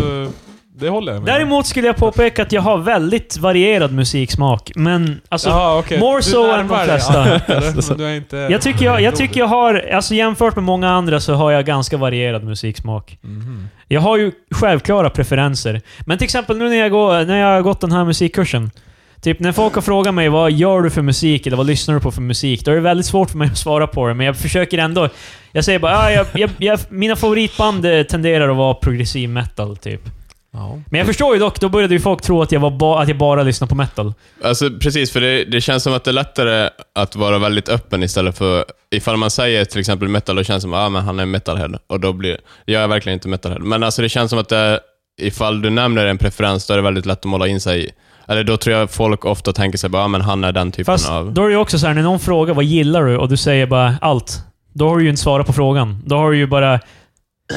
[SPEAKER 3] det håller jag med om.
[SPEAKER 1] Däremot skulle jag påpeka att jag har väldigt varierad musiksmak, men alltså...
[SPEAKER 3] Jaha, okej.
[SPEAKER 1] more
[SPEAKER 3] Du
[SPEAKER 1] so
[SPEAKER 3] närmar
[SPEAKER 1] än de
[SPEAKER 3] dig
[SPEAKER 1] flesta.
[SPEAKER 3] allätare, men du är inte...
[SPEAKER 1] Jag tycker jag, jag tycker jag har, alltså jämfört med många andra så har jag ganska varierad musiksmak.
[SPEAKER 3] Mhm.
[SPEAKER 1] Jag har ju självklara preferenser. Men till exempel nu när jag, går, när jag har gått den här musikkursen. Typ när folk har frågat mig vad gör du för musik eller vad lyssnar du på för musik? Då är det väldigt svårt för mig att svara på det, men jag försöker ändå. Jag säger bara ah, jag, jag, jag, mina favoritband eh, tenderar att vara progressiv metal, typ.
[SPEAKER 3] Ja.
[SPEAKER 1] Men jag förstår ju dock, då började ju folk tro att jag, var ba, att jag bara lyssnar på metal.
[SPEAKER 2] Alltså precis, för det, det känns som att det är lättare att vara väldigt öppen istället för... Ifall man säger till exempel metal, då känns det som att ah, men han är metalhead. Och då blir Jag är verkligen inte metalhead. Men alltså det känns som att det, är- ifall du nämner en preferens, då är det väldigt lätt att måla in sig i. Eller då tror jag folk ofta tänker sig bara, ah, men han är den typen
[SPEAKER 1] Fast
[SPEAKER 2] av...
[SPEAKER 1] då är det ju också så här, när någon frågar vad gillar du? Och du säger bara allt. Då har du ju inte svarat på frågan. Då har du ju bara...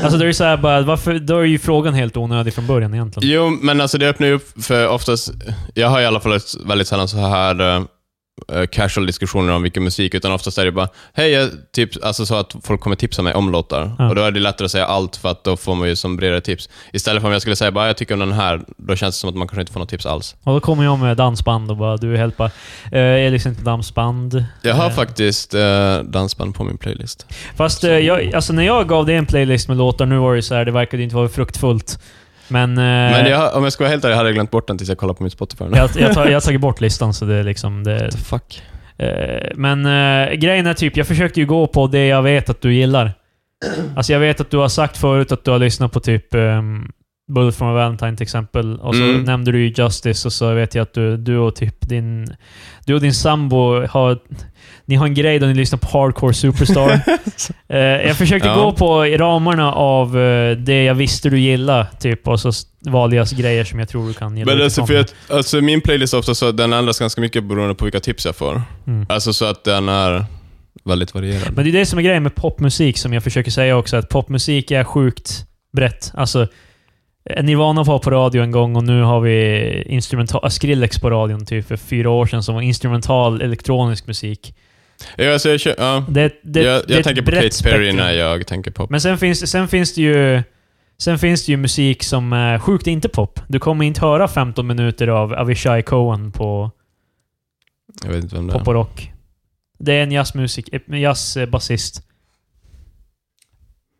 [SPEAKER 1] Alltså då är det så här bara, varför, då är ju frågan helt onödig från början egentligen.
[SPEAKER 2] Jo, men alltså det öppnar ju upp för oftast... Jag har i alla fall ett väldigt sällan så här eh, casual diskussioner om vilken musik, utan oftast är det bara hej, jag typ, alltså så att folk kommer tipsa mig om låtar.
[SPEAKER 1] Ja.
[SPEAKER 2] Och då är det lättare att säga allt för att då får man ju som bredare tips. Istället för om jag skulle säga bara jag tycker om den här, då känns det som att man kanske inte får något tips alls.
[SPEAKER 1] Och då kommer jag med dansband och bara, du är helt bara... Eh, jag lyssnar inte på dansband.
[SPEAKER 2] Jag har
[SPEAKER 1] Eh,
[SPEAKER 2] faktiskt eh, dansband på min playlist.
[SPEAKER 1] Fast eh, jag, alltså när jag gav dig en playlist med låtar, nu var det ju så här, det verkade ju inte vara fruktfullt. Men... Eh,
[SPEAKER 2] Men jag, om jag ska vara helt ärlig hade jag glömt bort den tills jag kollade på mitt Spotify. nu.
[SPEAKER 1] jag, jag, tar, jag har tagit bort listan, så det är liksom... Det,
[SPEAKER 2] Fuck.
[SPEAKER 1] Eh, Men eh, grejen är typ, jag försökte ju gå på det jag vet att du gillar. Alltså jag vet att du har sagt förut att du har lyssnat på typ ehm, Bullet from a Valentine till exempel. Och så
[SPEAKER 2] Mm.
[SPEAKER 1] nämnde du ju Justice och så vet jag att du, du och typ din... Du och din sambo har... Ni har en grej där ni lyssnar på Hardcore Superstar. Eh, jag försökte
[SPEAKER 2] Ja.
[SPEAKER 1] gå på i ramarna av eh, det jag visste du gillade, typ. Och så s- valde jag grejer som jag tror du kan gilla.
[SPEAKER 2] Men alltså,
[SPEAKER 1] utifrån.
[SPEAKER 2] för att, alltså min playlist är ofta så att den ändras ganska mycket beroende på vilka tips jag får.
[SPEAKER 1] Mm.
[SPEAKER 2] Alltså så att den är väldigt varierad.
[SPEAKER 1] Men det är det som är grejen med popmusik, som jag försöker säga också, att popmusik är sjukt brett. Alltså, eh, Nirvana var på radio en gång och nu har vi instrumental, äh, Skrillex på radion typ för fyra år sedan som var instrumental elektronisk musik.
[SPEAKER 2] Ja, alltså, jag, kö- ja.
[SPEAKER 1] Det, det,
[SPEAKER 2] jag,
[SPEAKER 1] det är
[SPEAKER 2] jag
[SPEAKER 1] ett
[SPEAKER 2] tänker på
[SPEAKER 1] brett
[SPEAKER 2] Katy Perry
[SPEAKER 1] spektrum.
[SPEAKER 2] när jag tänker på...
[SPEAKER 1] Men sen finns, sen finns det ju... Sen finns det ju musik som är sjukt inte pop. Du kommer inte höra 15 minuter av Avishai Cohen på
[SPEAKER 2] Jag vet inte vem det är.
[SPEAKER 1] pop och rock. Det är en jazzmusik, eh, en jazzbasist.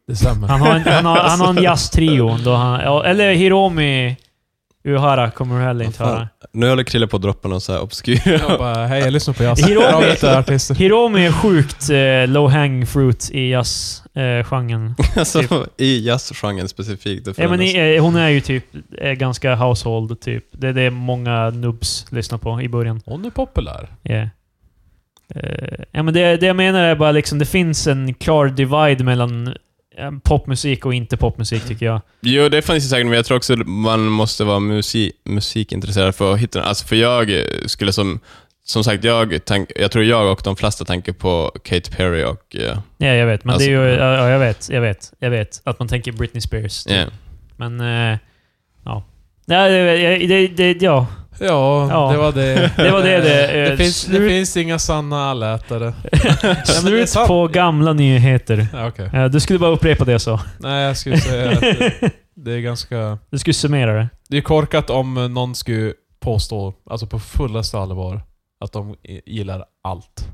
[SPEAKER 3] Detsamma.
[SPEAKER 1] Han har en, han har, han har en jazztrio. Då han, ja, eller Hiromi Uehara kommer du heller inte
[SPEAKER 2] Vad fan?
[SPEAKER 1] höra.
[SPEAKER 2] Nu håller Krille på att droppa någon så här obskyr.
[SPEAKER 3] Jag bara, hej jag lyssnar på jazz.
[SPEAKER 1] Hiromi-
[SPEAKER 3] Bra vita artister.
[SPEAKER 1] Hiromi är sjukt eh, low hang fruit i jazzgenren. Eh, genren.
[SPEAKER 2] alltså, I jazzgenren specifikt. Det
[SPEAKER 1] typ. ja, men
[SPEAKER 2] förändras.
[SPEAKER 1] i, eh, hon är ju typ eh, ganska household, typ. Det är det många nubbs lyssnar på i början.
[SPEAKER 3] Hon är populär.
[SPEAKER 1] Yeah. Eh, ja, men det, det jag menar är bara liksom, det finns en klar divide mellan eh, popmusik och inte popmusik, tycker jag.
[SPEAKER 2] Jo, det finns det säkert, men jag tror också att man måste vara musi musikintresserad för att hitta den. Alltså, för jag eh, skulle som... Som sagt, jag, tänk, jag tror jag och de flesta tänker på Katy Perry och... eh,
[SPEAKER 1] Ja, jag vet. Men
[SPEAKER 2] Alltså-
[SPEAKER 1] det är ju... Ja, ja, jag vet. Jag vet. Jag vet. Att man tänker Britney Spears. typ.
[SPEAKER 2] yeah.
[SPEAKER 1] Men... eh, ja. Nej, det, det, det, det, ja.
[SPEAKER 3] Ja,
[SPEAKER 1] Ja.
[SPEAKER 3] det var det.
[SPEAKER 1] Det var det, det.
[SPEAKER 3] Det,
[SPEAKER 1] Eh,
[SPEAKER 3] finns, det
[SPEAKER 1] slut-
[SPEAKER 3] finns inga sanna allätare. men det är
[SPEAKER 1] Slut
[SPEAKER 3] sant.
[SPEAKER 1] på gamla nyheter.
[SPEAKER 3] Ja, okej.
[SPEAKER 1] Eh, Du skulle bara upprepa det jag sa.
[SPEAKER 3] Nej, jag skulle säga att det- det är ganska...
[SPEAKER 1] Du skulle summera det.
[SPEAKER 3] Det är korkat om eh, någon skulle påstå, alltså på fullaste allvar, att de i- gillar allt.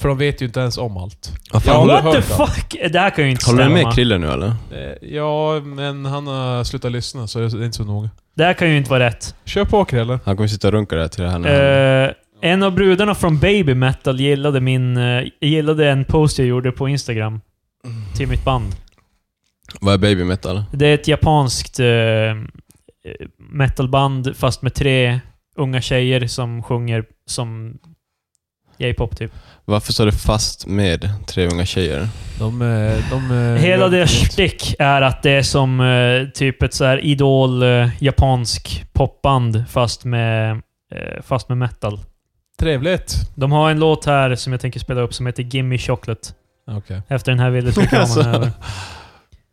[SPEAKER 3] För de vet ju inte ens om allt.
[SPEAKER 2] Vad
[SPEAKER 3] Ja,
[SPEAKER 2] fan,
[SPEAKER 3] men-
[SPEAKER 2] håller,
[SPEAKER 1] What the
[SPEAKER 3] hört om.
[SPEAKER 1] fuck? Det här kan ju inte
[SPEAKER 2] håller du med
[SPEAKER 1] stämma.
[SPEAKER 2] Krille nu eller?
[SPEAKER 3] Eh, Ja, men han har slutat lyssna så det är inte så noga.
[SPEAKER 1] Det här kan ju inte vara rätt.
[SPEAKER 3] Kör på Krille.
[SPEAKER 2] Han kommer sitta och runka där till det här när
[SPEAKER 1] Eh, en av brudarna från Baby Metal gillade, min, eh, gillade en post jag gjorde på Instagram till mitt band.
[SPEAKER 2] Vad är baby metal?
[SPEAKER 1] Det är ett japanskt eh, metalband fast med tre unga tjejer som sjunger som J-pop typ.
[SPEAKER 2] Varför står det fast med tre unga tjejer?
[SPEAKER 3] De, eh, de, eh,
[SPEAKER 1] Hela
[SPEAKER 3] gör-
[SPEAKER 1] deras shtick är att det är som eh, typ ett så här idol eh, japansk popband fast med, eh, fast med metal.
[SPEAKER 3] Trevligt.
[SPEAKER 1] De har en låt här som jag tänker spela upp som heter Gimme Chocolate.
[SPEAKER 3] Okej.
[SPEAKER 1] Efter den här ville reklamen
[SPEAKER 2] Alltså.
[SPEAKER 1] är över.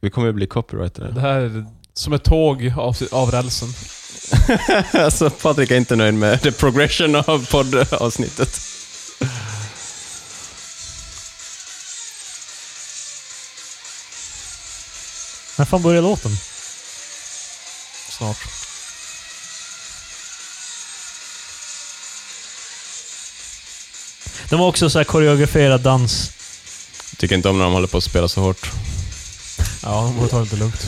[SPEAKER 2] Vi kommer ju bli copyrightade.
[SPEAKER 3] Det här är som ett tåg av, av rälsen.
[SPEAKER 2] alltså Patrik är inte nöjd med the progression av poddavsnittet.
[SPEAKER 1] När fan börjar låten?
[SPEAKER 3] Snart.
[SPEAKER 1] De har också så här koreograferad dans.
[SPEAKER 2] Tycker inte om när de håller på att spela så hårt.
[SPEAKER 3] Ja, de borde ta det lite lugnt.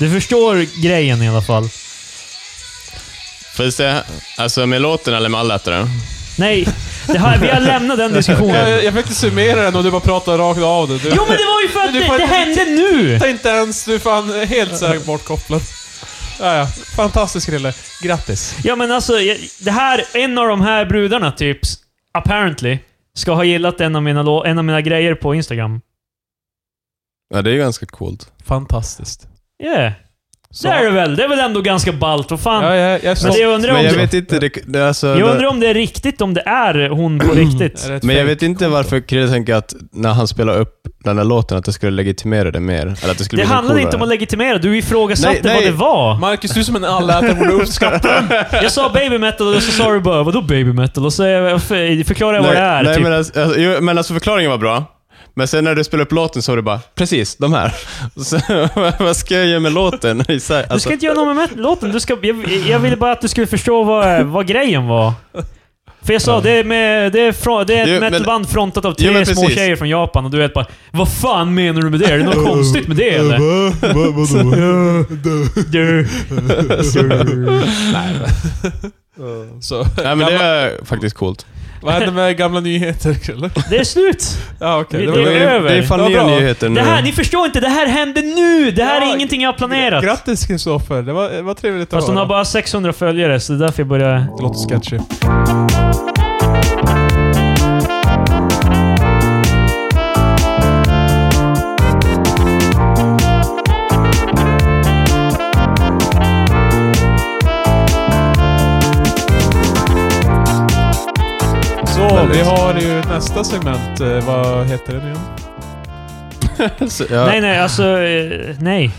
[SPEAKER 1] Du förstår grejen i alla fall.
[SPEAKER 2] Får jag säga, alltså med låten eller med alla ätare?
[SPEAKER 1] Nej, det har, vi har lämnat den
[SPEAKER 3] Jag,
[SPEAKER 1] diskussionen.
[SPEAKER 3] eh, jag försökte summera den och du bara pratade rakt av det. Du,
[SPEAKER 1] Jo men det var ju för att
[SPEAKER 3] Du får-
[SPEAKER 1] det, det hände nu!
[SPEAKER 3] Fattar inte ens. Du är fan helt så här bortkopplad. Ja, ja. Fantastisk Rille. Grattis.
[SPEAKER 1] Ja men alltså, jag- det här, en av de här brudarna typ, apparently, ska ha gillat en av mina, lå- en av mina grejer på Instagram.
[SPEAKER 2] Ja, det är ju ganska coolt.
[SPEAKER 3] Fantastiskt.
[SPEAKER 1] Yeah,
[SPEAKER 3] Så.
[SPEAKER 1] det är det väl. Det är väl ändå ganska ballt. Vad fan?
[SPEAKER 3] Ja, ja, jag är
[SPEAKER 1] Men
[SPEAKER 3] stolt.
[SPEAKER 1] det jag undrar om
[SPEAKER 2] Men jag
[SPEAKER 1] det,
[SPEAKER 2] vet inte, det, det, alltså,
[SPEAKER 1] jag
[SPEAKER 2] det,
[SPEAKER 1] undrar om det är riktigt, om det är hon på
[SPEAKER 3] Är
[SPEAKER 1] riktigt.
[SPEAKER 3] det ett
[SPEAKER 2] men jag
[SPEAKER 3] fake?
[SPEAKER 2] vet inte varför Krille tänker att när han spelar upp den där låten att det skulle legitimera det mer. Eller att det skulle
[SPEAKER 1] Det
[SPEAKER 2] bli
[SPEAKER 1] handlade inte om att legitimera, du ifrågasatte
[SPEAKER 2] Nej, nej.
[SPEAKER 1] vad det var.
[SPEAKER 3] Marcus, du som en allätare borde uppskatta
[SPEAKER 1] Jag sa baby metal och så sa du bara “Vadå baby metal?” och så jag- förklarade jag vad det är.
[SPEAKER 2] nej,
[SPEAKER 1] typ.
[SPEAKER 2] men, alltså, alltså, jo, men alltså förklaringen var bra. Men sen när du spelade upp låten så var det bara, precis, de här. Och Så, vad ska jag göra med låten? I så här-
[SPEAKER 1] Du
[SPEAKER 2] Alltså,
[SPEAKER 1] ska inte göra något med met- låten. Du ska, jag, jag ville bara att du skulle förstå vad, vad grejen var. För jag sa, det är, med, det är, från, det är ett
[SPEAKER 2] Jo, men-
[SPEAKER 1] metalband frontat av
[SPEAKER 2] Jo,
[SPEAKER 1] tre
[SPEAKER 2] men
[SPEAKER 1] små
[SPEAKER 2] precis.
[SPEAKER 1] tjejer från Japan och du vet bara Vad fan menar du med det? Är det något konstigt med det eller? Du- du-
[SPEAKER 3] Så,
[SPEAKER 2] nej, men det är faktiskt coolt.
[SPEAKER 3] vad hände med gamla nyheter, Krille?
[SPEAKER 1] Det är slut!
[SPEAKER 3] Ja, okej.
[SPEAKER 1] Det är
[SPEAKER 2] ju-
[SPEAKER 1] över.
[SPEAKER 2] det är fan
[SPEAKER 3] Vad
[SPEAKER 2] nya
[SPEAKER 3] bra.
[SPEAKER 2] nyheter nu.
[SPEAKER 1] Det här, ni förstår inte, det här hände nu! Det här
[SPEAKER 3] Ja,
[SPEAKER 1] är ingenting jag har planerat.
[SPEAKER 3] Grattis Kristoffer, det var, det var trevligt att
[SPEAKER 1] Fast hon har bara 600 följare, så det är därför jag börjar...
[SPEAKER 3] Det låter sketchy. Så, vi
[SPEAKER 2] Väldigt.
[SPEAKER 3] har ju nästa segment. Eh, Vad heter den igen?
[SPEAKER 2] Så, ja.
[SPEAKER 1] Nej, nej, alltså... eh, Nej.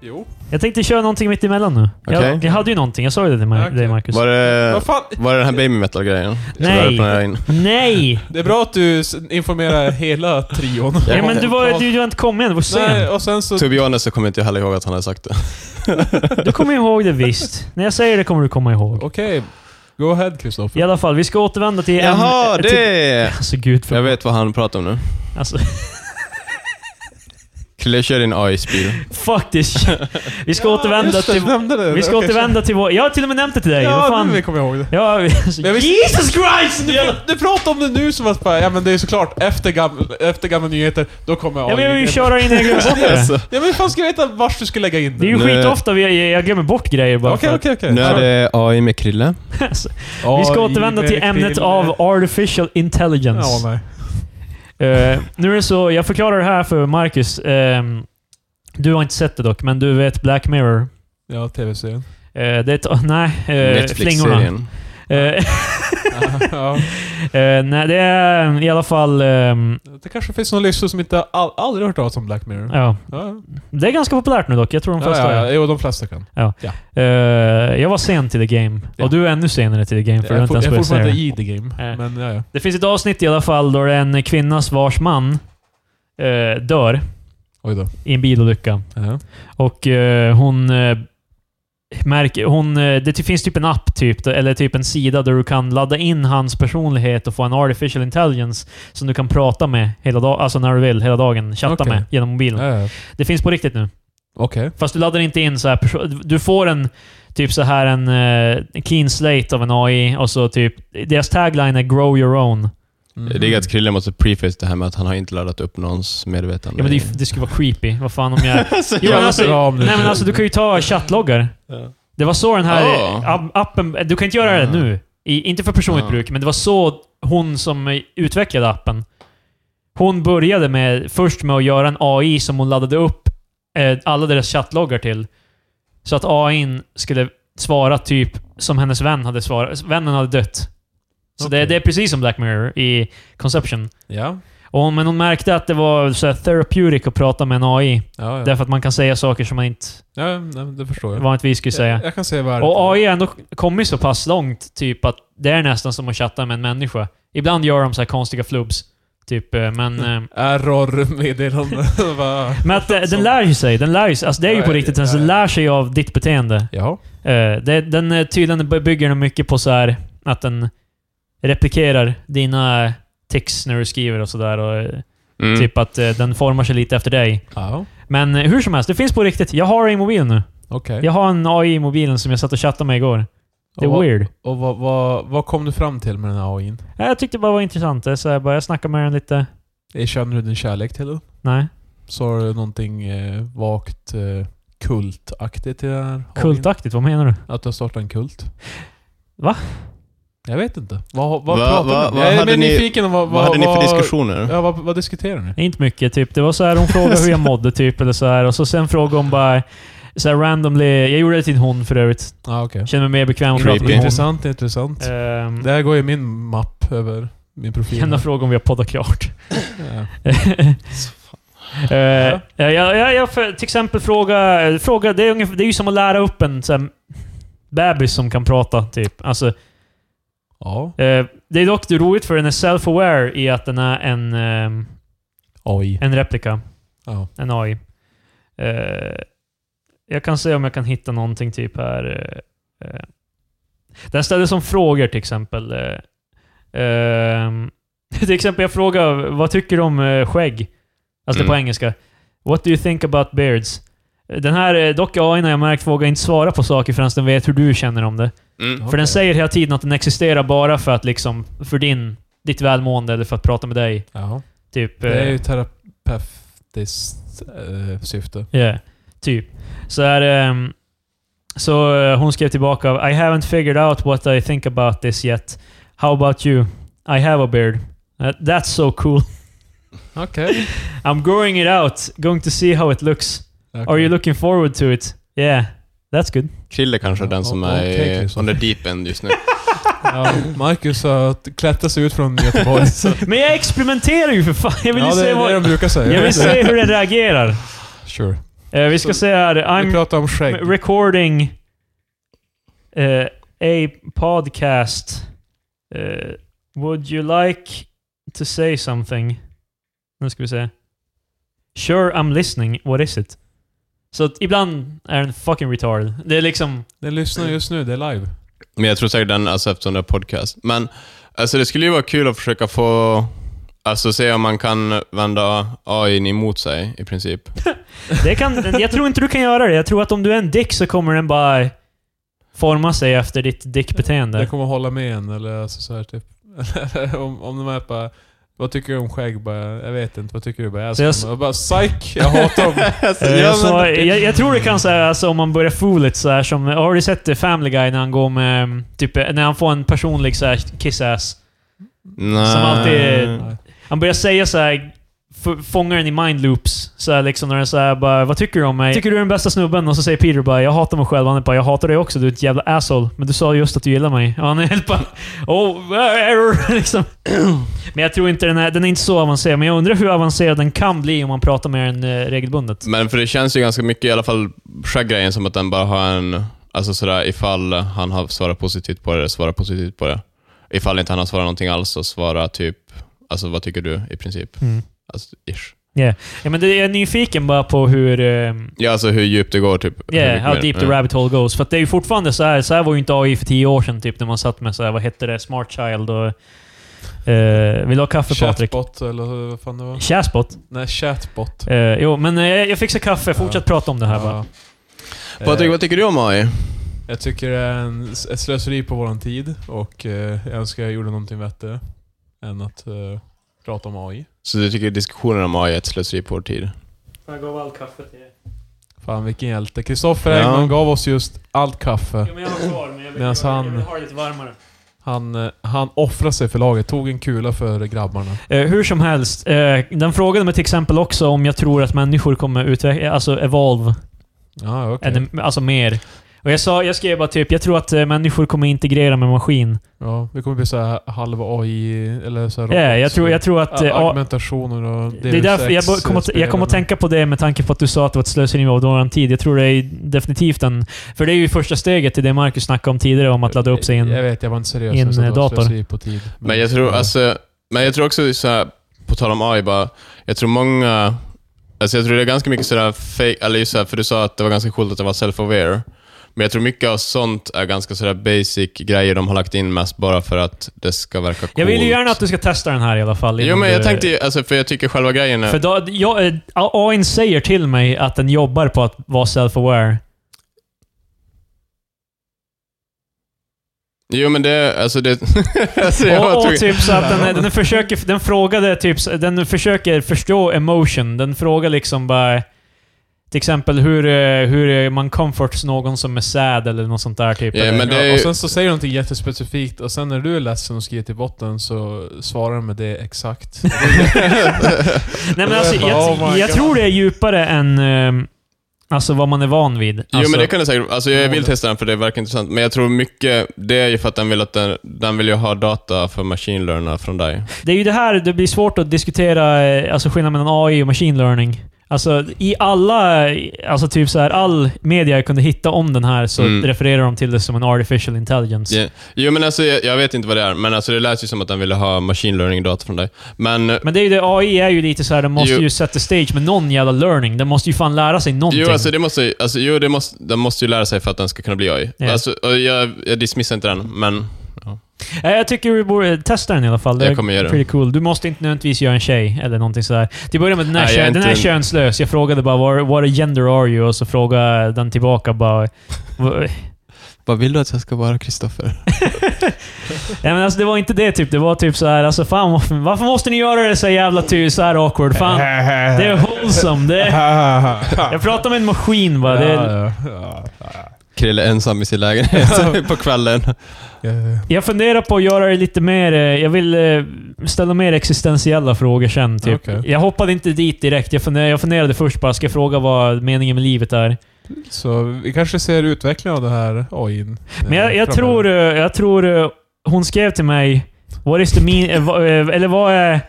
[SPEAKER 3] Jo.
[SPEAKER 1] Jag tänkte köra någonting mitt emellan nu.
[SPEAKER 2] Okej.
[SPEAKER 1] Jag, jag hade ju någonting, jag sa ju det till Ma-
[SPEAKER 3] Okej.
[SPEAKER 1] dig Marcus.
[SPEAKER 2] Var det,
[SPEAKER 3] Eh. Vad fan?
[SPEAKER 2] var det den här baby metal-grejen? Så
[SPEAKER 1] Nej.
[SPEAKER 2] där planerar jag in.
[SPEAKER 1] Nej!
[SPEAKER 3] Det är bra att du s- informerar hela trion.
[SPEAKER 2] Ja, Typ.
[SPEAKER 1] Ja, men du var du, du har inte kommit än, du var
[SPEAKER 3] Nej,
[SPEAKER 1] sen.
[SPEAKER 3] och sen så...
[SPEAKER 2] To be honest så kommer inte jag heller ihåg att han har sagt det.
[SPEAKER 1] Du kommer ihåg det visst. När jag säger det kommer du komma ihåg.
[SPEAKER 3] Okej. Go ahead
[SPEAKER 1] I
[SPEAKER 3] Kristoffer.
[SPEAKER 1] alla fall, vi ska återvända till en...
[SPEAKER 2] Jaha,
[SPEAKER 1] eh, Till,
[SPEAKER 2] det!
[SPEAKER 1] alltså gud för...
[SPEAKER 2] Jag vet vad han pratar om nu.
[SPEAKER 1] Alltså,
[SPEAKER 2] Krille kör din AI-spel.
[SPEAKER 1] fuck this shit. Vi ska återvända
[SPEAKER 3] Just det,
[SPEAKER 1] till...
[SPEAKER 3] du nämnde det.
[SPEAKER 1] Vi ska
[SPEAKER 3] Okej,
[SPEAKER 1] återvända till vår... Jag har till och med nämnt det till dig. Vad
[SPEAKER 3] Ja,
[SPEAKER 1] fan?
[SPEAKER 3] nu vi kommer jag ihåg det.
[SPEAKER 1] Ja, vi- alltså,
[SPEAKER 3] Men jag visste-
[SPEAKER 1] Jesus Christ! Nu-
[SPEAKER 3] Ja, Du pratar om det nu som att bara, ja men det är såklart efter gamla, efter gamla nyheter, då kommer jag
[SPEAKER 1] Ja, men jag vill ju
[SPEAKER 3] ihåg.
[SPEAKER 1] köra in jag glömmer bort det.
[SPEAKER 2] Alltså,
[SPEAKER 3] Ja men fan ska jag veta vars du ska lägga in
[SPEAKER 1] Det är
[SPEAKER 3] den?
[SPEAKER 1] ju
[SPEAKER 2] Nu-
[SPEAKER 1] skitofta vi- jag glömmer bort grejer bara
[SPEAKER 3] Okej
[SPEAKER 1] för
[SPEAKER 3] okej okej.
[SPEAKER 2] nu är det AI med Krille.
[SPEAKER 1] att- alltså, Vi ska återvända till ämnet av artificial intelligence.
[SPEAKER 3] Ja, nej.
[SPEAKER 1] Eh, nu är det så, jag förklarar det här för Marcus. Ehm, du har inte sett det dock, men du vet Black Mirror.
[SPEAKER 3] Ja, tv-serien.
[SPEAKER 1] Eh, det är ett, nej, eh, flingorna.
[SPEAKER 2] Netflix-serien.
[SPEAKER 1] Eh,
[SPEAKER 3] Ja, ja.
[SPEAKER 1] eh, nej, det är i alla fall... ehm,
[SPEAKER 3] Det kanske finns någon lyssnare som inte all, aldrig hört talas om Black Mirror.
[SPEAKER 1] ja.
[SPEAKER 3] Ja,
[SPEAKER 1] Det är ganska populärt nu dock. Jag tror de
[SPEAKER 3] ja,
[SPEAKER 1] flesta...
[SPEAKER 3] ja, ja. Jo, de flesta kan.
[SPEAKER 1] Eh, jag var sen till the game.
[SPEAKER 3] Ja.
[SPEAKER 1] Och du är ännu senare till the game, för du
[SPEAKER 3] Jag
[SPEAKER 1] har
[SPEAKER 3] är
[SPEAKER 1] inte
[SPEAKER 3] for- jag
[SPEAKER 1] ens
[SPEAKER 3] är
[SPEAKER 1] börjat se
[SPEAKER 3] fortfarande
[SPEAKER 1] det.
[SPEAKER 3] i the
[SPEAKER 1] Nej.
[SPEAKER 3] game. Men ja, ja.
[SPEAKER 1] Det finns ett avsnitt i alla fall då det är en kvinnas vars man eh, dör
[SPEAKER 3] Oj då.
[SPEAKER 1] i en bilolycka.
[SPEAKER 3] Ja.
[SPEAKER 1] Och eh, hon... Eh, märker, hon eh, det ty- finns typ en app, typ, eller typ en sida, där du kan ladda in hans personlighet och få en artificial intelligence som du kan prata med hela dagen, alltså när du vill, hela dagen. Chatta
[SPEAKER 3] Okej.
[SPEAKER 1] med genom mobilen.
[SPEAKER 3] Ja, ja.
[SPEAKER 1] Det finns på riktigt nu.
[SPEAKER 3] Okej.
[SPEAKER 1] Fast du laddar inte in så här perso- Du får en typ så här en eh, clean slate av en AI och så typ... Deras tagline är “Grow your own”.
[SPEAKER 3] Mm.
[SPEAKER 2] Det är att Krille måste preface det här med att han har inte laddat upp någons medvetande.
[SPEAKER 1] Ja, men det, det skulle vara creepy. Vad fan om jag...
[SPEAKER 2] Alltså,
[SPEAKER 1] Jo,
[SPEAKER 2] jag-
[SPEAKER 1] men alltså,
[SPEAKER 3] Bra om
[SPEAKER 1] nej men alltså, du kan ju ta chattloggar.
[SPEAKER 2] Ja.
[SPEAKER 1] Det var så den här
[SPEAKER 2] Ja.
[SPEAKER 1] ab- appen... Du kan inte göra det
[SPEAKER 2] Ja.
[SPEAKER 1] nu. I, inte för personligt
[SPEAKER 2] Ja.
[SPEAKER 1] bruk, men det var så hon som utvecklade appen. Hon började med, först med att göra en AI som hon laddade upp eh, alla deras chattloggar till. Så att AIn skulle svara typ som hennes vän hade svarat. Vännen hade dött. Så det,
[SPEAKER 3] Okej.
[SPEAKER 1] det är precis som Black Mirror i Conception.
[SPEAKER 3] Ja.
[SPEAKER 1] Och hon, men hon märkte att det var så här therapeutic att prata med en AI.
[SPEAKER 3] Ja, ja.
[SPEAKER 1] Därför att man kan säga saker som man inte
[SPEAKER 3] ja nej, men det förstår jag.
[SPEAKER 1] vanligtvis skulle säga.
[SPEAKER 3] Jag, jag kan säga varför.
[SPEAKER 1] Och AI har ändå kommit så pass långt, typ att det är nästan som att chatta med en människa. Ibland gör de så här konstiga flubs. Typ, eh, men...
[SPEAKER 3] Mm.
[SPEAKER 1] eh,
[SPEAKER 3] Error-meddelande. Va?
[SPEAKER 1] Men att eh, den lär ju sig. Den lär ju sig. Alltså det är ju på
[SPEAKER 3] Ja,
[SPEAKER 1] riktigt.
[SPEAKER 3] ja,
[SPEAKER 1] Den
[SPEAKER 3] ja.
[SPEAKER 1] lär sig av ditt beteende.
[SPEAKER 3] Jaha.
[SPEAKER 1] Eh, det, den eh, tydligen bygger den mycket på så här att den replikerar dina tics när du skriver och sådär. Och eh,
[SPEAKER 2] Mm.
[SPEAKER 1] typ att eh, den formar sig lite efter dig.
[SPEAKER 3] Ja,
[SPEAKER 1] Men eh, hur som helst, det finns på riktigt. Jag har det i mobilen nu.
[SPEAKER 3] okej.
[SPEAKER 1] Jag har en AI i mobilen som jag satt och chattade med igår. Det
[SPEAKER 3] Och
[SPEAKER 1] är
[SPEAKER 3] vad-
[SPEAKER 1] weird.
[SPEAKER 3] Och vad, vad, vad kom du fram till med den här AIn?
[SPEAKER 1] Ja, Jag tyckte det bara var intressant. Det är Så jag, bara, jag snackade med den lite.
[SPEAKER 3] Eh, Känner du din kärlek till den?
[SPEAKER 1] Nej.
[SPEAKER 3] Sa du någonting eh, vagt eh, kultaktigt till den här AIn?
[SPEAKER 1] Kultaktigt, vad menar du?
[SPEAKER 3] Att du har startat en kult?
[SPEAKER 1] Va?
[SPEAKER 3] Jag vet inte. Vad, vad
[SPEAKER 2] Va-
[SPEAKER 3] pratar
[SPEAKER 2] va-
[SPEAKER 3] ni om?
[SPEAKER 2] vad
[SPEAKER 3] Jag är
[SPEAKER 2] hade
[SPEAKER 3] mer
[SPEAKER 2] ni-
[SPEAKER 3] nyfiken. om Vad,
[SPEAKER 2] Vad hade ni för diskussioner?
[SPEAKER 3] Ja, vad, vad diskuterar ni?
[SPEAKER 1] Inte mycket. Typ. Det var så här, hon frågade hur jag mådde typ, eller så här. Och så sen frågade hon bara... Så här randomly. Jag gjorde det till en hon för övrigt.
[SPEAKER 3] Ja, Ah, okej.
[SPEAKER 1] Jag känner mig mer bekväm att
[SPEAKER 2] Creepy.
[SPEAKER 1] prata med en hon.
[SPEAKER 3] Intressant, intressant.
[SPEAKER 1] Ehm,
[SPEAKER 3] Det här Mm. går i min mapp över min profil.
[SPEAKER 1] Enda fråga om vi har poddat klart.
[SPEAKER 3] Ja.
[SPEAKER 1] Eh, jag, jag, jag för, till exempel fråga... fråga det, är ungefär, det är ju som att lära upp en så här, bebis som kan prata. Typ. Alltså,
[SPEAKER 3] ja.
[SPEAKER 1] Eh, det är dock roligt för den är self-aware i att den är en, ehm,
[SPEAKER 3] AI.
[SPEAKER 1] en replika.
[SPEAKER 3] Ja.
[SPEAKER 1] En AI. Eh, jag kan se om jag kan hitta någonting typ här. eh, eh. Den ställer som frågor till exempel. eh, ehm, till exempel jag frågar vad tycker du om eh, skägg? Alltså det är på
[SPEAKER 2] Mm.
[SPEAKER 1] engelska. What do you think about beards? Eh, Den här, eh, dock AI har jag märkt, vågar inte svara på saker förrän den vet hur du känner om det.
[SPEAKER 2] Mm.
[SPEAKER 1] För
[SPEAKER 3] Okej.
[SPEAKER 1] den säger hela tiden att den existerar bara för att liksom, för din, ditt välmående eller för att prata med dig.
[SPEAKER 3] Ja.
[SPEAKER 1] Typ.
[SPEAKER 3] Det är
[SPEAKER 1] eh,
[SPEAKER 3] ju terapeutiskt eh, syfte.
[SPEAKER 1] yeah, typ. Så här, ehm, så eh, hon skrev tillbaka I haven't figured out what I think about this yet. How about you? I have a beard. Uh, that's so cool.
[SPEAKER 3] Okej.
[SPEAKER 1] I'm growing it out. Going to see how it looks. Are you looking forward to it? Yeah. That's good.
[SPEAKER 2] Krille kanske är den som
[SPEAKER 3] Ja, okej,
[SPEAKER 2] är
[SPEAKER 3] Christopher.
[SPEAKER 2] on the deep end just nu.
[SPEAKER 3] Ja, Marcus har klättrat sig ut från Göteborg. Så.
[SPEAKER 1] Men jag experimenterar ju för fan. Jag vill ju
[SPEAKER 3] ja, det
[SPEAKER 1] se
[SPEAKER 3] är
[SPEAKER 1] vad...
[SPEAKER 3] det de brukar säga.
[SPEAKER 1] Jag vill se hur den reagerar.
[SPEAKER 3] Sure.
[SPEAKER 1] Eh, vi ska
[SPEAKER 2] Så-
[SPEAKER 1] se här. I'm
[SPEAKER 3] Vi pratar om skägg.
[SPEAKER 1] M- recording uh, a podcast. Uh, would you like to say something? Nu ska vi se. Sure I'm listening. What is it? Så att ibland är den fucking retard. Det är liksom...
[SPEAKER 3] Den lyssnar just nu, det är live.
[SPEAKER 2] Men jag tror säkert den, alltså eftersom det är podcast. Men alltså det skulle ju vara kul att försöka få, alltså se om man kan vända AI n emot sig i princip.
[SPEAKER 1] Det kan, jag tror inte du kan göra det. Jag tror att om du är en dick så kommer den bara forma sig efter ditt
[SPEAKER 3] Den
[SPEAKER 1] dickbeteende.
[SPEAKER 3] kommer hålla med en eller alltså så här typ. om, om de här bara... Vad tycker du om skägg? Bara, jag vet inte. Vad tycker du? Bara, jag
[SPEAKER 1] Så jag
[SPEAKER 3] älskar dem. Jag bara, psyk! Jag hatar dem.
[SPEAKER 2] alltså,
[SPEAKER 1] Eh,
[SPEAKER 2] ja,
[SPEAKER 1] så
[SPEAKER 2] men,
[SPEAKER 1] jag, jag tror det kan säga alltså, om man börjar fool it så här som... Har du sett eh, Family Guy när han går med... mm, Typ, eh, när han får en personlig så här kiss-ass?
[SPEAKER 2] nej.
[SPEAKER 1] som alltid-
[SPEAKER 3] Nej.
[SPEAKER 1] Han börjar säga så här... f- Fångar den i mind loops. Så här, liksom, när den så här, bara, vad tycker du om mig? Tycker du är den bästa snubben? Och så säger Peter bara, jag hatar mig själv. Han är bara, jag hatar dig också. Du är ett jävla asshole. Men du sa just att du gillar mig. Och han är helt bara, oh, eh, error. liksom. Men jag tror inte den är, den är inte så avancerad. Men jag undrar hur avancerad den kan bli om man pratar med den eh, regelbundet.
[SPEAKER 2] Men för det känns ju ganska mycket, i alla fall skägggrejen, som att den bara har en, alltså sådär ifall han har svarat positivt på det, svarar positivt på det. Ifall inte han har svarat någonting alls så svarar typ, alltså vad tycker du i princip?
[SPEAKER 1] Mm.
[SPEAKER 2] Alltså, ish.
[SPEAKER 1] Ja, men det, jag är nyfiken bara på hur... Eh,
[SPEAKER 2] Ja, alltså hur djupt det går typ. Hur
[SPEAKER 1] Yeah,
[SPEAKER 2] mycket
[SPEAKER 1] how
[SPEAKER 2] mer.
[SPEAKER 1] deep the
[SPEAKER 2] Ja.
[SPEAKER 1] rabbit hole goes. För att det är ju fortfarande så här. Så här var ju inte AI för tio år sedan, typ, när man satt med så här, vad hette det, Smart Child och... Eh, vill du ha kaffe, Patrik?
[SPEAKER 3] Chatbot eller vad fan det var?
[SPEAKER 1] Chatbot.
[SPEAKER 3] Nej, chatbot.
[SPEAKER 1] Eh, jo, men eh, jag fixar kaffe. Fortsätt
[SPEAKER 3] Ja.
[SPEAKER 1] prata om det här bara.
[SPEAKER 3] Ja.
[SPEAKER 2] Patrik,
[SPEAKER 3] Eh,
[SPEAKER 2] vad tycker du om AI?
[SPEAKER 3] Jag tycker det är en, ett slöseri på våran tid och eh, jag önskar jag gjorde någonting vettigare. än att eh, prata om AI.
[SPEAKER 2] Så du tycker diskussionen om AI är ett slöseri på vår tid?
[SPEAKER 1] Jag gav all kaffe till dig.
[SPEAKER 3] Fan vilken hjälte. Kristoffer
[SPEAKER 2] Ja.
[SPEAKER 3] Engman gav oss just allt kaffe.
[SPEAKER 1] men jag har kvar, men jag
[SPEAKER 3] vill- Medans jag vill- jag vill han-
[SPEAKER 1] ha det lite varmare.
[SPEAKER 3] Han, eh, han offrade sig för laget, tog en kula för grabbarna.
[SPEAKER 1] Eh, hur som helst, eh, den frågade mig till exempel också om jag tror att människor kommer utveckla, alltså evolve,
[SPEAKER 3] Ja, okej.
[SPEAKER 1] eller, alltså mer. Och jag, sa, jag skrev bara typ, jag tror att eh, människor kommer integrera med maskin.
[SPEAKER 3] Ja, vi kommer bli så här halva AI, eller så här
[SPEAKER 1] Ja, jag, tror, jag tror att... eh,
[SPEAKER 3] Ja,
[SPEAKER 1] ja,
[SPEAKER 3] argumentationer och
[SPEAKER 1] det är därför jag bör- kommer att,
[SPEAKER 3] eh,
[SPEAKER 1] jag kommer att tänka på det med tanke på att du sa att det var ett slöseri med vår tid. Jag tror det är definitivt en... För det är ju första steget till det Marcus snackade om tidigare, om att ladda upp sig i
[SPEAKER 3] Jag
[SPEAKER 1] en...
[SPEAKER 3] vet, jag var inte seriös.
[SPEAKER 1] i en,
[SPEAKER 3] jag sa att det
[SPEAKER 1] eh,
[SPEAKER 3] var
[SPEAKER 1] dator.
[SPEAKER 3] slöseri på tid.
[SPEAKER 2] Men jag
[SPEAKER 1] Mm.
[SPEAKER 2] tror,
[SPEAKER 3] Ja.
[SPEAKER 2] alltså, men jag tror också så här, på tal om AI bara, jag tror många, alltså jag tror det är ganska mycket sådär fake, eller just så här, för du sa att det var ganska coolt att det var self-aware. Men jag tror mycket av sånt är ganska sådär basic grejer de har lagt in mest bara för att det ska verka coolt.
[SPEAKER 1] Jag vill ju gärna att du ska testa den här i alla fall.
[SPEAKER 2] Jo
[SPEAKER 1] innan
[SPEAKER 2] men jag
[SPEAKER 1] du-
[SPEAKER 2] tänkte ju, alltså, för jag tycker själva grejen är...
[SPEAKER 1] För då, jag, eh, AIn säger till mig att den jobbar på att vara self-aware.
[SPEAKER 2] Jo men det, alltså det... alltså, jag
[SPEAKER 1] Och,
[SPEAKER 2] tror-
[SPEAKER 1] och typ så att den, den försöker... Den frågade typ... så- Den försöker förstå emotion. Den frågar liksom bara... Till exempel hur, eh, hur man comforts någon som är sad eller något sånt där typ.
[SPEAKER 2] Ja,
[SPEAKER 1] eller,
[SPEAKER 2] men det är
[SPEAKER 3] ja,
[SPEAKER 2] ju-
[SPEAKER 3] och sen så säger du någonting jättespecifikt och sen när du är ledsen och skriver till botten så svarar de med det exakt.
[SPEAKER 1] Nej men alltså, jag,
[SPEAKER 3] Oh my
[SPEAKER 1] jag
[SPEAKER 3] God.
[SPEAKER 1] tror det är djupare än eh, alltså vad man är van vid. Alltså,
[SPEAKER 2] jo men det kan det säkert Alltså jag
[SPEAKER 3] Ja,
[SPEAKER 2] vill
[SPEAKER 3] det-
[SPEAKER 2] testa den för det verkar intressant. Men jag tror mycket, det är ju för att den vill att den, den vill ju ha data för machine learner från dig.
[SPEAKER 1] Det är ju det här det blir svårt att diskutera eh, alltså skillnaden mellan AI och machine learning. Alltså i alla, eh, alltså typ så här, all media jag kunde hitta om den här så
[SPEAKER 2] Mm.
[SPEAKER 1] refererar de till det som en artificial intelligence.
[SPEAKER 2] Ja. Jo men alltså jag, jag vet inte vad det är, men alltså det lät ju som att den ville ha machine learning-data från dig. Men,
[SPEAKER 1] Men det är ju det, AI är ju lite så här, den måste
[SPEAKER 2] Jo.
[SPEAKER 1] ju sätta stage med någon jävla learning. Den måste ju fan lära sig någonting.
[SPEAKER 2] jo alltså det måste alltså jo det måste, den måste ju lära sig för att den ska kunna bli AI.
[SPEAKER 1] Ja.
[SPEAKER 2] Alltså, och jag, jag dismissar inte den, men
[SPEAKER 1] Eh, Jag tycker vi borde eh, testa den i alla fall. Det
[SPEAKER 2] Jag
[SPEAKER 1] är
[SPEAKER 2] kommer göra det.
[SPEAKER 1] pretty cool. Du måste inte nödvändigtvis göra en tjej eller någonting sådär. Till att börja med, den här,
[SPEAKER 2] Nej, jag är
[SPEAKER 1] kön, den här
[SPEAKER 2] inte-
[SPEAKER 1] könslös. Jag frågade bara what, what a gender are you? Och så frågade den tillbaka bara... "Va-
[SPEAKER 2] Vad vill du att jag ska vara, Kristoffer?
[SPEAKER 1] Nej men alltså det var inte det typ. Det var typ så här, alltså fan varför, varför måste ni göra det så jävla ty, så här awkward? Fan, det är wholesome. Det är, jag pratar med en maskin bara. Det är,
[SPEAKER 3] Ja, ja, ja.
[SPEAKER 2] Krille ensam i sin lägenhet på kvällen.
[SPEAKER 3] Ja, Eh, ja.
[SPEAKER 1] jag funderar på att göra det lite mer... eh, Jag vill eh, ställa mer existentiella frågor sen typ.
[SPEAKER 3] Okej.
[SPEAKER 1] Jag hoppade inte dit direkt. Jag funderade, jag funderade först bara, ska jag fråga vad meningen med livet är?
[SPEAKER 3] Så vi kanske ser utvecklingen av det här AI.
[SPEAKER 1] Men jag, jag, tror, eh, jag tror eh, hon skrev till mig What is the mean... eh, va- eh, Eller vad är...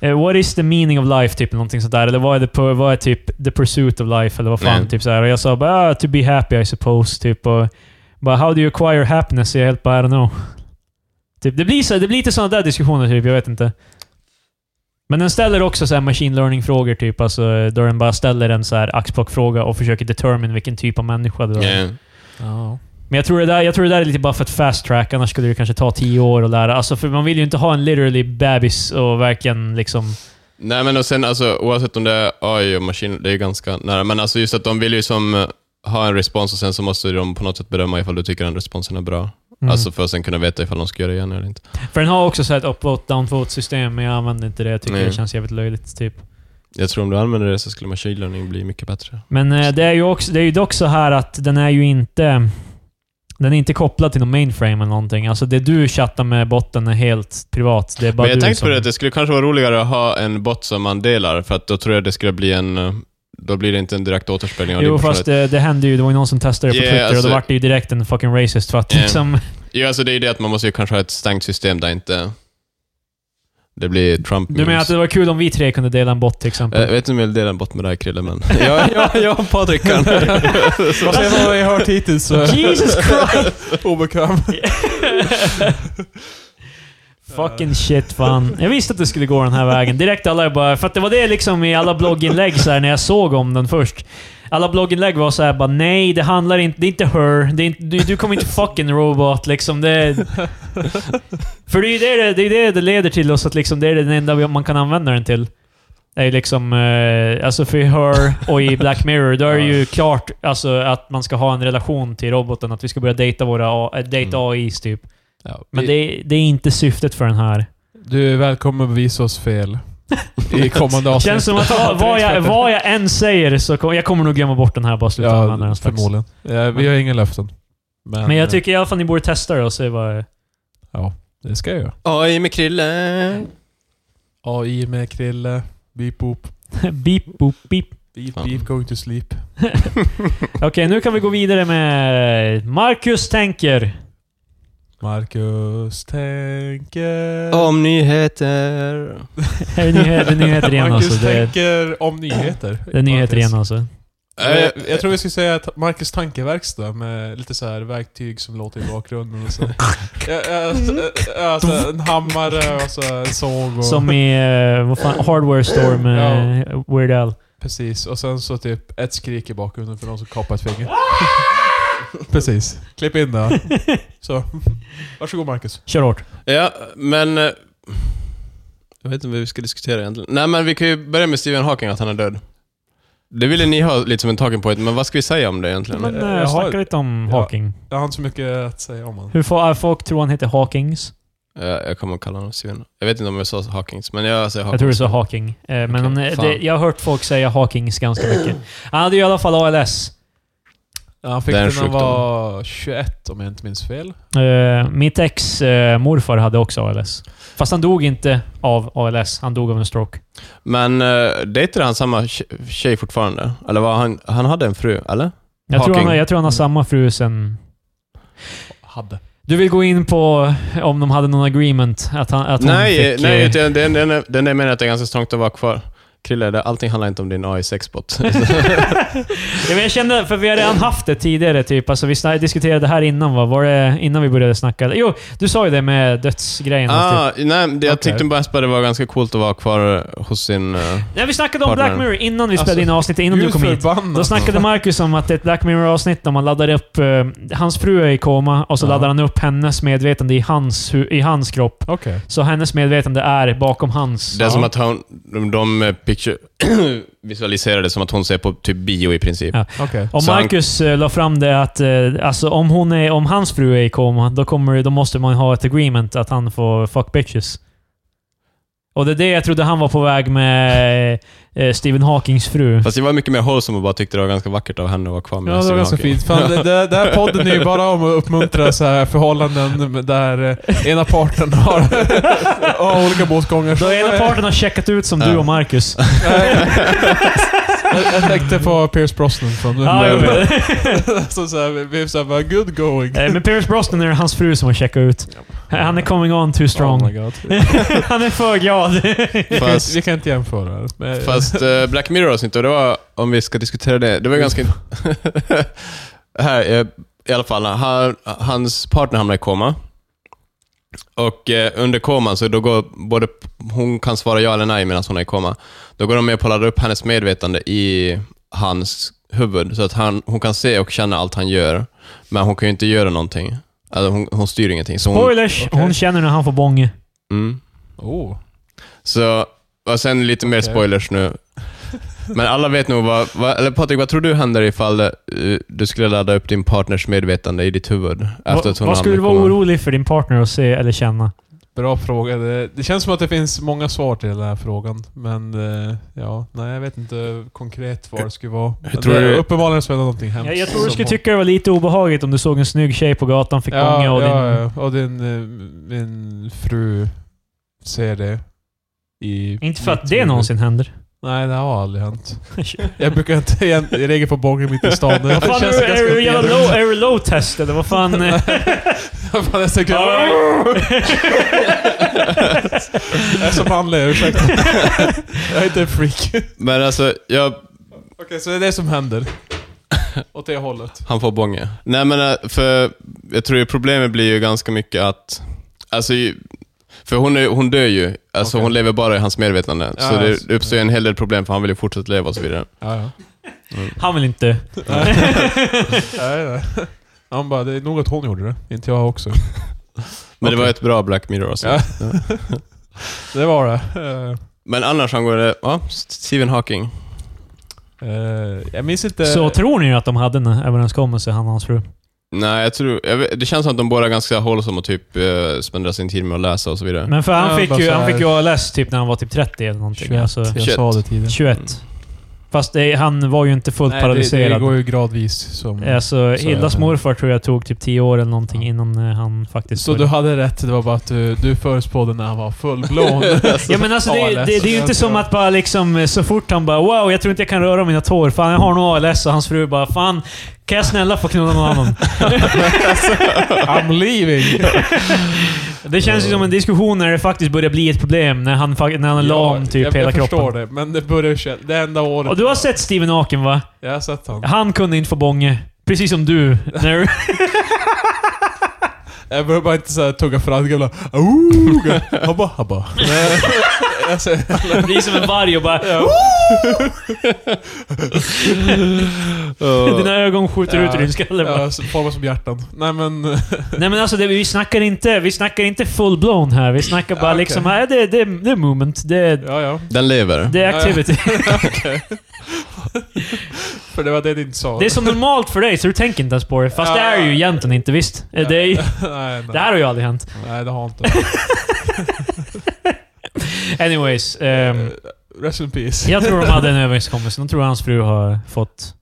[SPEAKER 1] eh, What is the meaning of life? Typ eller någonting sånt där. Eller vad är, the, pu- vad är typ the pursuit of life? Eller vad fan.
[SPEAKER 2] Nej.
[SPEAKER 1] Typ så här. Och jag sa bara ah, “To be happy I suppose”. Typ. Och bara “How do you acquire happiness?” Jag helt bara “I don't know”. Typ, det, blir så, det blir lite sådana där diskussioner typ. Jag vet inte. Men den ställer också så här machine learning-frågor typ. Alltså, eh, då den bara ställer en så här axplock-fråga och försöker determine vilken typ av människa du är.
[SPEAKER 2] Yeah.
[SPEAKER 3] Ja.
[SPEAKER 1] Men jag tror, det där, jag tror det där är lite bara för ett fast track, annars skulle det kanske ta tio år att lära. Alltså, för man vill ju inte ha en literally bebis och verkligen liksom...
[SPEAKER 2] Nej men och sen alltså, oavsett om det är AI och maskin, det är ganska nära. Men alltså just att de vill ju som eh, ha en respons och sen så måste de på något sätt bedöma ifall du tycker den responsen är bra.
[SPEAKER 1] Mm.
[SPEAKER 2] Alltså för att sen kunna veta ifall de ska göra det igen eller inte.
[SPEAKER 1] För den har också så här ett upvote-downvote-system, men jag använder inte det. Jag tycker
[SPEAKER 2] Nej.
[SPEAKER 1] det känns jävligt löjligt, typ.
[SPEAKER 2] Jag tror om du använder det så skulle machine learning bli mycket bättre.
[SPEAKER 1] Men eh, det är ju också, det är ju dock så här att den är ju inte... Den är inte kopplad till någon mainframe eller någonting. Alltså det du chattar med botten är helt privat. Det är bara
[SPEAKER 2] Men jag
[SPEAKER 1] du
[SPEAKER 2] tänkte
[SPEAKER 1] som...
[SPEAKER 2] på det att det skulle kanske vara roligare att ha en bot som man delar, för att då tror jag det skulle bli en... eh, Då blir det inte en direkt återspegling av
[SPEAKER 1] Jo,
[SPEAKER 2] din
[SPEAKER 1] fast eh,
[SPEAKER 2] personlighet.
[SPEAKER 1] det, det hände ju. Det var ju någon som testade det på
[SPEAKER 2] Ja,
[SPEAKER 1] Twitter och
[SPEAKER 2] alltså-
[SPEAKER 1] då vart det ju direkt en fucking racist för att
[SPEAKER 2] Ja.
[SPEAKER 1] liksom...
[SPEAKER 2] Jo, alltså det är ju det att man måste ju kanske ha ett stängt system där inte... Det blir Trump
[SPEAKER 1] Du menar att det var kul om vi tre kunde dela en bot till exempel?
[SPEAKER 2] Jag vet inte om jag vill dela en bot med dig Krille, men... jag, jag, jag och Patrik kan.
[SPEAKER 3] Baserat på vad jag har hört hittills så...
[SPEAKER 1] Jesus Christ!
[SPEAKER 3] Obekväm.
[SPEAKER 1] Fucking shit fan. Jag visste att det skulle gå den här vägen. Direkt alla bara... För att det var det liksom i alla blogginlägg så här, när jag såg om den först. Alla blogginlägg var så här bara nej, det handlar inte... Det är inte her. Det är inte, du, du kommer inte fucking robot liksom. Det är, för det är ju det det, det, är det det leder till oss att liksom det är den enda vi- man kan använda den till. Det är ju liksom... Eh, alltså för i her och i Black Mirror, då är det ju klart alltså, att man ska ha en relation till roboten. Att vi ska börja dejta våra... A- äh, Dejta
[SPEAKER 2] Mm.
[SPEAKER 1] AIs typ.
[SPEAKER 3] Ja,
[SPEAKER 1] Men
[SPEAKER 3] vi-
[SPEAKER 1] det, det är inte syftet för den här.
[SPEAKER 3] Du är välkommen att visa oss fel. I kommande avsnitt.
[SPEAKER 1] Känns som att vad, vad, jag, vad jag än säger så kommer, jag kommer nog glömma bort den här bara sluta
[SPEAKER 3] Ja,
[SPEAKER 1] använda den strax.
[SPEAKER 3] förmodligen. Ja, vi har inga löften. Men,
[SPEAKER 1] Men jag tycker i alla fall ni borde testa det och se vad...
[SPEAKER 3] eh, Det ska jag göra.
[SPEAKER 2] AI med Krille.
[SPEAKER 3] AI med Krille. Beep boop.
[SPEAKER 1] beep, boop, beep.
[SPEAKER 3] Beep
[SPEAKER 2] Fan.
[SPEAKER 3] beep going to sleep.
[SPEAKER 1] Okej, nu kan vi gå vidare med Marcus tänker.
[SPEAKER 3] Marcus tänker...
[SPEAKER 2] Om nyheter.
[SPEAKER 1] Här är nyhe- Det är nyheter igen
[SPEAKER 3] Marcus
[SPEAKER 1] alltså. Det,
[SPEAKER 3] tänker om nyheter.
[SPEAKER 1] det är nyheter igen alltså.
[SPEAKER 2] Eh,
[SPEAKER 3] Jag, Eh, jag tror vi skulle säga att Marcus tankeverkstad med lite så här verktyg som låter i bakgrunden och så. Ja, ja, ja, alltså, en hammare och så en såg och...
[SPEAKER 1] Som i eh, vad fan, Hardware Store med Weird Al.
[SPEAKER 3] Precis, och sen så typ ett skrik i bakgrunden för någon som kapar ett finger. Precis. Klipp in det. Så. Varsågod Marcus.
[SPEAKER 1] Kör hårt.
[SPEAKER 2] Ja, men... eh, Jag vet inte vad vi ska diskutera egentligen. Nej, men vi kan ju börja med Stephen Hawking, att han är död. Det ville ni ha lite som en talking point, men vad ska vi säga om det egentligen?
[SPEAKER 1] Men
[SPEAKER 3] jag har-
[SPEAKER 1] eh, snacka lite om
[SPEAKER 3] ja.
[SPEAKER 1] Hawking.
[SPEAKER 3] Jag har inte så mycket att säga om honom.
[SPEAKER 1] Hur får, eh, folk tror han heter Hawkings.
[SPEAKER 2] Eh, jag kommer att kalla honom Stephen. Jag vet inte om jag sa Hawkings, men jag säger
[SPEAKER 1] Jag
[SPEAKER 2] Hawkins.
[SPEAKER 1] tror du sa Hawking. Eh, Men han, eh,
[SPEAKER 2] fan.
[SPEAKER 1] det, jag har hört folk säga Hawkings ganska mycket. Han hade ju i alla fall ALS.
[SPEAKER 3] Ja, Han fick
[SPEAKER 2] Det är
[SPEAKER 3] den
[SPEAKER 2] en
[SPEAKER 3] när
[SPEAKER 2] sjukdom.
[SPEAKER 3] han var 21 om jag inte minns fel.
[SPEAKER 1] Eh, mitt ex eh, morfar hade också ALS. Fast han dog inte av ALS. Han dog av en stroke.
[SPEAKER 2] Men uh, dejtade han samma tje- tjej fortfarande? Eller var han... Han hade en fru, eller?
[SPEAKER 1] Jag tror,
[SPEAKER 2] Hawking.
[SPEAKER 1] han, jag tror han har samma fru sen...
[SPEAKER 3] Hade.
[SPEAKER 1] Du vill gå in på om de hade någon agreement? Att han, att hon
[SPEAKER 2] nej,
[SPEAKER 1] fick,
[SPEAKER 2] nej
[SPEAKER 1] eh,
[SPEAKER 2] utan den, den, är- den är meningen att det är ganska strångt att vara kvar. Krille, det, allting handlar inte om din AI sexbot.
[SPEAKER 1] ja, men jag kände, för vi har redan haft det tidigare, typ. Alltså, vi sna- diskuterade det här innan, va? Var det innan vi började snacka? Jo, du sa ju det med dödsgrejen. Typ.
[SPEAKER 2] ah, nej, det, jag
[SPEAKER 1] Okej.
[SPEAKER 2] tyckte mest bara det var ganska coolt att vara kvar hos sin... eh,
[SPEAKER 1] Nej, vi snackade om
[SPEAKER 2] Partner.
[SPEAKER 1] Black Mirror innan vi
[SPEAKER 3] Alltså,
[SPEAKER 1] spelade in avsnittet, innan du
[SPEAKER 3] Gud
[SPEAKER 1] kom hit.
[SPEAKER 3] förbannat.
[SPEAKER 1] Då snackade Marcus om att det är ett Black Mirror-avsnitt där man laddar upp... eh, hans fru är i koma och så
[SPEAKER 3] Ja.
[SPEAKER 1] laddar han upp hennes medvetande i hans, hu- i hans kropp.
[SPEAKER 3] Okej.
[SPEAKER 1] Så hennes medvetande är bakom hans.
[SPEAKER 2] Det är som att hon, de, de eh, picture, visualiserar det som att hon ser på typ bio i princip.
[SPEAKER 1] Ja.
[SPEAKER 3] Okej.
[SPEAKER 1] Om
[SPEAKER 2] Så han-
[SPEAKER 1] Marcus han... la fram det att eh, alltså, om, hon är, om hans fru är i koma, då, kommer, då måste man ha ett agreement att han får fuck bitches. Och det är det jag trodde han var på väg med eh, Stephen Hawkings fru.
[SPEAKER 2] Fast jag var mycket mer wholesome och bara tyckte det var ganska vackert av henne att vara kvar med
[SPEAKER 3] Ja, det
[SPEAKER 2] Stephen
[SPEAKER 3] var ganska
[SPEAKER 2] Hawking.
[SPEAKER 3] fint. Fan, det, det, den här podden är ju bara om att uppmuntra så här förhållanden där eh, ena parten har, har olika båtgångar.
[SPEAKER 1] Då ena parten har checkat ut som du
[SPEAKER 2] Ja.
[SPEAKER 1] och Marcus.
[SPEAKER 3] Nej. jag, jag tänkte på Pierce Brosnan från...
[SPEAKER 1] Ja, jo, men-
[SPEAKER 3] så så här, vi- vi är så här, bara, good going. Oh
[SPEAKER 1] Eh, Men Pierce Brosnan är det hans fru som har checkat ut. Han är coming on too
[SPEAKER 3] Oh my
[SPEAKER 1] strong.
[SPEAKER 3] God.
[SPEAKER 1] Han är för glad.
[SPEAKER 3] Vi, kan, inte-
[SPEAKER 2] Fast-
[SPEAKER 3] vi kan inte jämföra. det. Men,
[SPEAKER 2] Fast eh, Black Mirror avsnitt, och det var, om vi ska diskutera det, det var ganska... här, eh, i alla fall, han, hans partner hamnar i koma. Och eh, under koman, så då går både, hon kan svara ja eller nej medan hon är i koma. Då går de med på att ladda upp hennes medvetande i hans huvud, så att han, hon kan se och känna allt han gör. Men hon kan ju inte göra någonting. Alltså, hon, hon styr ingenting. Så hon,
[SPEAKER 1] Spoilers!
[SPEAKER 3] Okej.
[SPEAKER 1] Hon känner när han får bånge.
[SPEAKER 2] mm.
[SPEAKER 3] oh.
[SPEAKER 2] Så, och sen lite mer
[SPEAKER 3] Okej.
[SPEAKER 2] spoilers nu. Men alla vet nog vad, vad eller Patrik, vad tror du händer ifall eh, du skulle ladda upp din partners medvetande i ditt huvud? Efter
[SPEAKER 1] Va,
[SPEAKER 2] att hon
[SPEAKER 1] vad skulle du
[SPEAKER 2] hamnar i
[SPEAKER 1] vara
[SPEAKER 2] koman?
[SPEAKER 1] orolig för din partner att se eller känna?
[SPEAKER 3] Bra fråga. Det, det känns som att det finns många svar till den här frågan. Men eh, ja, nej jag vet inte konkret vad det skulle vara. Men
[SPEAKER 2] tror
[SPEAKER 3] det,
[SPEAKER 2] du-
[SPEAKER 3] Uppenbarligen så är det någonting hemskt.
[SPEAKER 1] Jag, jag tror du
[SPEAKER 3] som
[SPEAKER 1] skulle
[SPEAKER 3] hon-
[SPEAKER 1] tycka det var lite obehagligt om du såg en snygg tjej på gatan, fick
[SPEAKER 3] ja,
[SPEAKER 1] bånge och
[SPEAKER 3] ja,
[SPEAKER 1] din...
[SPEAKER 3] ja. och din, eh, min fru ser det. I
[SPEAKER 1] Inte för att
[SPEAKER 3] mitt
[SPEAKER 1] det
[SPEAKER 3] huvud.
[SPEAKER 1] någonsin händer.
[SPEAKER 3] Nej, det har aldrig hänt. Jag brukar inte igen- i regel få bången mitt i stan. Det
[SPEAKER 1] Vad fan, är
[SPEAKER 3] känns
[SPEAKER 1] du- är
[SPEAKER 3] ganska
[SPEAKER 1] du jävla
[SPEAKER 3] fel.
[SPEAKER 1] low- är du low-test eller vad fan? eh?
[SPEAKER 3] Fan, jag är så glad. Jag är så manlig, ursäkta. Jag är inte en freak. Okej,
[SPEAKER 2] Men alltså, jag,
[SPEAKER 3] så det är det som händer. Åt det hållet.
[SPEAKER 2] han får bånge. Nej men, eh, för jag tror ju problemet blir ju ganska mycket att, alltså, ju- för hon, är, hon dör ju. Alltså
[SPEAKER 3] Okej.
[SPEAKER 2] hon lever bara i hans medvetande.
[SPEAKER 3] Ja,
[SPEAKER 2] så
[SPEAKER 3] alltså.
[SPEAKER 2] det uppstår ju en hel del problem för han vill ju fortsätta leva och så vidare.
[SPEAKER 3] Ja, ja.
[SPEAKER 1] Han vill inte.
[SPEAKER 3] Nej. Nej, nej. Han bara, det är nog att hon gjorde det. Inte jag också.
[SPEAKER 2] Men det var
[SPEAKER 3] Okej.
[SPEAKER 2] ett bra Black Mirror alltså. avsnitt.
[SPEAKER 3] Ja. Det var det. Eh,
[SPEAKER 2] Men annars angår det, ja, Stephen Hawking.
[SPEAKER 3] eh, jag minns inte... Mm.
[SPEAKER 1] Så tror ni ju att de hade en överenskommelse, han och hans fru?
[SPEAKER 2] Nej, jag tror... Jag vet, det känns som att de båda är ganska hållsamma och typ eh, spenderar sin tid med att läsa och så vidare.
[SPEAKER 1] Men för han
[SPEAKER 3] Ja,
[SPEAKER 1] fick
[SPEAKER 3] bara
[SPEAKER 1] ju,
[SPEAKER 3] så
[SPEAKER 1] han
[SPEAKER 3] här-
[SPEAKER 1] fick ju ALS typ när han var typ 30 eller någonting.
[SPEAKER 3] 21.
[SPEAKER 1] Alltså,
[SPEAKER 3] jag
[SPEAKER 2] 21.
[SPEAKER 3] sa det tidigare.
[SPEAKER 1] 21. Fast det, han var ju inte fullt
[SPEAKER 3] det, det
[SPEAKER 1] paralyserad.
[SPEAKER 3] går ju gradvis. Som,
[SPEAKER 1] Alltså,
[SPEAKER 3] Så är
[SPEAKER 1] Hildas
[SPEAKER 3] det.
[SPEAKER 1] morfar tror jag tog typ 10 år eller någonting innan eh, han faktiskt...
[SPEAKER 3] Så du hade rätt, det var bara att du, du förutspådde när han var fullblån.
[SPEAKER 1] Ja men alltså det, det,
[SPEAKER 3] ALS.
[SPEAKER 1] det är ju inte som att bara liksom eh, så fort han bara “Wow, jag tror inte jag kan röra mina tår, fan jag har nog ALS” och hans fru bara “Fan, kan jag snälla få knulla någon annan?”
[SPEAKER 3] I'm leaving!
[SPEAKER 1] Det känns ju som en diskussion när det faktiskt börjar bli ett problem, när han, fa- när han är lam typ
[SPEAKER 3] jag,
[SPEAKER 1] hela
[SPEAKER 3] jag
[SPEAKER 1] kroppen.
[SPEAKER 3] förstår det, men det börjar ju Det enda året...
[SPEAKER 1] Och du har sett Steven Aken va?
[SPEAKER 3] Jag har sett honom.
[SPEAKER 1] Han kunde inte få bånge. Precis som du. När,
[SPEAKER 3] Jag behöver bara inte såhär tugga fradga och bara "Ooh." Habba habba. Nej, alltså,
[SPEAKER 1] det är som en varg och bara... Dina ögon skjuter ut ur din skalle bara.
[SPEAKER 3] ja, så Formas som hjärtan. Nej men...
[SPEAKER 1] Nej men alltså, det, vi snackar inte, vi snackar inte full-blown här. Vi snackar bara
[SPEAKER 3] Ja, okej.
[SPEAKER 1] liksom, här, det, det, det är movement. Det,
[SPEAKER 3] Ja, ja.
[SPEAKER 2] Den lever.
[SPEAKER 1] det är
[SPEAKER 3] Ja,
[SPEAKER 1] activity.
[SPEAKER 3] För det var det du inte sa.
[SPEAKER 1] Det är så normalt för dig, så du tänker inte ens på det. Fast det är ju egentligen inte, visst? Eh, Det, är, ju-
[SPEAKER 3] nej, nej.
[SPEAKER 1] det här har ju aldrig hänt.
[SPEAKER 3] Nej, det har jag inte.
[SPEAKER 1] Anyways. ehm,
[SPEAKER 3] Eh, Rest in peace.
[SPEAKER 1] jag tror de hade en överenskommelse. De tror hans fru har fått...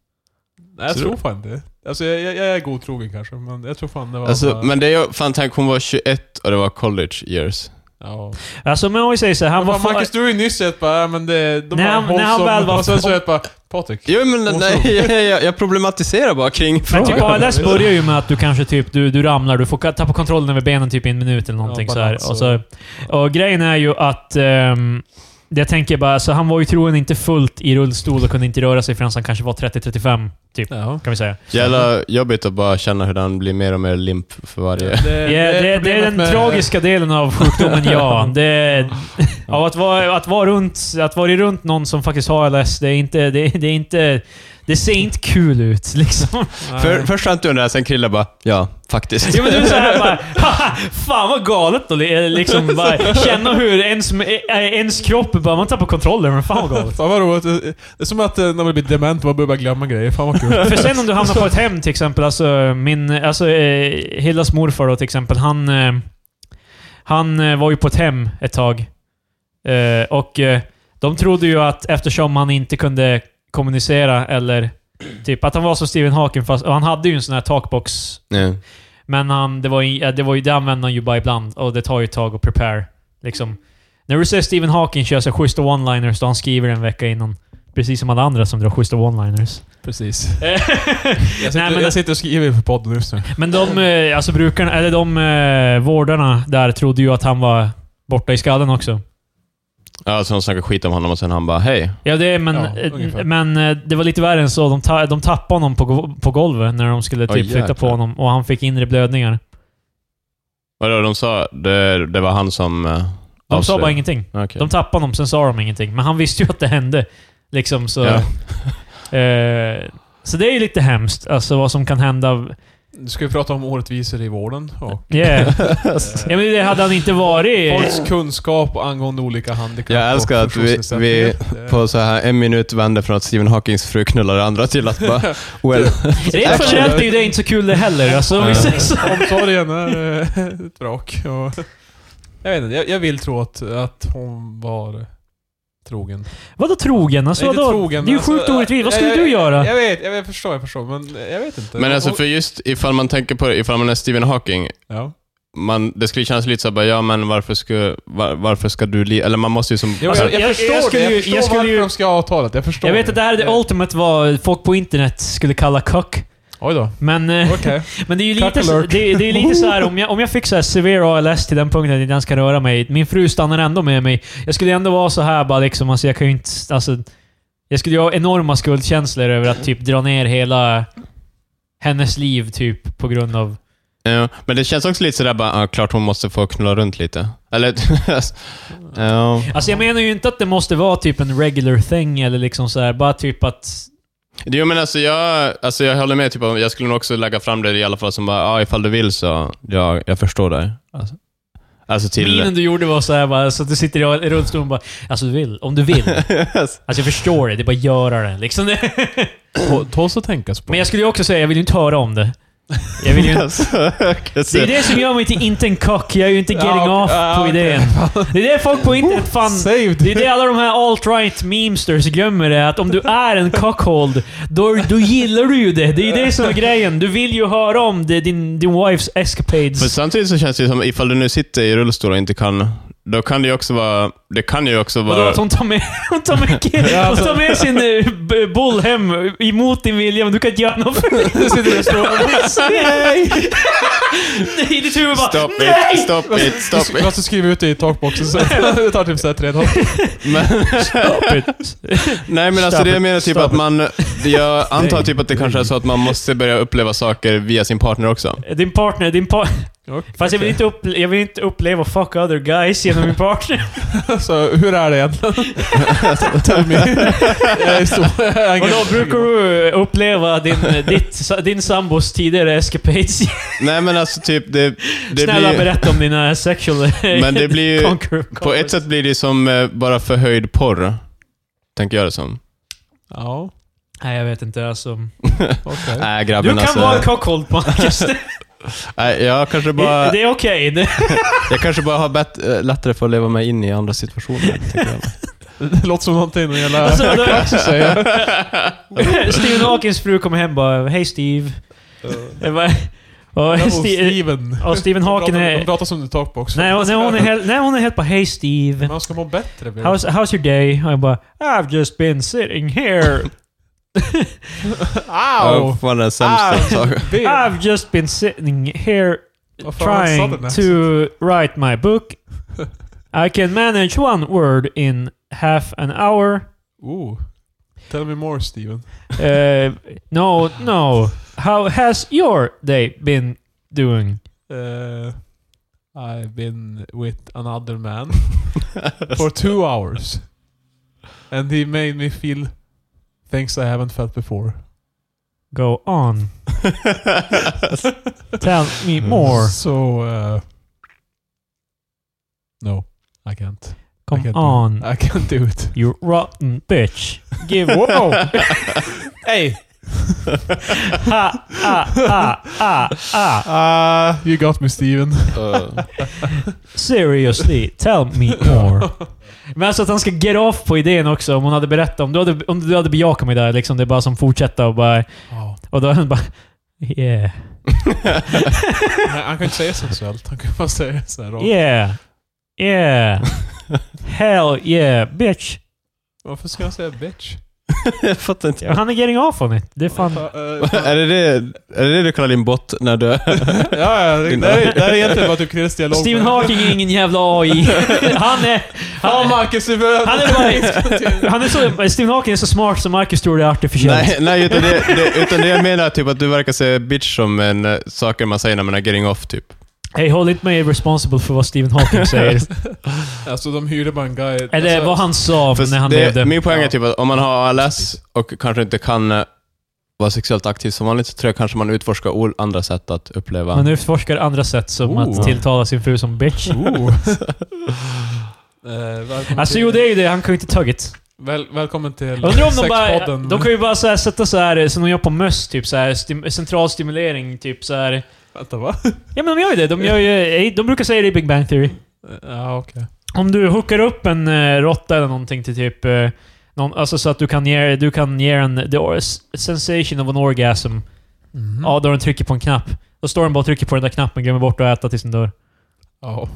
[SPEAKER 3] Nej, jag
[SPEAKER 2] Så-
[SPEAKER 3] tror fan det. Alltså jag, jag, jag är godtrogen kanske, men jag tror fan det var...
[SPEAKER 2] Alltså,
[SPEAKER 3] bara-
[SPEAKER 2] men det är ju... Fan, tänk hon var 21 och det var college years.
[SPEAKER 3] Ja.
[SPEAKER 1] Alltså men om vi säger så här, han
[SPEAKER 3] Han
[SPEAKER 1] var...
[SPEAKER 3] var Marcus,
[SPEAKER 1] fa-
[SPEAKER 3] du är ju nyss sett bara, ja, men det... De
[SPEAKER 1] När
[SPEAKER 3] har
[SPEAKER 1] han- när han
[SPEAKER 3] wholesome-
[SPEAKER 1] väl var-
[SPEAKER 3] Och sen så är det bara, Patrik.
[SPEAKER 2] Jo, men
[SPEAKER 3] Och så-
[SPEAKER 2] nej, jag, jag, jag problematiserar bara kring
[SPEAKER 1] Men typ
[SPEAKER 2] frågan.
[SPEAKER 1] ALS börjar ju med att du kanske typ, du, du ramlar, du får ka- tappa kontrollen över benen typ i en minut eller någonting
[SPEAKER 3] Ja,
[SPEAKER 1] så här.
[SPEAKER 3] balans
[SPEAKER 1] Och, så, och grejen är ju att... ehm, jag tänker bara, så han var ju troligen inte fullt i rullstol och kunde inte röra sig förrän han kanske var 30-35, typ.
[SPEAKER 3] Ja.
[SPEAKER 1] Kan vi säga.
[SPEAKER 2] Jävla jobbigt att bara känna hur den blir mer och mer limp för varje...
[SPEAKER 1] Ja, det, det, är
[SPEAKER 3] problemet
[SPEAKER 1] den
[SPEAKER 3] med-
[SPEAKER 1] tragiska delen av sjukdomen, ja. Det, av att, vara, att, vara runt, att vara runt någon som faktiskt har ALS, det är inte... Det, det, är inte, det ser inte kul ut liksom.
[SPEAKER 3] Nej.
[SPEAKER 2] För, först han inte undrar, sen Krille bara ja, faktiskt.
[SPEAKER 1] Ja, men du är såhär bara "Haha, Fan vad galet då. Eller Liksom bara, känna hur ens, eh, ens kropp bara... Man tappar kontrollen. Men fan vad galet.
[SPEAKER 3] Fan vad roligt. Det är som att eh, när man blir dement man börjar bara glömma grejer. Fan vad kul.
[SPEAKER 1] För sen om du hamnar på ett hem till exempel, alltså min, alltså eh, Hildas morfar då till exempel, han, eh, han eh, var ju på ett hem ett tag. Eh, och eh, de trodde ju att eftersom han inte kunde kommunicera eller typ att han var som Stephen Hawking fast, och han hade ju en sån här talkbox.
[SPEAKER 2] Ja.
[SPEAKER 1] Men han, det, var, ju- eh, det var ju, det använde han ju bara ibland och det tar ju ett tag att prepare. Liksom. När du ser Stephen Hawking köra så schyssta one-liners då han skriver en vecka innan. Precis som alla andra som drar schyssta one-liners.
[SPEAKER 3] Precis. Jag sitter,
[SPEAKER 1] Nej, men-
[SPEAKER 3] jag sitter och skriver för podden just nu.
[SPEAKER 1] Men de, eh, alltså brukarna, eller de eh, vårdarna där trodde ju att han var borta i skallen också.
[SPEAKER 2] ja, så de snackar skit om honom och sen han bara hej.
[SPEAKER 1] Ja, det, men,
[SPEAKER 3] Ja,
[SPEAKER 1] eh,
[SPEAKER 3] ungefär.
[SPEAKER 1] men eh, det var lite värre än så. De, ta, de tappade honom på, go- på golvet när de skulle
[SPEAKER 2] Oj,
[SPEAKER 1] typ flytta på
[SPEAKER 2] jäklar.
[SPEAKER 1] honom och han fick inre blödningar.
[SPEAKER 2] Vadå, de sa det, det var han som... eh,
[SPEAKER 1] De sa
[SPEAKER 2] avslöjade.
[SPEAKER 1] bara ingenting.
[SPEAKER 2] Okej.
[SPEAKER 1] De tappade honom, sen sa de ingenting. Men han visste ju att det hände. Liksom, så,
[SPEAKER 2] Ja.
[SPEAKER 1] eh, så det är ju lite hemskt, alltså vad som kan hända.
[SPEAKER 3] Nu ska vi prata om orättvisor i vården och
[SPEAKER 1] Yeah. ja, men det hade han inte varit...
[SPEAKER 3] folks kunskap angående olika handikapp
[SPEAKER 2] Jag älskar
[SPEAKER 3] och
[SPEAKER 2] att vi- vi-
[SPEAKER 3] funktionsnedsättningar.
[SPEAKER 2] På så här en minut vände från att Stephen Hawkings fru knullar det andra till att bara... Well,
[SPEAKER 3] Typ.
[SPEAKER 1] Rent generellt är ju det inte så kul det heller. Alltså, om vi
[SPEAKER 2] Ja.
[SPEAKER 1] säger så.
[SPEAKER 3] Eh, Omsorgen är eh, ett vrak. och- Jag vet inte, jag, jag vill tro att, att hon var trogen.
[SPEAKER 1] Vadå trogen? Alltså,
[SPEAKER 3] Inte
[SPEAKER 1] vadå?
[SPEAKER 3] trogen,
[SPEAKER 1] det är ju
[SPEAKER 3] alltså,
[SPEAKER 1] sjukt orättvist. Vad
[SPEAKER 3] jag-
[SPEAKER 1] skulle
[SPEAKER 3] jag-
[SPEAKER 1] du göra?
[SPEAKER 3] Jag vet, jag, vet, jag förstår, jag förstår. Men jag vet inte.
[SPEAKER 2] men alltså
[SPEAKER 3] Hon-
[SPEAKER 2] för just ifall man tänker på det, ifall man är Stephen Hawking,
[SPEAKER 3] ja.
[SPEAKER 2] man, det skulle kännas lite så här bara, ja men varför ska, var, varför ska du li Eller man måste ju som...
[SPEAKER 3] Jo,
[SPEAKER 1] Alltså,
[SPEAKER 3] jag, jag,
[SPEAKER 1] jag-
[SPEAKER 3] förstår
[SPEAKER 1] jag skulle
[SPEAKER 3] det.
[SPEAKER 1] ju-
[SPEAKER 3] Jag förstår
[SPEAKER 1] jag skulle
[SPEAKER 3] varför
[SPEAKER 1] ju-
[SPEAKER 3] de ska ha avtalet. Jag förstår
[SPEAKER 1] Jag vet att det här är det
[SPEAKER 3] Eh,
[SPEAKER 1] ultimate vad folk på internet skulle kalla kock.
[SPEAKER 3] Oj då.
[SPEAKER 1] Men, eh,
[SPEAKER 3] Okej.
[SPEAKER 1] men det är ju
[SPEAKER 3] Cuck
[SPEAKER 1] lite, så-
[SPEAKER 3] alert.
[SPEAKER 1] det, det är lite så här om jag, om jag fick så här severe ALS till den punkten att jag inte ens kan röra mig. Min fru stannar ändå med mig. Jag skulle ändå vara så här bara liksom, alltså jag kan ju inte... Alltså, jag skulle ju ha enorma skuldkänslor över att typ dra ner hela hennes liv typ på grund av...
[SPEAKER 2] Ja, men det känns också lite sådär bara, ja, klart hon måste få knulla runt lite. Eller... ja.
[SPEAKER 1] Alltså jag menar ju inte att det måste vara typ en regular thing eller liksom så här, bara typ att...
[SPEAKER 2] Jo men alltså jag, alltså jag håller med, typ, om- jag skulle nog också lägga fram det i alla fall som bara, ja ifall du vill så, ja, jag förstår dig. Alltså, alltså till...
[SPEAKER 1] Minen du gjorde var så här bara, så att du sitter i rullstolen och bara Alltså du vill, om du vill. Alltså jag förstår det, det är bara att göra det. Liksom det.
[SPEAKER 3] Ta- Ta oss och tänkas på.
[SPEAKER 1] Men jag skulle ju också säga, jag vill ju inte höra om det. Jag vill ju...
[SPEAKER 2] Alltså, okej, så-
[SPEAKER 1] Det är det som gör mig till inte en kock. Jag är ju inte getting
[SPEAKER 3] Ja,
[SPEAKER 1] off
[SPEAKER 3] ja,
[SPEAKER 1] på
[SPEAKER 3] okej.
[SPEAKER 1] idén. Det är det folk på internet fan...
[SPEAKER 3] Saved!
[SPEAKER 1] Det är det alla de här alt-right memesters gömmer det, att om du är en cockhold, då, då gillar du ju det. Det är det som är grejen. Du vill ju höra om det, din, din wives
[SPEAKER 2] Men
[SPEAKER 1] escapades.
[SPEAKER 2] samtidigt så känns det ju som, ifall du nu sitter i rullstol och inte kan, då kan det ju också vara... Det kan ju också
[SPEAKER 1] Vadå,
[SPEAKER 2] vara...
[SPEAKER 1] att hon tar med, hon tar med, hon tar med sin eh, b- boll hem emot din vilja, men du kan inte göra något för det.
[SPEAKER 3] Du sitter och slår.
[SPEAKER 1] Nej! I ditt huvud bara
[SPEAKER 2] Stop
[SPEAKER 1] Nej!
[SPEAKER 2] it, stop it, stop
[SPEAKER 3] Du
[SPEAKER 2] it.
[SPEAKER 3] måste skriva ut det i takboxen sen. Det tar typ såhär tre dagar.
[SPEAKER 2] Men,
[SPEAKER 1] Stop it.
[SPEAKER 2] nej men alltså
[SPEAKER 1] Stop
[SPEAKER 2] det
[SPEAKER 1] it,
[SPEAKER 2] jag menar typ
[SPEAKER 1] stop
[SPEAKER 2] att
[SPEAKER 1] it.
[SPEAKER 2] man... Jag antar typ att det kanske är så att man måste börja uppleva saker via sin partner också.
[SPEAKER 1] Eh, Din partner, din par... Fast jag vill, inte upple- jag vill inte uppleva fuck other guys genom min partner.
[SPEAKER 3] Så hur är det egentligen? Tell me. Jag är så... jag är
[SPEAKER 1] Och då
[SPEAKER 3] ganska-
[SPEAKER 1] brukar du eh, uppleva din, eh, ditt, din sambos tidigare escapades?
[SPEAKER 2] Nej men alltså typ det... det
[SPEAKER 1] Snälla
[SPEAKER 2] blir,
[SPEAKER 1] berätta om dina sexual...
[SPEAKER 2] Men det blir ju-
[SPEAKER 1] conquer-
[SPEAKER 2] På ett sätt blir det som eh, bara förhöjd porr. Tänker jag det som.
[SPEAKER 3] Ja,
[SPEAKER 1] Nej, jag vet inte. Alltså.
[SPEAKER 3] okej.
[SPEAKER 2] Nej
[SPEAKER 1] Du
[SPEAKER 2] grabben
[SPEAKER 1] kan vara en
[SPEAKER 2] alltså.
[SPEAKER 1] cockhold, Marcus. Det,
[SPEAKER 2] Nej, jag kanske bara...
[SPEAKER 1] det är okej. Det-
[SPEAKER 2] Jag kanske bara har bett, eh, lättare för att leva mig in i andra situationer. tänker jag.
[SPEAKER 3] Det låter som någonting någon jävla...
[SPEAKER 1] Alltså,
[SPEAKER 3] Jag
[SPEAKER 1] då-
[SPEAKER 3] kan också säga.
[SPEAKER 1] Stephen Hawkins fru kommer hem bara Hej Steve. Jag bara, och,
[SPEAKER 3] Och
[SPEAKER 1] Steve
[SPEAKER 3] Steven.
[SPEAKER 1] och Stephen Hawking
[SPEAKER 3] De
[SPEAKER 1] är...
[SPEAKER 3] pratar som en takbox.
[SPEAKER 1] Nej, hon- nej, hon är helt- nej, hon är helt bara Hej Steve.
[SPEAKER 3] Man ska må bättre. Björn.
[SPEAKER 1] How's, how's your day? Och jag bara I've just been sitting here.
[SPEAKER 3] Ow!
[SPEAKER 2] fan den
[SPEAKER 3] Ah.
[SPEAKER 2] saken.
[SPEAKER 1] I've just been sitting here
[SPEAKER 3] Vad fan var
[SPEAKER 1] trying
[SPEAKER 3] sudden accent?
[SPEAKER 1] to write my book. I can manage one word in half an hour.
[SPEAKER 3] Oh. Tell me more Steven.
[SPEAKER 1] Uh, no, no. How has your day been doing?
[SPEAKER 3] Eh, I've been with another man for two hours. And he made me feel things I haven't felt before.
[SPEAKER 1] Go on. Tell me more.
[SPEAKER 3] So... eh, no, I can't. I
[SPEAKER 1] Come
[SPEAKER 3] can't do-
[SPEAKER 1] on.
[SPEAKER 3] I can't do it.
[SPEAKER 1] You rotten bitch. Give
[SPEAKER 3] Wow! hey!
[SPEAKER 1] ha, ah, ah, ah, ah.
[SPEAKER 3] Uh, you got me Steven.
[SPEAKER 2] Eh,
[SPEAKER 1] Seriously, tell me more. Men alltså att han ska get off på idén också, om hon hade berättat. Om du hade, om du hade bejakat mig där, liksom, det är bara som fortsätta och bara...
[SPEAKER 3] Ja.
[SPEAKER 1] Och då är han bara... Yeah.
[SPEAKER 3] Nej, Han kan inte säga sensuellt. Han kan bara säga såhär rakt.
[SPEAKER 1] Yeah. Yeah. Hell yeah, bitch.
[SPEAKER 3] Varför ska han säga bitch?
[SPEAKER 2] jag fattar inte.
[SPEAKER 1] Han är getting off on it. Det är fan...
[SPEAKER 3] Eh,
[SPEAKER 2] Är det det, är det det du kallar din bot när du...
[SPEAKER 3] Ja, ja. Det, det, här är- det här är egentligen bara typ Krills dialog.
[SPEAKER 1] Stephen Hawking är ingen jävla AI. Han är...
[SPEAKER 3] Ja,
[SPEAKER 1] Han,
[SPEAKER 3] Marcus, du behöver...
[SPEAKER 1] han är bara... Han är så, Stephen Hawking är så smart som Marcus tror det är artificiellt.
[SPEAKER 2] nej, nej utan, det, det, utan det jag menar är typ att du verkar se bitch som en eh, saker man säger när man är getting off typ.
[SPEAKER 1] Hej, håll inte mig responsible för vad Stephen Hawking säger.
[SPEAKER 3] Alltså, de hyrde bara en guy.
[SPEAKER 1] Eller
[SPEAKER 3] alltså,
[SPEAKER 1] vad han sa
[SPEAKER 2] Fast
[SPEAKER 1] när han
[SPEAKER 2] det,
[SPEAKER 1] levde.
[SPEAKER 2] Min poäng är typ att om man har ALS och kanske inte kan eh, vara sexuellt aktiv som vanligt så tror jag kanske man utforskar ol- andra sätt att uppleva.
[SPEAKER 1] Man utforskar andra sätt som
[SPEAKER 3] Oh.
[SPEAKER 1] att tilltala sin fru som bitch.
[SPEAKER 3] Oh. Eh, välkommen
[SPEAKER 1] Alltså
[SPEAKER 3] till-
[SPEAKER 1] jo, det är ju det. Han kan ju inte tagit.
[SPEAKER 3] Väl, välkommen till
[SPEAKER 1] Undrar om de bara...
[SPEAKER 3] sexpodden.
[SPEAKER 1] De kan ju bara så här, sätta så här som de gör på möss, typ så här, stim, central stimulering, typ så här.
[SPEAKER 3] Vänta, va?
[SPEAKER 1] Ja men de gör ju det. De, gör ju, de brukar säga det i Big Bang Theory.
[SPEAKER 3] Eh, Ja, okej.
[SPEAKER 1] Om du hookar upp en eh, råtta eller någonting till typ... Eh, någon, alltså så att du kan ge, du kan ge en the or- sensation of an orgasm.
[SPEAKER 3] Mhm.
[SPEAKER 1] Ja, då den trycker på en knapp. Då står den bara och trycker på den där knappen, glömmer bort att äta tills den dör.
[SPEAKER 3] Ja.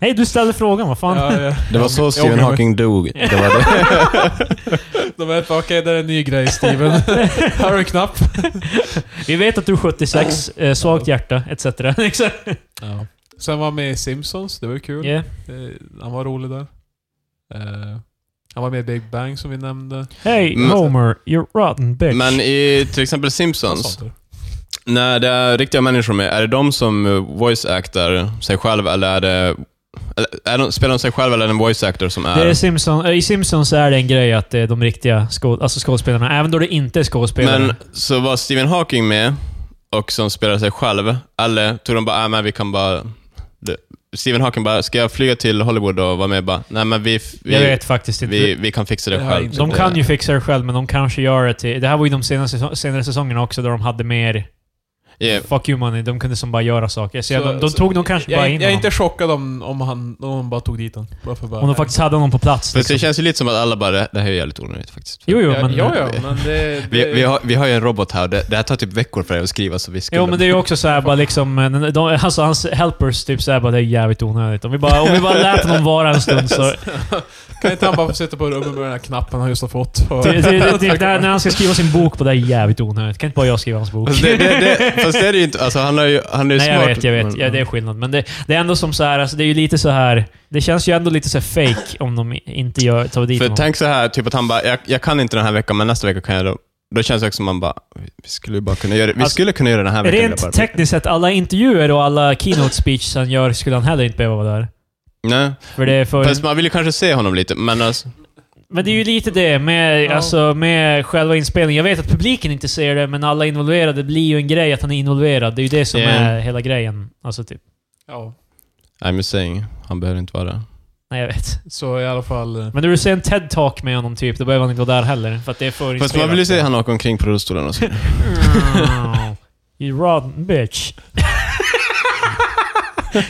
[SPEAKER 1] Hej, du ställde frågan. Vad fan?
[SPEAKER 3] Ja, ja.
[SPEAKER 2] Det var
[SPEAKER 3] Jag
[SPEAKER 2] så
[SPEAKER 3] ångrar
[SPEAKER 2] Stephen
[SPEAKER 3] mig.
[SPEAKER 2] Hawking dog. Det var det.
[SPEAKER 3] De vet bara, okej, det är en ny grej, Steven. Här har du en knapp.
[SPEAKER 1] Vi vet att du är 76, eh, svagt hjärta, etc. Exakt.
[SPEAKER 3] Ja. Sen var han med i Simpsons, det var ju kul.
[SPEAKER 1] yeah.
[SPEAKER 3] Eh, han var rolig där. Eh, han var med i Big Bang som vi nämnde.
[SPEAKER 1] Hey
[SPEAKER 2] Men-
[SPEAKER 1] Homer, you're rotten bitch.
[SPEAKER 2] Mm. Men i till exempel Simpsons,
[SPEAKER 3] Sånt där.
[SPEAKER 2] När det är riktiga människor med, är det de som eh, voice-actar sig själv eller är det... Eller, är de, spelar de sig själv eller är det en voice-actor som är...
[SPEAKER 1] det är Simpson, eh, I Simpsons är det en grej att det är de riktiga skå, alltså skådespelarna, även då det inte är skådespelarna.
[SPEAKER 2] men så var Stephen Hawking med och som spelar sig själv, eller tog de bara, äh, men vi kan bara... Det, Stephen Hawking bara, ska jag flyga till Hollywood och vara med? Bara, Nej, men vi, f-
[SPEAKER 1] jag
[SPEAKER 2] vi,
[SPEAKER 1] vet faktiskt inte.
[SPEAKER 2] vi, vi kan fixa det
[SPEAKER 3] Det har jag
[SPEAKER 2] själv.
[SPEAKER 3] inte
[SPEAKER 1] de
[SPEAKER 2] Det-
[SPEAKER 1] kan ju fixa det själv, men de kanske gör det till... Det här var ju de senaste, säso- senare säsongerna också, där de hade mer...
[SPEAKER 2] Yeah.
[SPEAKER 1] Fuck you money, de kunde som bara göra saker. Så, jag-
[SPEAKER 3] Så-
[SPEAKER 1] de, de
[SPEAKER 3] så-
[SPEAKER 1] tog nog kanske
[SPEAKER 3] Jag,
[SPEAKER 1] bara
[SPEAKER 3] är-
[SPEAKER 1] in
[SPEAKER 3] jag är
[SPEAKER 1] honom.
[SPEAKER 3] inte chockad om, om, han, om de bara tog dit honom. Bara för bara,
[SPEAKER 1] Om de faktiskt hade någon på plats.
[SPEAKER 2] Fast det
[SPEAKER 1] Liksom.
[SPEAKER 2] känns ju lite som att alla bara, det det här är jävligt onödigt faktiskt.
[SPEAKER 1] Jo, jo,
[SPEAKER 3] Ja,
[SPEAKER 1] men...
[SPEAKER 3] ja, ja, men det... det
[SPEAKER 2] Vi, vi, har, vi har ju en robot här, det, det här tar typ veckor för dig att skriva så vi skulle...
[SPEAKER 1] Jo, men det är ju också såhär bara liksom... eh, De, alltså hans helpers typ såhär bara, det är jävligt onödigt. Om vi bara, om vi bara lät honom vara en stund så...
[SPEAKER 3] Kan inte han bara få sitta på rummet med den här knappen han just har fått? Och,
[SPEAKER 1] Det, det, det, det, när, när han ska skriva sin bok på det är jävligt onödigt. Kan inte bara jag skriva hans bok?
[SPEAKER 2] Fast Alltså, det, det, det, fast det är det ju inte, alltså han, har ju, han är ju
[SPEAKER 1] Nej,
[SPEAKER 2] smart.
[SPEAKER 1] jag vet, jag vet. Ja, det är skillnad. Men det, det är ändå som så här, alltså det är ju lite så här... Det känns ju ändå lite så här fake om de inte gör, tar dit
[SPEAKER 2] För
[SPEAKER 1] honom.
[SPEAKER 2] tänk så här, typ att han bara, jag, jag kan inte den här veckan, men nästa vecka kan jag då. Då känns det också som man bara, vi- vi skulle ju bara kunna göra det. Vi
[SPEAKER 1] Alltså,
[SPEAKER 2] skulle kunna göra den här veckan. det är
[SPEAKER 1] Rent
[SPEAKER 2] bara-
[SPEAKER 1] tekniskt sett, alla intervjuer och alla keynote speeches han gör skulle han heller inte behöva vara där.
[SPEAKER 2] Nej,
[SPEAKER 1] För det är för...
[SPEAKER 2] fast man vill ju kanske se honom lite, men alltså,
[SPEAKER 1] Men det är ju lite det med,
[SPEAKER 3] Ja.
[SPEAKER 1] alltså, med själva inspelningen. Jag vet att publiken inte ser det, men alla involverade det blir ju en grej att han är involverad. Det är ju det som
[SPEAKER 2] Ja.
[SPEAKER 1] är hela grejen. Alltså, typ.
[SPEAKER 3] ja,
[SPEAKER 2] I'm just saying, han behöver inte vara där.
[SPEAKER 1] Nej, jag vet.
[SPEAKER 3] så i alla fall... eh,
[SPEAKER 1] Men när du ser en TED-talk med honom, typ, då behöver han inte vara där heller. För att det är för
[SPEAKER 2] Fast man vill ju se han åka omkring på rullstolen och så.
[SPEAKER 1] Mm. You rotten bitch.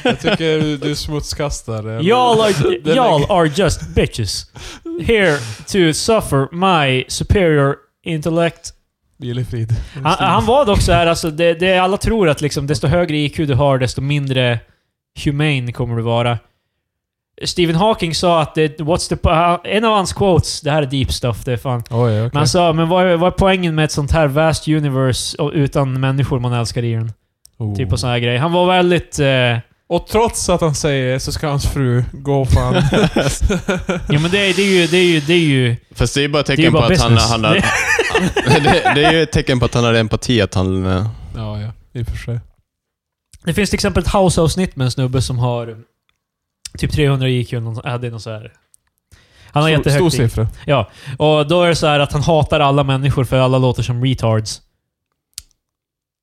[SPEAKER 3] Jag tycker du, du smutskastar. eh,
[SPEAKER 1] Y'all are,
[SPEAKER 3] den-
[SPEAKER 1] y'all are just bitches. Here to suffer my superior intellect
[SPEAKER 3] Vilefrid.
[SPEAKER 1] Han, han var dock så här, alltså, det, det alla tror att liksom, desto högre IQ du har, desto mindre humane kommer du vara. Stephen Hawking sa att det, what's the, po- en av hans quotes, det här är deep stuff, det är fan.
[SPEAKER 3] Oj, okej.
[SPEAKER 1] Men han sa, men vad är, vad är poängen med ett sånt här vast universe och utan människor man älskar i den?
[SPEAKER 3] Oh.
[SPEAKER 1] Typ och såna här grejer. Han var väldigt... Eh,
[SPEAKER 3] Och trots att han säger det så ska hans fru gå fan.
[SPEAKER 1] ja men det, är- det är ju... Det är ju, det är ju
[SPEAKER 2] Fast det är ju bara ett
[SPEAKER 1] det är ju
[SPEAKER 2] tecken på
[SPEAKER 1] bara
[SPEAKER 2] att han,
[SPEAKER 1] business.
[SPEAKER 2] han har... det, det är ju ett tecken på att han har empati, att han... eh,
[SPEAKER 3] ja, ja. I och för sig.
[SPEAKER 1] Det finns till exempel ett House-avsnitt med en snubbe som har typ 300 IQ, eller något- äh, det är något så här. Han har
[SPEAKER 3] Stor-
[SPEAKER 1] jättehögt
[SPEAKER 3] Stor
[SPEAKER 1] IQ.
[SPEAKER 3] siffra.
[SPEAKER 1] Ja, och då är det så här att han hatar alla människor för alla låter som retards.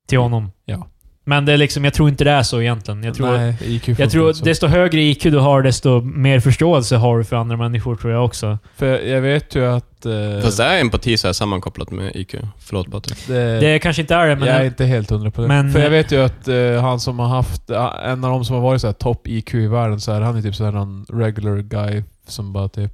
[SPEAKER 1] Till honom.
[SPEAKER 3] Mm. Ja.
[SPEAKER 1] Men det är liksom, jag tror inte det är så egentligen. Jag tror,
[SPEAKER 3] Nej, IQ
[SPEAKER 1] jag tror
[SPEAKER 3] funkar
[SPEAKER 1] att
[SPEAKER 3] inte så.
[SPEAKER 1] desto högre IQ du har, desto mer förståelse har du för andra människor tror jag också.
[SPEAKER 3] För jag vet ju att... Eh,
[SPEAKER 2] Fast är empati så här sammankopplat med IQ? Förlåt Patrik.
[SPEAKER 3] det,
[SPEAKER 1] Det kanske inte är det, men...
[SPEAKER 3] jag är inte helt hundra på det.
[SPEAKER 1] Men-
[SPEAKER 3] För jag vet ju att eh, han som har haft... eh, en av de som har varit så här topp IQ i världen, så här, han är typ så här någon regular guy som bara typ...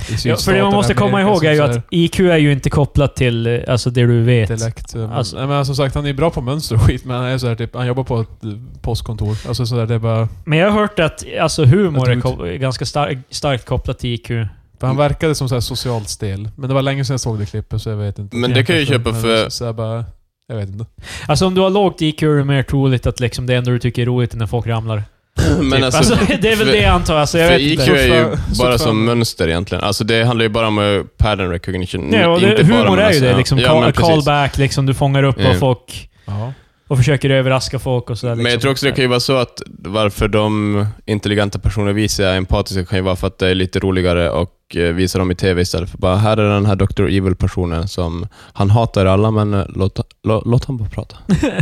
[SPEAKER 3] I
[SPEAKER 1] ja, för det man måste komma ihåg är ju att IQ är ju inte kopplat till eh, alltså, det du vet.
[SPEAKER 3] Intellekt. eh, Men,
[SPEAKER 1] Alltså-
[SPEAKER 3] nej, men som sagt, han är bra på mönster och skit, men han är så här, typ, han jobbar på ett eh, postkontor. Alltså sådär, det är bara...
[SPEAKER 1] Men jag har hört att alltså, humor är
[SPEAKER 3] Jag tror
[SPEAKER 1] ko- ganska stark, starkt kopplat till IQ.
[SPEAKER 3] För
[SPEAKER 1] Mm.
[SPEAKER 3] han verkade som så här socialt stel. Men det var länge sedan jag såg det klippet, så jag vet inte.
[SPEAKER 2] Men det kan jag ju
[SPEAKER 3] Kanske,
[SPEAKER 2] köpa
[SPEAKER 3] men
[SPEAKER 2] för-
[SPEAKER 3] Så jag bara... Jag vet inte.
[SPEAKER 1] Alltså om du har lågt IQ är det mer troligt att liksom, det enda du tycker är roligt är när folk ramlar.
[SPEAKER 2] Men
[SPEAKER 1] typ. alltså, det är väl
[SPEAKER 2] för-
[SPEAKER 1] det jag antar. Alltså, jag
[SPEAKER 2] För
[SPEAKER 1] vet
[SPEAKER 2] IQ
[SPEAKER 1] inte.
[SPEAKER 2] är ju
[SPEAKER 3] Fortfar-
[SPEAKER 2] bara
[SPEAKER 3] fortfarande.
[SPEAKER 2] som mönster egentligen. Alltså det handlar ju bara om eh, pattern recognition.
[SPEAKER 1] Ja, och det,
[SPEAKER 2] inte bara om
[SPEAKER 1] humor är ju
[SPEAKER 2] alltså-
[SPEAKER 1] det. Liksom,
[SPEAKER 2] ja,
[SPEAKER 1] call,
[SPEAKER 2] men precis.
[SPEAKER 1] callback, liksom, du fångar upp
[SPEAKER 2] Ja.
[SPEAKER 1] vad folk...
[SPEAKER 3] Ja.
[SPEAKER 1] Och försöker överraska folk och sådär. Liksom.
[SPEAKER 2] Men jag tror också det kan ju vara så att varför de intelligenta personer visar är empatiska kan ju vara för att det är lite roligare och eh, visa dem i TV istället för bara här är den här Dr. Evil-personen som han hatar alla men eh, låt, låt, låt han bara prata.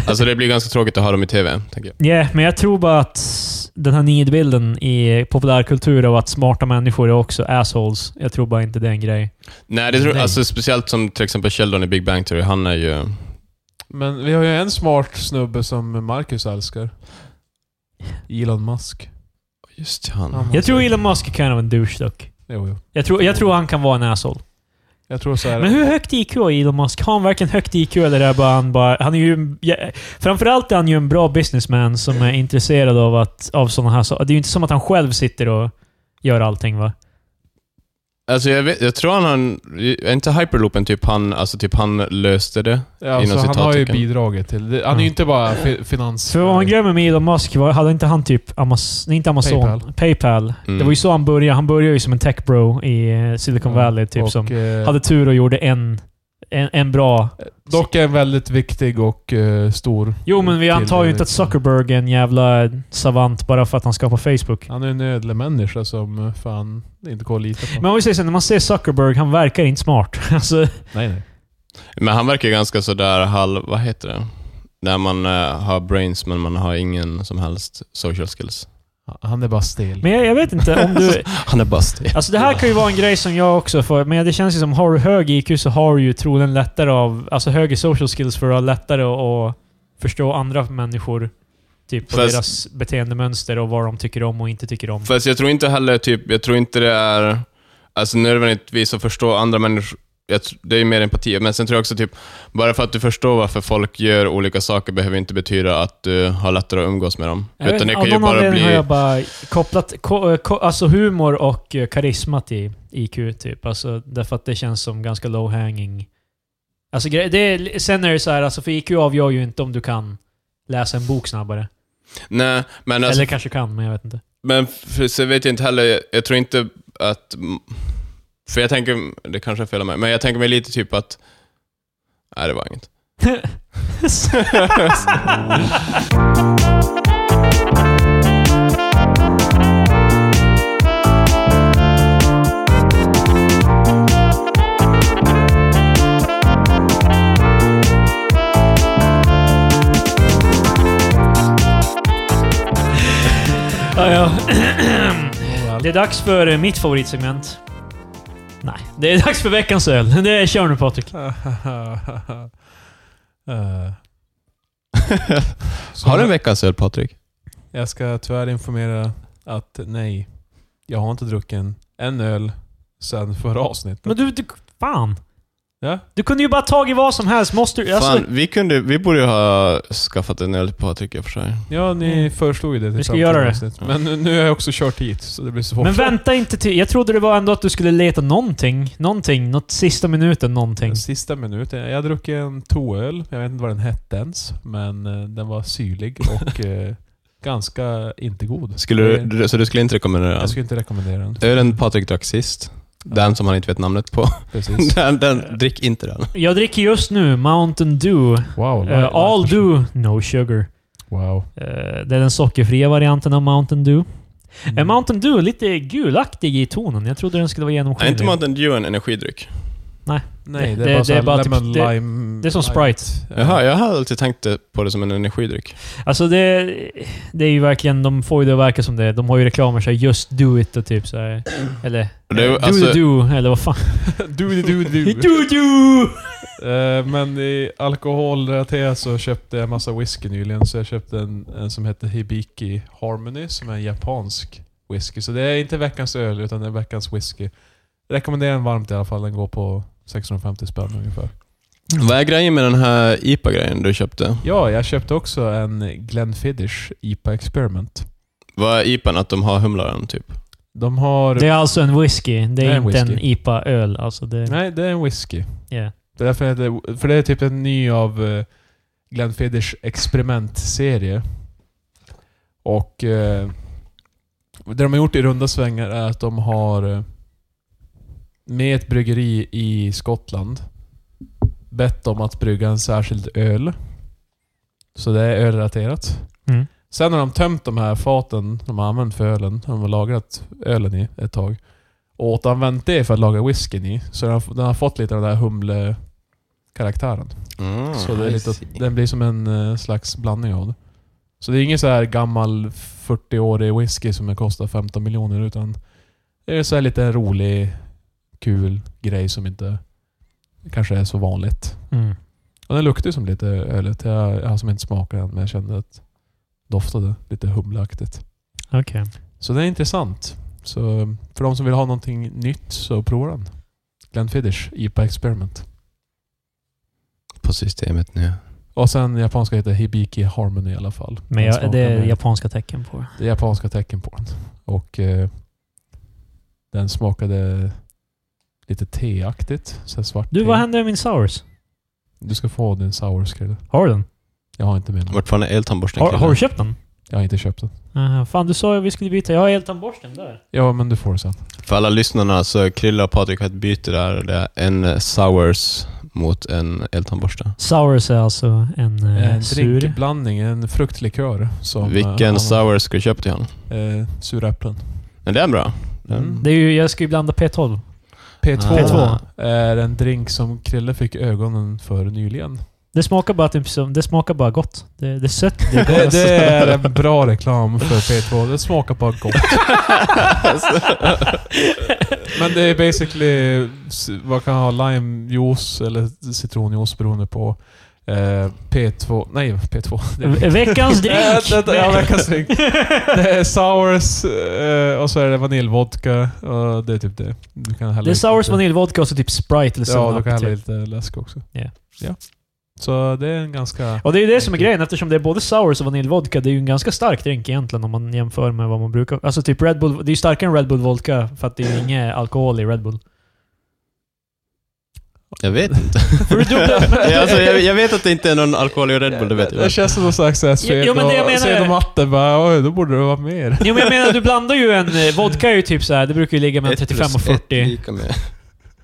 [SPEAKER 2] alltså det blir ganska tråkigt att ha dem i TV, tänker jag.
[SPEAKER 1] Ja, men jag tror bara att den här nidbilden i populärkultur av att smarta människor är också assholes. Jag tror bara inte det är en grej.
[SPEAKER 2] Nej, det tror
[SPEAKER 1] Nej.
[SPEAKER 2] Alltså, speciellt som till exempel Sheldon i Big Bang Theory, han är ju...
[SPEAKER 3] Men vi har ju en smart snubbe som Marcus älskar. Elon Musk.
[SPEAKER 2] Just han.
[SPEAKER 3] Ja, men-
[SPEAKER 1] Jag tror Elon Musk är kind of en douche dock.
[SPEAKER 3] Jo, jo.
[SPEAKER 1] Jag tror, jag tror han kan vara en asshole.
[SPEAKER 3] Jag tror så här.
[SPEAKER 1] Men hur högt IQ har Elon Musk? Har han verkligen högt IQ eller är bara han bara... Han är ju... Ja, framförallt är han ju en bra businessman som är intresserad av, att, av sådana här saker. Det är ju inte som att han själv sitter och gör allting va?
[SPEAKER 2] Alltså jag, vet, jag tror han, han är inte hyperloopen typ han, alltså typ han löste det?
[SPEAKER 3] Ja, alltså,
[SPEAKER 2] Inom
[SPEAKER 3] han har ju
[SPEAKER 2] citattecken.
[SPEAKER 3] bidragit till det. Han är ju
[SPEAKER 1] Mm.
[SPEAKER 3] inte bara fi, finans...
[SPEAKER 1] För vad man glömmer med Elon Musk, var, hade inte han typ Amaz, nej, inte Amazon,
[SPEAKER 3] PayPal.
[SPEAKER 1] Paypal?
[SPEAKER 2] Mm.
[SPEAKER 1] Det var ju så han började. Han började ju som en tech bro i eh, Silicon
[SPEAKER 3] Ja,
[SPEAKER 1] Valley, typ
[SPEAKER 3] och,
[SPEAKER 1] som
[SPEAKER 3] eh,
[SPEAKER 1] hade tur och gjorde en, en, en bra...
[SPEAKER 3] Dock är en väldigt viktig och eh, stor...
[SPEAKER 1] Jo, men vi
[SPEAKER 3] till- liksom.
[SPEAKER 1] antar ju inte att Zuckerberg är en jävla savant bara för att han skapar Facebook.
[SPEAKER 3] Han är en ödlemänniska som eh, fan inte går att lita på.
[SPEAKER 1] Men om vi säger så, när man ser Zuckerberg, han verkar inte smart. Alltså,
[SPEAKER 3] nej, nej.
[SPEAKER 2] Men han verkar ju ganska sådär halv... Vad heter det? När man eh, har brains men man har ingen som helst social skills.
[SPEAKER 3] Han är bara stel.
[SPEAKER 1] men jag, jag vet inte om du...
[SPEAKER 2] Han är bast.
[SPEAKER 1] Alltså det här kan ju vara en grej som jag också får, men det känns ju som har du hög IQ så har du ju troligen lättare av... Alltså högre social skills för att ha lättare att att förstå andra människor. Typ, och
[SPEAKER 2] Fast-
[SPEAKER 1] deras beteendemönster och vad de tycker om och inte tycker om.
[SPEAKER 2] Fast jag tror inte heller typ, jag tror inte det är, alltså nödvändigtvis att förstå andra människor, jag, tr- det är ju mer empati, men sen tror jag också typ, bara för att du förstår varför folk gör olika saker behöver inte betyda att du har lättare att umgås med dem.
[SPEAKER 1] Jag vet
[SPEAKER 2] Utan det
[SPEAKER 1] inte,
[SPEAKER 2] kan
[SPEAKER 1] av
[SPEAKER 2] ju
[SPEAKER 1] någon
[SPEAKER 2] bara
[SPEAKER 1] anledning har
[SPEAKER 2] bli...
[SPEAKER 1] jag bara kopplat ko, eh, ko, alltså humor och eh, karisma till IQ, typ. Alltså, därför att det känns som ganska low hanging. Alltså, gre- det är, sen är det så här, alltså, för IQ avgör ju inte om du kan läsa en bok snabbare.
[SPEAKER 2] Nej, men alltså,
[SPEAKER 1] Eller kanske kan, men jag vet inte.
[SPEAKER 2] Men för, så vet jag inte heller, jag, jag tror inte att... För jag tänker, det kanske är fel av mig, men jag tänker mig lite typ att... Nej, det var inget.
[SPEAKER 1] Ah, ja, ja. Det är dags för eh, mitt favoritsegment. Nej, det är dags för veckans öl. Det är kör nu Patrik.
[SPEAKER 3] Eh, så-
[SPEAKER 2] har du en veckans öl, Patrik?
[SPEAKER 3] Jag ska tyvärr informera att nej, jag har inte druckit en, en öl sedan förra avsnittet.
[SPEAKER 1] Men du, du fan.
[SPEAKER 3] Ja?
[SPEAKER 1] Du kunde ju bara tagit vad som helst. Måste du... Alltså,
[SPEAKER 2] Fan, vi, kunde, vi borde ju ha skaffat en öl till Patrik i och för sig.
[SPEAKER 3] ja, ni
[SPEAKER 1] Mm.
[SPEAKER 3] föreslog ju det till
[SPEAKER 1] Vi ska
[SPEAKER 3] samtliga
[SPEAKER 1] göra det.
[SPEAKER 3] avsnitt. Men nu, nu har jag också kört hit, så det blir svårt.
[SPEAKER 1] Men vänta inte till... Jag trodde det var ändå att du skulle leta någonting. Någonting. Något sista minuten någonting.
[SPEAKER 3] Den sista minuten. Jag druckit en toöl. Jag vet inte vad den hette ens. Men eh, den var syrlig och eh, ganska inte god.
[SPEAKER 2] Skulle
[SPEAKER 3] Det-
[SPEAKER 2] du, du- så du skulle inte rekommendera
[SPEAKER 3] Jag
[SPEAKER 2] den?
[SPEAKER 3] skulle inte rekommendera den.
[SPEAKER 2] Ölen Patrik drack sist, den som han inte vet namnet på,
[SPEAKER 3] Precis.
[SPEAKER 2] den, den, drick inte den.
[SPEAKER 1] Jag dricker just nu Mountain Dew.
[SPEAKER 3] Wow.
[SPEAKER 1] Eh, all Dew, no sugar.
[SPEAKER 3] Wow.
[SPEAKER 1] Eh, det är den sockerfria varianten av Mountain Dew.
[SPEAKER 3] Mm.
[SPEAKER 1] Är Mountain Dew lite gulaktig i tonen? Jag trodde den skulle vara
[SPEAKER 2] Är inte
[SPEAKER 1] genomskinlig.
[SPEAKER 2] Mountain Dew en energidryck?
[SPEAKER 3] Nej, det,
[SPEAKER 1] det-
[SPEAKER 3] är bara,
[SPEAKER 1] det
[SPEAKER 3] så
[SPEAKER 1] är
[SPEAKER 3] här
[SPEAKER 1] bara typ-
[SPEAKER 3] lemon
[SPEAKER 1] det-
[SPEAKER 3] lime...
[SPEAKER 1] det är som
[SPEAKER 3] lime.
[SPEAKER 1] Sprite.
[SPEAKER 2] Jaha, jag har alltid tänkt det- på det som en energidryck.
[SPEAKER 1] Alltså det, det är ju verkligen... De får ju det att verka som det. De har ju reklamer så här, just do it och typ så här. Eller...
[SPEAKER 2] Det är ju
[SPEAKER 1] eh, do
[SPEAKER 2] alltså-
[SPEAKER 1] the do, eller vad fan.
[SPEAKER 3] du, du, du, du.
[SPEAKER 1] do do!
[SPEAKER 3] Eh, Men i alkoholrelaterat så köpte jag massa whisky nyligen. Så jag köpte en, en som heter Hibiki Harmony som är en japansk whisky. Så det är inte veckans öl utan det är veckans whisky. Rekommenderar den varmt i alla fall. Den går på 650 spänn ungefär.
[SPEAKER 2] Vad är grejen med den här IPA-grejen du köpte?
[SPEAKER 3] Ja, jag köpte också en Glenfiddich IPA Experiment.
[SPEAKER 2] Vad är IPAn? Att de har humlaren, typ?
[SPEAKER 3] De har...
[SPEAKER 1] Det är alltså en whisky. Det är,
[SPEAKER 3] Det är en
[SPEAKER 1] inte en
[SPEAKER 3] whisky.
[SPEAKER 1] IPA-öl. Alltså det...
[SPEAKER 3] Nej, det är en whisky.
[SPEAKER 1] Yeah.
[SPEAKER 3] Det är därför jag heter, för det är typ en ny av eh, Glenfiddich experimentserie. Och eh, det de har gjort i runda svängar är att de har eh, med ett bryggeri i Skottland bett om att brygga en särskild öl. Så det är ölrelaterat.
[SPEAKER 1] Mm.
[SPEAKER 3] Sen har de tömt de här faten de har använt för ölen, de har lagrat ölen i ett tag, och återanvänt det för att laga whiskyn i. Så den har, den har fått lite av den där humlekaraktären. Så det
[SPEAKER 2] Mm.
[SPEAKER 3] är
[SPEAKER 2] I
[SPEAKER 3] lite,
[SPEAKER 2] see.
[SPEAKER 3] den blir som en eh, slags blandning av det. Så det är ingen så här gammal 40-årig whisky som kostar 15 miljoner utan det är så här lite rolig, kul grej som inte kanske är så vanligt.
[SPEAKER 1] Mm.
[SPEAKER 3] Och den luktar ju som lite ölet. Jag, jag har som inte smakat den men jag kände att doftade lite humleaktigt.
[SPEAKER 1] Okej.
[SPEAKER 3] Så det är intressant. Så för de som vill ha någonting nytt så prova den. Glenfiddich IPA Experiment.
[SPEAKER 2] På systemet nu.
[SPEAKER 3] Och sen japanska heter Hibiki Harmony i alla fall.
[SPEAKER 1] Men
[SPEAKER 3] Den
[SPEAKER 1] jag,
[SPEAKER 3] smakar
[SPEAKER 1] det är
[SPEAKER 3] mer-
[SPEAKER 1] japanska tecken på det.
[SPEAKER 3] det är japanska tecken på den. Och eh, den smakade lite teaktigt. Så här svart
[SPEAKER 1] Du,
[SPEAKER 3] te.
[SPEAKER 1] vad hände med min Sours?
[SPEAKER 3] Du ska få din sour skrill.
[SPEAKER 1] Har du den?
[SPEAKER 3] Jag har inte min.
[SPEAKER 2] Fortfarande eltandborsten
[SPEAKER 1] Har,
[SPEAKER 2] killen.
[SPEAKER 1] har du köpt den?
[SPEAKER 3] Jag har inte köpt den.
[SPEAKER 1] Aha, fan, du sa ju att vi skulle byta. Jag har eltandborsten där.
[SPEAKER 3] Ja, men du får den sen.
[SPEAKER 2] För alla lyssnarna så Krilla och Patrik har ett byte där. Det är en eh, Sours mot en eltandborste.
[SPEAKER 1] Sours är alltså en, eh,
[SPEAKER 3] en
[SPEAKER 1] sur...
[SPEAKER 3] drinkblandning, en fruktlikör. Som,
[SPEAKER 2] Vilken
[SPEAKER 3] eh,
[SPEAKER 2] Sours ska du köpa till honom?
[SPEAKER 3] Eh, suräpplen.
[SPEAKER 2] Men det är bra. Den-
[SPEAKER 3] Mm.
[SPEAKER 1] Det är ju, jag ska ju blanda P12.
[SPEAKER 3] P2,
[SPEAKER 1] P2.
[SPEAKER 3] är en drink som Krille fick ögonen för nyligen.
[SPEAKER 1] Det smakar bara, typ, som- det smakar bara gott. Det, det är sött. Det är
[SPEAKER 3] Det, det är en bra reklam för P2. Det smakar bara gott. Men det är basically, s- vad kan ha, limejuice eller citronjuice beroende på. Eh, P2... Nej, P2. Det är-
[SPEAKER 1] V- Veckans drink!
[SPEAKER 3] Eh, vänta, ja, veckans drink. Det är sours eh, och så är det vaniljvodka. Och det är typ det. Du kan hälla
[SPEAKER 1] det är
[SPEAKER 3] lite-
[SPEAKER 1] sours, vaniljvodka och så typ Sprite eller
[SPEAKER 3] Ja, du
[SPEAKER 1] Sunupet,
[SPEAKER 3] kan hälla
[SPEAKER 1] typ.
[SPEAKER 3] lite läsk också.
[SPEAKER 1] Ja.
[SPEAKER 3] ja. Så det är en ganska...
[SPEAKER 1] Och det är ju det som är grejen, eftersom det är både sours och vaniljvodka. Det är ju en ganska stark drink egentligen om man jämför med vad man brukar... Alltså typ Red Bull, det är ju starkare än Red Bull Vodka för att det är ju ingen alkohol i Red Bull.
[SPEAKER 2] Jag vet inte.
[SPEAKER 1] För du dubbla- men-
[SPEAKER 2] ja, alltså, jag, jag vet att det inte är någon alkohol i Red Bull, det vet jag.
[SPEAKER 3] känns som någon slags
[SPEAKER 1] Jo, jo, men det jag menar
[SPEAKER 3] fel
[SPEAKER 1] är-
[SPEAKER 3] och matte. Bara, Oj, då borde det vara mer.
[SPEAKER 1] Jo men jag menar, du blandar ju en... eh, Vodka är ju typ så här, det brukar ju ligga mellan
[SPEAKER 2] Ett
[SPEAKER 1] 35 och
[SPEAKER 2] plus ett
[SPEAKER 1] 40.
[SPEAKER 2] lika med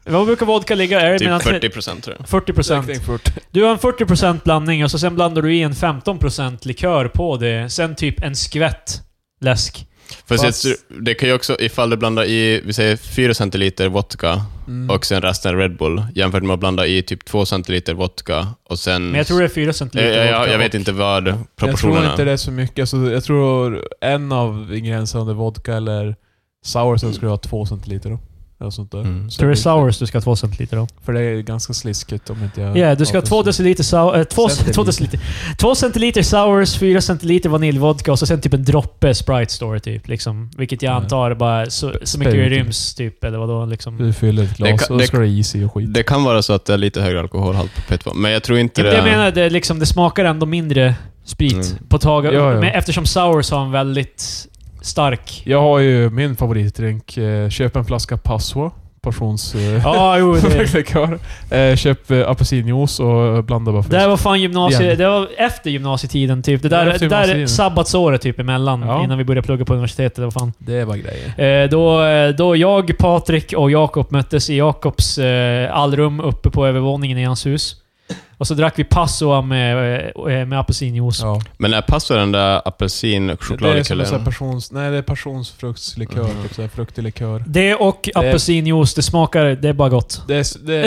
[SPEAKER 1] Vad brukar vodka ligga? Är det mellan
[SPEAKER 2] typ
[SPEAKER 1] tre-
[SPEAKER 2] 40 procent tror jag.
[SPEAKER 1] 40 procent.
[SPEAKER 3] fort.
[SPEAKER 1] Du har en 40 procent blandning och så sen blandar du i en 15 procent likör på det. Sen typ en skvätt läsk.
[SPEAKER 2] Fast,
[SPEAKER 1] Fast-
[SPEAKER 2] Jag, tror- det kan ju också, ifall du blandar i, vi säger 4 centiliter vodka
[SPEAKER 3] Mm.
[SPEAKER 2] och sen resten Red Bull, jämfört med att blanda i typ 2 centiliter vodka och sen...
[SPEAKER 1] Men jag tror det är 4 centiliter
[SPEAKER 2] jag, jag, jag,
[SPEAKER 1] vodka
[SPEAKER 2] Mm. Eh, jag
[SPEAKER 1] och-
[SPEAKER 2] vet inte vad
[SPEAKER 3] jag tror
[SPEAKER 2] proportionerna...
[SPEAKER 3] inte det är så mycket. Alltså, jag tror en av ingredienserna, om det är vodka eller soursen, skulle vara två centiliter. Då. Eller sånt där.
[SPEAKER 2] Mm.
[SPEAKER 3] Så
[SPEAKER 1] Tror det är
[SPEAKER 3] det-
[SPEAKER 1] sours du ska ha 2 centiliter av?
[SPEAKER 3] För det är ganska sliskigt om inte
[SPEAKER 1] Ja,
[SPEAKER 3] jag...
[SPEAKER 1] du ska ha
[SPEAKER 3] Ja,
[SPEAKER 1] 2
[SPEAKER 3] precis.
[SPEAKER 1] deciliter sour... Äh, 2
[SPEAKER 3] Centiliter.
[SPEAKER 1] deciliter. 2 centiliter sours, 4 centiliter vaniljvodka och så sen typ en droppe Sprite Store typ. Liksom, vilket jag
[SPEAKER 3] Ja.
[SPEAKER 1] antar är bara så, så mycket
[SPEAKER 3] Spänn, typ.
[SPEAKER 1] ryms typ, eller vadå liksom.
[SPEAKER 3] Mm. Du fyller ett
[SPEAKER 2] Det
[SPEAKER 3] glas
[SPEAKER 2] kan-
[SPEAKER 3] och
[SPEAKER 2] det-
[SPEAKER 3] då ska det is i och skit.
[SPEAKER 2] Det kan vara så att det är lite högre alkoholhalt på P2, men jag tror inte
[SPEAKER 1] Ja, men
[SPEAKER 2] det...
[SPEAKER 1] det jag menar, det, är liksom, det smakar ändå mindre sprit
[SPEAKER 2] Mm.
[SPEAKER 1] på taget.
[SPEAKER 3] Ja, ja.
[SPEAKER 1] Men eftersom Sours har en väldigt stark...
[SPEAKER 3] Jag har ju min favoritdrink. Eh, köp en flaska Passoa. Passions... Eh,
[SPEAKER 1] Ja, jo. Det,
[SPEAKER 3] Likör. eh, köp eh, apelsinjuice och blanda bara
[SPEAKER 1] det
[SPEAKER 3] först.
[SPEAKER 1] här var fan gymnasiet...
[SPEAKER 3] Igen.
[SPEAKER 1] Det var efter gymnasietiden typ. Det
[SPEAKER 3] Ja,
[SPEAKER 1] där,
[SPEAKER 3] efter
[SPEAKER 1] det där är
[SPEAKER 3] gymnasietiden.
[SPEAKER 1] sabbatsåret typ emellan,
[SPEAKER 3] Ja.
[SPEAKER 1] innan vi började plugga på universitetet. Det var fan.
[SPEAKER 3] Det var grejer.
[SPEAKER 1] Eh, då, eh, då jag, Patrik och Jakob möttes i Jakobs eh, allrum uppe på övervåningen i hans hus. Och så drack vi Passoa med, eh, med apelsinjuice.
[SPEAKER 3] Ja.
[SPEAKER 2] Men är passar den där apelsin och
[SPEAKER 3] Det är som en
[SPEAKER 2] chokladlikör?
[SPEAKER 3] sån här persons... Nej, det är passionsfruktslikör.
[SPEAKER 1] Mm.
[SPEAKER 2] Mhm.
[SPEAKER 3] Typ så här fruktig likör.
[SPEAKER 1] Det och apelsinjuice, det smakar... Det är bara gott.
[SPEAKER 3] Det är, s- det,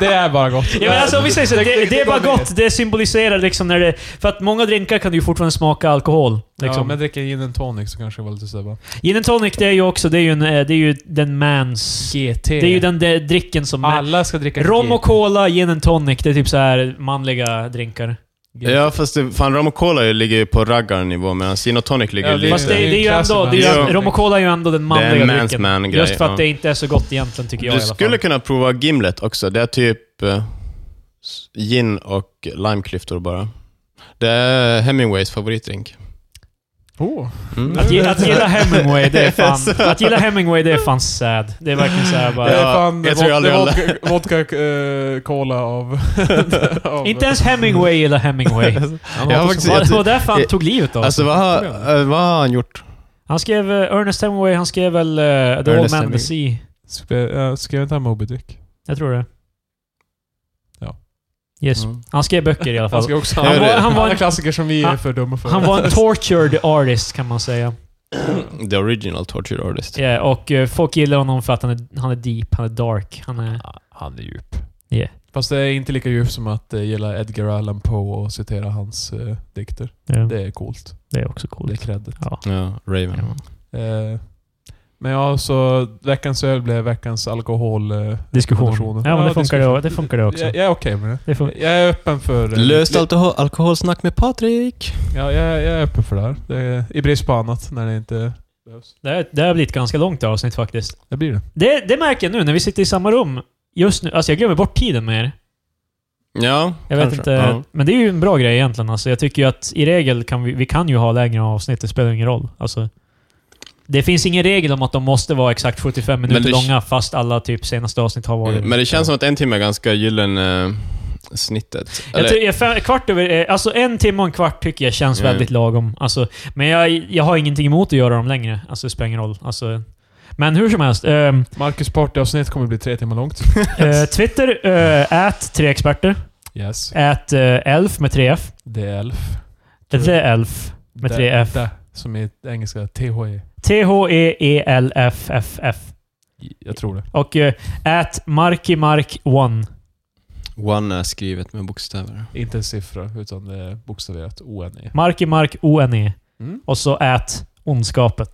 [SPEAKER 3] det är bara gott.
[SPEAKER 1] Ja, men alltså, om vi säger så, det, det, är bara
[SPEAKER 3] går ner.
[SPEAKER 1] gott. Det symboliserar liksom när det... För att många drinkar kan ju fortfarande smaka alkohol. Liksom.
[SPEAKER 3] Ja, men dricker gin and tonic så kanske det var lite såhär bara...
[SPEAKER 1] Gin and tonic, det är ju också... Det är ju, en, eh, det är ju den mans...
[SPEAKER 3] GT.
[SPEAKER 1] Det är ju den där dricken som...
[SPEAKER 3] Alla ska dricka
[SPEAKER 1] Rom och
[SPEAKER 3] GT.
[SPEAKER 1] cola, gin and tonic. Det är typ så här manliga drinkar.
[SPEAKER 2] Ja, fast det, fan, rom och cola ligger ju på raggarnivå medan gin och tonic ligger
[SPEAKER 3] Ja,
[SPEAKER 2] lite...
[SPEAKER 1] Fast det, det är ju
[SPEAKER 3] klassisk
[SPEAKER 1] ändå... Det är
[SPEAKER 2] man.
[SPEAKER 1] ju, rom och cola är ju ändå den
[SPEAKER 2] det är
[SPEAKER 1] manliga
[SPEAKER 2] en
[SPEAKER 1] dricken.
[SPEAKER 2] mansman-grej.
[SPEAKER 1] Just för att
[SPEAKER 2] ja.
[SPEAKER 1] det inte är så gott egentligen, tycker jag
[SPEAKER 2] Du
[SPEAKER 1] i alla
[SPEAKER 2] skulle
[SPEAKER 1] fall.
[SPEAKER 2] kunna prova Gimlet också. Det är typ eh, s- gin och limeklyftor bara. Det är Hemingways favoritdrink.
[SPEAKER 3] Oh.
[SPEAKER 2] Mm.
[SPEAKER 1] Att, ge, att gilla Hemingway, det är fan... Att gilla Hemingway, det är fan sad. Det är verkligen så här bara...
[SPEAKER 3] det är
[SPEAKER 2] Alltså. Ja,
[SPEAKER 3] fan
[SPEAKER 2] jag tror jag
[SPEAKER 3] vod-
[SPEAKER 2] aldrig
[SPEAKER 3] vodka, vodka eh, cola av... av
[SPEAKER 1] Inte ens Hemingway gillar Hemingway.
[SPEAKER 3] Han
[SPEAKER 2] Jag har
[SPEAKER 3] hatar
[SPEAKER 2] faktiskt-
[SPEAKER 3] som
[SPEAKER 1] Ja,
[SPEAKER 3] fan.
[SPEAKER 1] det var därför han
[SPEAKER 2] jag-
[SPEAKER 1] tog livet av sig.
[SPEAKER 2] Alltså vad har, eh, vad har han gjort?
[SPEAKER 1] Han skrev... eh, Ernest Hemingway, han skrev väl eh, The Old
[SPEAKER 2] Ernest
[SPEAKER 1] Man and the
[SPEAKER 2] Hemingway.
[SPEAKER 1] Sea.
[SPEAKER 3] Spe- eh, Skrev inte han Moby Dick?
[SPEAKER 1] Jag tror det.
[SPEAKER 3] Ja.
[SPEAKER 2] Mm.
[SPEAKER 1] Yes. Han skrev böcker i alla
[SPEAKER 3] Han
[SPEAKER 1] fall.
[SPEAKER 3] ska också...
[SPEAKER 2] Ja,
[SPEAKER 3] Han
[SPEAKER 2] det-
[SPEAKER 3] var,
[SPEAKER 1] han
[SPEAKER 3] han
[SPEAKER 1] var en-
[SPEAKER 3] en klassiker som vi är
[SPEAKER 1] han-
[SPEAKER 3] för dumma för.
[SPEAKER 1] Han var en tortured artist kan man säga.
[SPEAKER 2] Mm. The original torture artist.
[SPEAKER 1] Ja, och eh, folk gillar honom för att han är, han är deep, han är dark. Han är...
[SPEAKER 3] Han är djup.
[SPEAKER 1] Ja.
[SPEAKER 3] Fast det är inte lika djupt som att eh, gilla Edgar Allan Poe och citera hans eh, dikter.
[SPEAKER 1] Ja,
[SPEAKER 3] Det är coolt.
[SPEAKER 1] det är också
[SPEAKER 3] Det är
[SPEAKER 1] coolt.
[SPEAKER 3] credit.
[SPEAKER 1] Ja.
[SPEAKER 2] Ja, Raven.
[SPEAKER 3] Eh, men ja, så veckans öl blev veckans alkohol... Eh,
[SPEAKER 1] Diskussion.
[SPEAKER 3] Diskussioner.
[SPEAKER 1] Ja, men
[SPEAKER 3] Ja,
[SPEAKER 1] det funkar det,
[SPEAKER 3] diskussion.
[SPEAKER 1] det, funkar det också.
[SPEAKER 3] jag, jag är okej med det.
[SPEAKER 1] Det fun
[SPEAKER 3] Jag är öppen för... eh,
[SPEAKER 2] Löst alkohol, alkoholsnack med Patrik.
[SPEAKER 3] Ja, jag, jag är öppen för det här. Det är, I brist på annat, när det inte behövs.
[SPEAKER 1] det, här- det här har blivit ett ganska långt avsnitt faktiskt.
[SPEAKER 3] Det blir det.
[SPEAKER 1] Det, det märker jag nu när vi sitter i samma rum. Just nu. Alltså jag glömmer bort tiden med er.
[SPEAKER 2] Ja,
[SPEAKER 1] Jag vet
[SPEAKER 2] kanske.
[SPEAKER 1] inte.
[SPEAKER 2] Ja.
[SPEAKER 1] Men det är ju en bra grej egentligen. Alltså, jag tycker ju att i regel kan vi, vi kan ju ha längre avsnitt. Det spelar ingen roll. Alltså, det finns ingen regel om att de måste vara exakt 75
[SPEAKER 2] Men
[SPEAKER 1] minuter
[SPEAKER 2] det- Mm,
[SPEAKER 1] långa fast alla typ senaste avsnitt har varit...
[SPEAKER 2] Men det känns som att en timme är ganska gyllene snittet.
[SPEAKER 1] Jag
[SPEAKER 2] Eller,
[SPEAKER 1] tycker, jag, fem, kvart över, eh, alltså en timme och en kvart tycker jag känns
[SPEAKER 2] Mm.
[SPEAKER 1] väldigt lagom. Alltså, men jag, jag har ingenting emot att göra dem längre. Alltså, det spelar ingen roll. Alltså, men hur som helst. ehm,
[SPEAKER 3] Marcus Party-avsnitt kommer bli tre timmar långt.
[SPEAKER 1] eh, Twitter, eh, ät tre experter.
[SPEAKER 3] Yes.
[SPEAKER 1] Ät eh, elf med 3F.
[SPEAKER 3] Det är Elf.
[SPEAKER 1] The elf. Med
[SPEAKER 3] Det-
[SPEAKER 1] tre F.
[SPEAKER 3] det, Som i engelska E. THE.
[SPEAKER 1] E T-H-E-E-L-F-F-F.
[SPEAKER 3] Jag tror det.
[SPEAKER 1] Och eh, ät markimark1.
[SPEAKER 2] one är skrivet med bokstäver.
[SPEAKER 3] Inte en siffra, utan det är bokstaverat ONE.
[SPEAKER 1] Markimark-O-N-E.
[SPEAKER 3] Mm.
[SPEAKER 1] E. Och så ät ondskapet.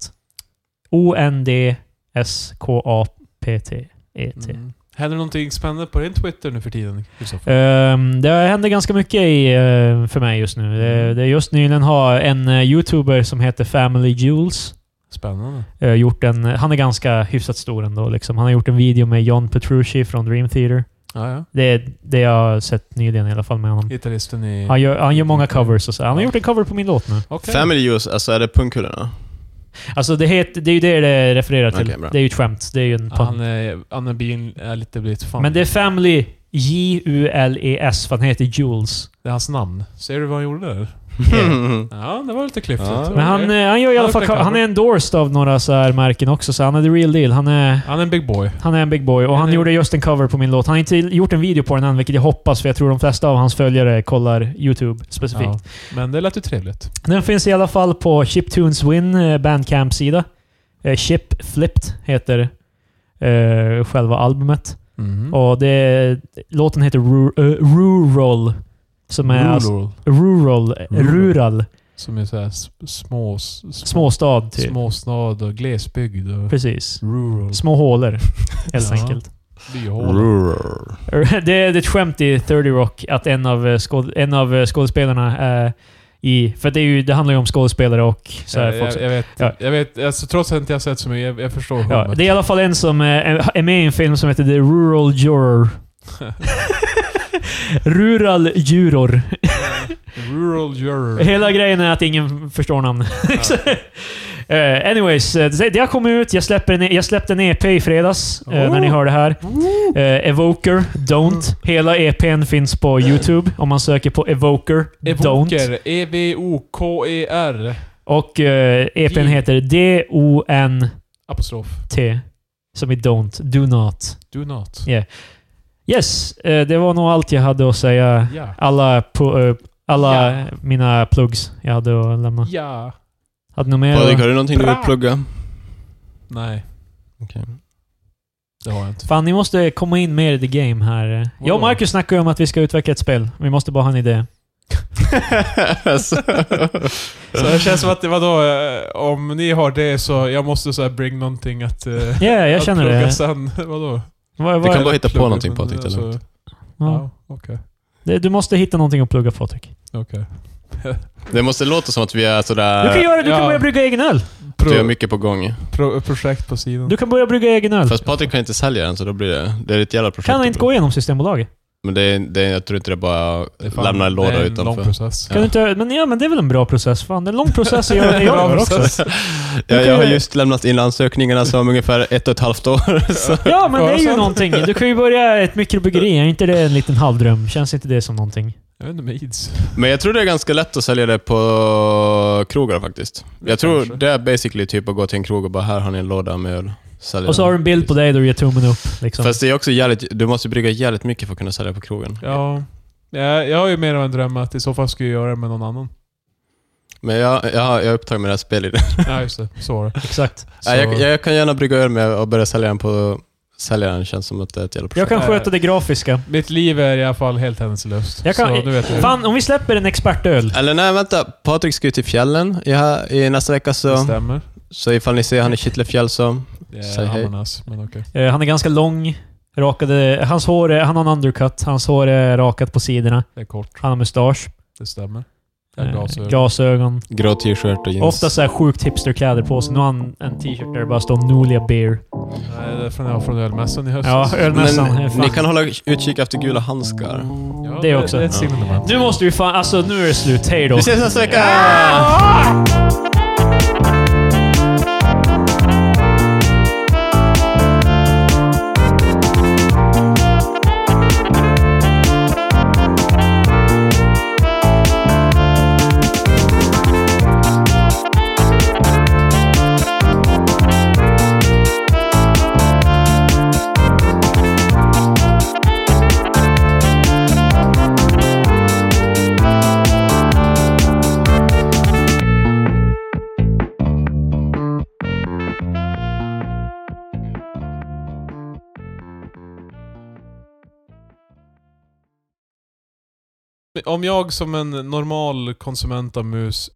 [SPEAKER 1] O-N-D-S-K-A-P-T-E-T.
[SPEAKER 3] Mm. Händer någonting spännande på din Twitter nu för tiden, Kristoffer?
[SPEAKER 1] Ehm, det händer ganska mycket i, eh, för mig just nu. Det, det just nyligen har en eh, YouTuber som heter Family Jules
[SPEAKER 3] Spännande.
[SPEAKER 1] eh, gjort en... Han är ganska hyfsat stor ändå. Liksom. Han har gjort en video med John Petrucci från Dream Theater.
[SPEAKER 3] Ja, ja.
[SPEAKER 1] Det är det jag har sett nyligen i alla fall med honom.
[SPEAKER 3] Gitarristen i...
[SPEAKER 1] Han gör, han gör många covers och så. Han har gjort en cover på min låt nu.
[SPEAKER 3] Okej.
[SPEAKER 2] Family Juice, alltså är det pungkulorna?
[SPEAKER 1] Alltså det, heter, det är ju det det refererar till.
[SPEAKER 2] Okej, bra.
[SPEAKER 1] det är ju ett skämt. Det är ju en pun.
[SPEAKER 3] Han är, han är, bin, är lite blivit fan.
[SPEAKER 1] Men det är Family J-U-L-E-S, E för han heter Jules.
[SPEAKER 3] Det är hans namn. Ser du vad han gjorde där? Ja, det var lite klyftigt.
[SPEAKER 2] Ja.
[SPEAKER 3] Okej.
[SPEAKER 1] Men han, eh, han gör i alla
[SPEAKER 3] Ja,
[SPEAKER 1] fall...
[SPEAKER 3] det kan
[SPEAKER 1] Han är endorsed av några så här märken också, så han är the real deal. Han är,
[SPEAKER 3] han är en big boy.
[SPEAKER 1] han är en big boy och han
[SPEAKER 3] det-
[SPEAKER 1] gjorde just en cover på min låt. Han har inte gjort en video på den än, vilket jag hoppas, för jag tror de flesta av hans följare kollar YouTube specifikt.
[SPEAKER 3] Ja. Men det lät ju trevligt.
[SPEAKER 1] Den finns i alla fall på Chiptunes Win eh, Bandcamp-sida. Eh, Chip Flipped heter eh, själva albumet.
[SPEAKER 3] Mm.
[SPEAKER 1] Och det, låten heter Ru- eh, Rural. Som är alltså,
[SPEAKER 3] Rural,
[SPEAKER 1] rural, eh,
[SPEAKER 3] Rural.
[SPEAKER 1] rural.
[SPEAKER 3] Som är såhär s- små... s- s-
[SPEAKER 1] Småstad, typ.
[SPEAKER 3] Småstad och glesbygd och...
[SPEAKER 1] Precis.
[SPEAKER 3] Rural.
[SPEAKER 1] Små hålor, helt
[SPEAKER 3] Ja.
[SPEAKER 1] enkelt.
[SPEAKER 3] Byhåla.
[SPEAKER 2] Rural.
[SPEAKER 1] Det är det är ett skämt i 30 Rock att en av, eh, skåd, en av eh, skådespelarna är i... För det, är ju, det handlar ju om skådespelare och så här,
[SPEAKER 3] Jag,
[SPEAKER 1] folk som-
[SPEAKER 3] jag, jag vet.
[SPEAKER 1] Ja.
[SPEAKER 3] Jag vet alltså, trots att jag inte har sett så mycket, jag, jag förstår
[SPEAKER 1] Ja, det är i alla fall en som eh, är med i en film som heter The Rural Juror. Rural Juror.
[SPEAKER 3] Rural juror.
[SPEAKER 1] Hela grejen är att ingen förstår namn. Eh, anyways, eh, det det har kommit ut. Jag, släpper en, jag släppte en EP i fredags, eh, när ni
[SPEAKER 3] Oh.
[SPEAKER 1] hör det här. Eh, Evoker,
[SPEAKER 3] Mm.
[SPEAKER 1] Don't. Hela EPn finns på YouTube om man söker på Evoker, Don't.
[SPEAKER 3] Eh. Evoker. E E-V-O-K-E-R.
[SPEAKER 1] Och eh, EPn heter D-O-N-T,
[SPEAKER 3] Apostrof.
[SPEAKER 1] som i Don't. Do Not.
[SPEAKER 3] Do not.
[SPEAKER 1] Yes, eh, det var nog allt jag hade att säga.
[SPEAKER 3] Ja.
[SPEAKER 1] Alla, pu- eh, alla
[SPEAKER 3] Ja.
[SPEAKER 1] mina plugs jag hade att lämna.
[SPEAKER 3] Ja.
[SPEAKER 1] Hade ni något mer?
[SPEAKER 2] Patrik, har du någonting du vill
[SPEAKER 3] Bra.
[SPEAKER 2] plugga?
[SPEAKER 3] Nej,
[SPEAKER 2] Okej.
[SPEAKER 3] det har jag inte.
[SPEAKER 1] Fan, ni måste komma in mer i the game här. Jag och Marcus snackade ju om att vi ska utveckla ett spel. Vi måste bara ha en idé.
[SPEAKER 2] alltså.
[SPEAKER 3] Så det känns som att det var då, eh, om ni har det så jag måste så här bring någonting att... eh,
[SPEAKER 1] Ja, jag
[SPEAKER 3] att
[SPEAKER 1] känner
[SPEAKER 3] plugga
[SPEAKER 1] det.
[SPEAKER 3] Sen. Vadå?
[SPEAKER 1] Vad-
[SPEAKER 2] Vi
[SPEAKER 1] vad-
[SPEAKER 2] kan bara hitta på
[SPEAKER 3] Plugga,
[SPEAKER 2] någonting
[SPEAKER 3] men,
[SPEAKER 2] Patrik, det är
[SPEAKER 3] alltså,
[SPEAKER 2] lugnt.
[SPEAKER 1] ja.
[SPEAKER 3] Ja, okej.
[SPEAKER 1] Det- Du måste hitta någonting att plugga Patrik.
[SPEAKER 3] Okej.
[SPEAKER 2] Det måste låta som att vi är sådär...
[SPEAKER 1] Du kan göra det. Du
[SPEAKER 3] ja.
[SPEAKER 1] kan börja brygga egen öl.
[SPEAKER 2] Du har
[SPEAKER 3] Pro,
[SPEAKER 2] mycket på gång.
[SPEAKER 3] pro, projekt på sidan.
[SPEAKER 1] Du kan börja brygga egen öl.
[SPEAKER 2] Fast Patrik kan inte sälja den, så då blir det... Det är ett jävla projekt.
[SPEAKER 1] Kan han inte gå igenom Systembolaget?
[SPEAKER 2] Men det är, det är, jag tror inte det är bara
[SPEAKER 3] Det är
[SPEAKER 2] att
[SPEAKER 3] fan-
[SPEAKER 2] lämna en låda
[SPEAKER 3] det är en lång
[SPEAKER 2] utanför.
[SPEAKER 3] process.
[SPEAKER 1] Kan du inte, men, ja, men det är väl en bra process? Fan, det är en lång process att göra det
[SPEAKER 3] Det är en bra
[SPEAKER 1] jag gör också.
[SPEAKER 3] process.
[SPEAKER 2] Jag,
[SPEAKER 1] kan
[SPEAKER 2] jag har
[SPEAKER 1] ju-
[SPEAKER 2] just lämnat in ansökningarna som ungefär ett och ett halvt år. Så.
[SPEAKER 1] Ja, men det är ju
[SPEAKER 3] Förstås.
[SPEAKER 1] någonting. Du kan ju börja ett mikrobryggeri. Är inte det en liten halvdröm? Känns inte det som någonting?
[SPEAKER 3] Jag vet inte med ids.
[SPEAKER 2] Men jag tror det är ganska lätt att sälja det på krogar faktiskt. Jag tror det är basically typ att gå till en krog och bara här har ni en låda med öl. Sälj
[SPEAKER 1] Och så
[SPEAKER 2] den."
[SPEAKER 1] har du en bild på dig där du ger tummen upp. Liksom.
[SPEAKER 2] Fast det är också jävligt, du måste brygga jävligt mycket för att kunna sälja på krogen.
[SPEAKER 3] Ja. Jag, jag har ju mer av en dröm att i så fall skulle jag göra det med någon annan.
[SPEAKER 2] Men jag, jag, jag är upptagen med det här spelet.
[SPEAKER 3] Ja, just det. Så var det.
[SPEAKER 1] Exakt.
[SPEAKER 3] Så,
[SPEAKER 2] Nej, Jag, jag kan gärna brygga öl med och börja sälja den på säljaren. Känns som att det är ett jävla
[SPEAKER 1] Jag
[SPEAKER 2] projekt.
[SPEAKER 1] kan sköta det grafiska.
[SPEAKER 3] Mitt liv är i alla fall helt händelselöst.
[SPEAKER 1] Jag kan-
[SPEAKER 3] så nu vet du.
[SPEAKER 1] Fan, om vi släpper en expertöl.
[SPEAKER 2] Eller nej, vänta. Patrik ska ut till fjällen i, här, i nästa vecka,
[SPEAKER 3] Det
[SPEAKER 2] så,
[SPEAKER 3] stämmer.
[SPEAKER 2] så ifall ni ser han i Kittlefjäll så...
[SPEAKER 3] Det är
[SPEAKER 2] Säg hej.
[SPEAKER 3] ananas, men okej.
[SPEAKER 1] Eh, han är ganska lång. Rakade, hans hår är, han har en undercut. Hans hår är rakat på sidorna.
[SPEAKER 3] Det är kort.
[SPEAKER 1] Han har mustasch.
[SPEAKER 3] Det stämmer. Jag har
[SPEAKER 1] Eh,
[SPEAKER 3] glasögon.
[SPEAKER 1] glasögon.
[SPEAKER 2] Grå t-shirt och jeans.
[SPEAKER 1] Ofta så här sjukt hipsterkläder på sig. Nu har han en t-shirt där det bara står Nolia Beer.
[SPEAKER 3] Nej, det är från, ja, från ölmässan i höst.
[SPEAKER 1] Ja, ölmässan.
[SPEAKER 2] Men
[SPEAKER 1] eh, fan.
[SPEAKER 2] ni kan hålla utkik efter gula handskar.
[SPEAKER 3] Ja,
[SPEAKER 1] det också.
[SPEAKER 3] Det är ett signalement.
[SPEAKER 1] Nu måste vi fan... Alltså, nu är det slut. Hej då.
[SPEAKER 2] Vi ses nästa vecka!
[SPEAKER 3] Om jag som en normal konsument av mus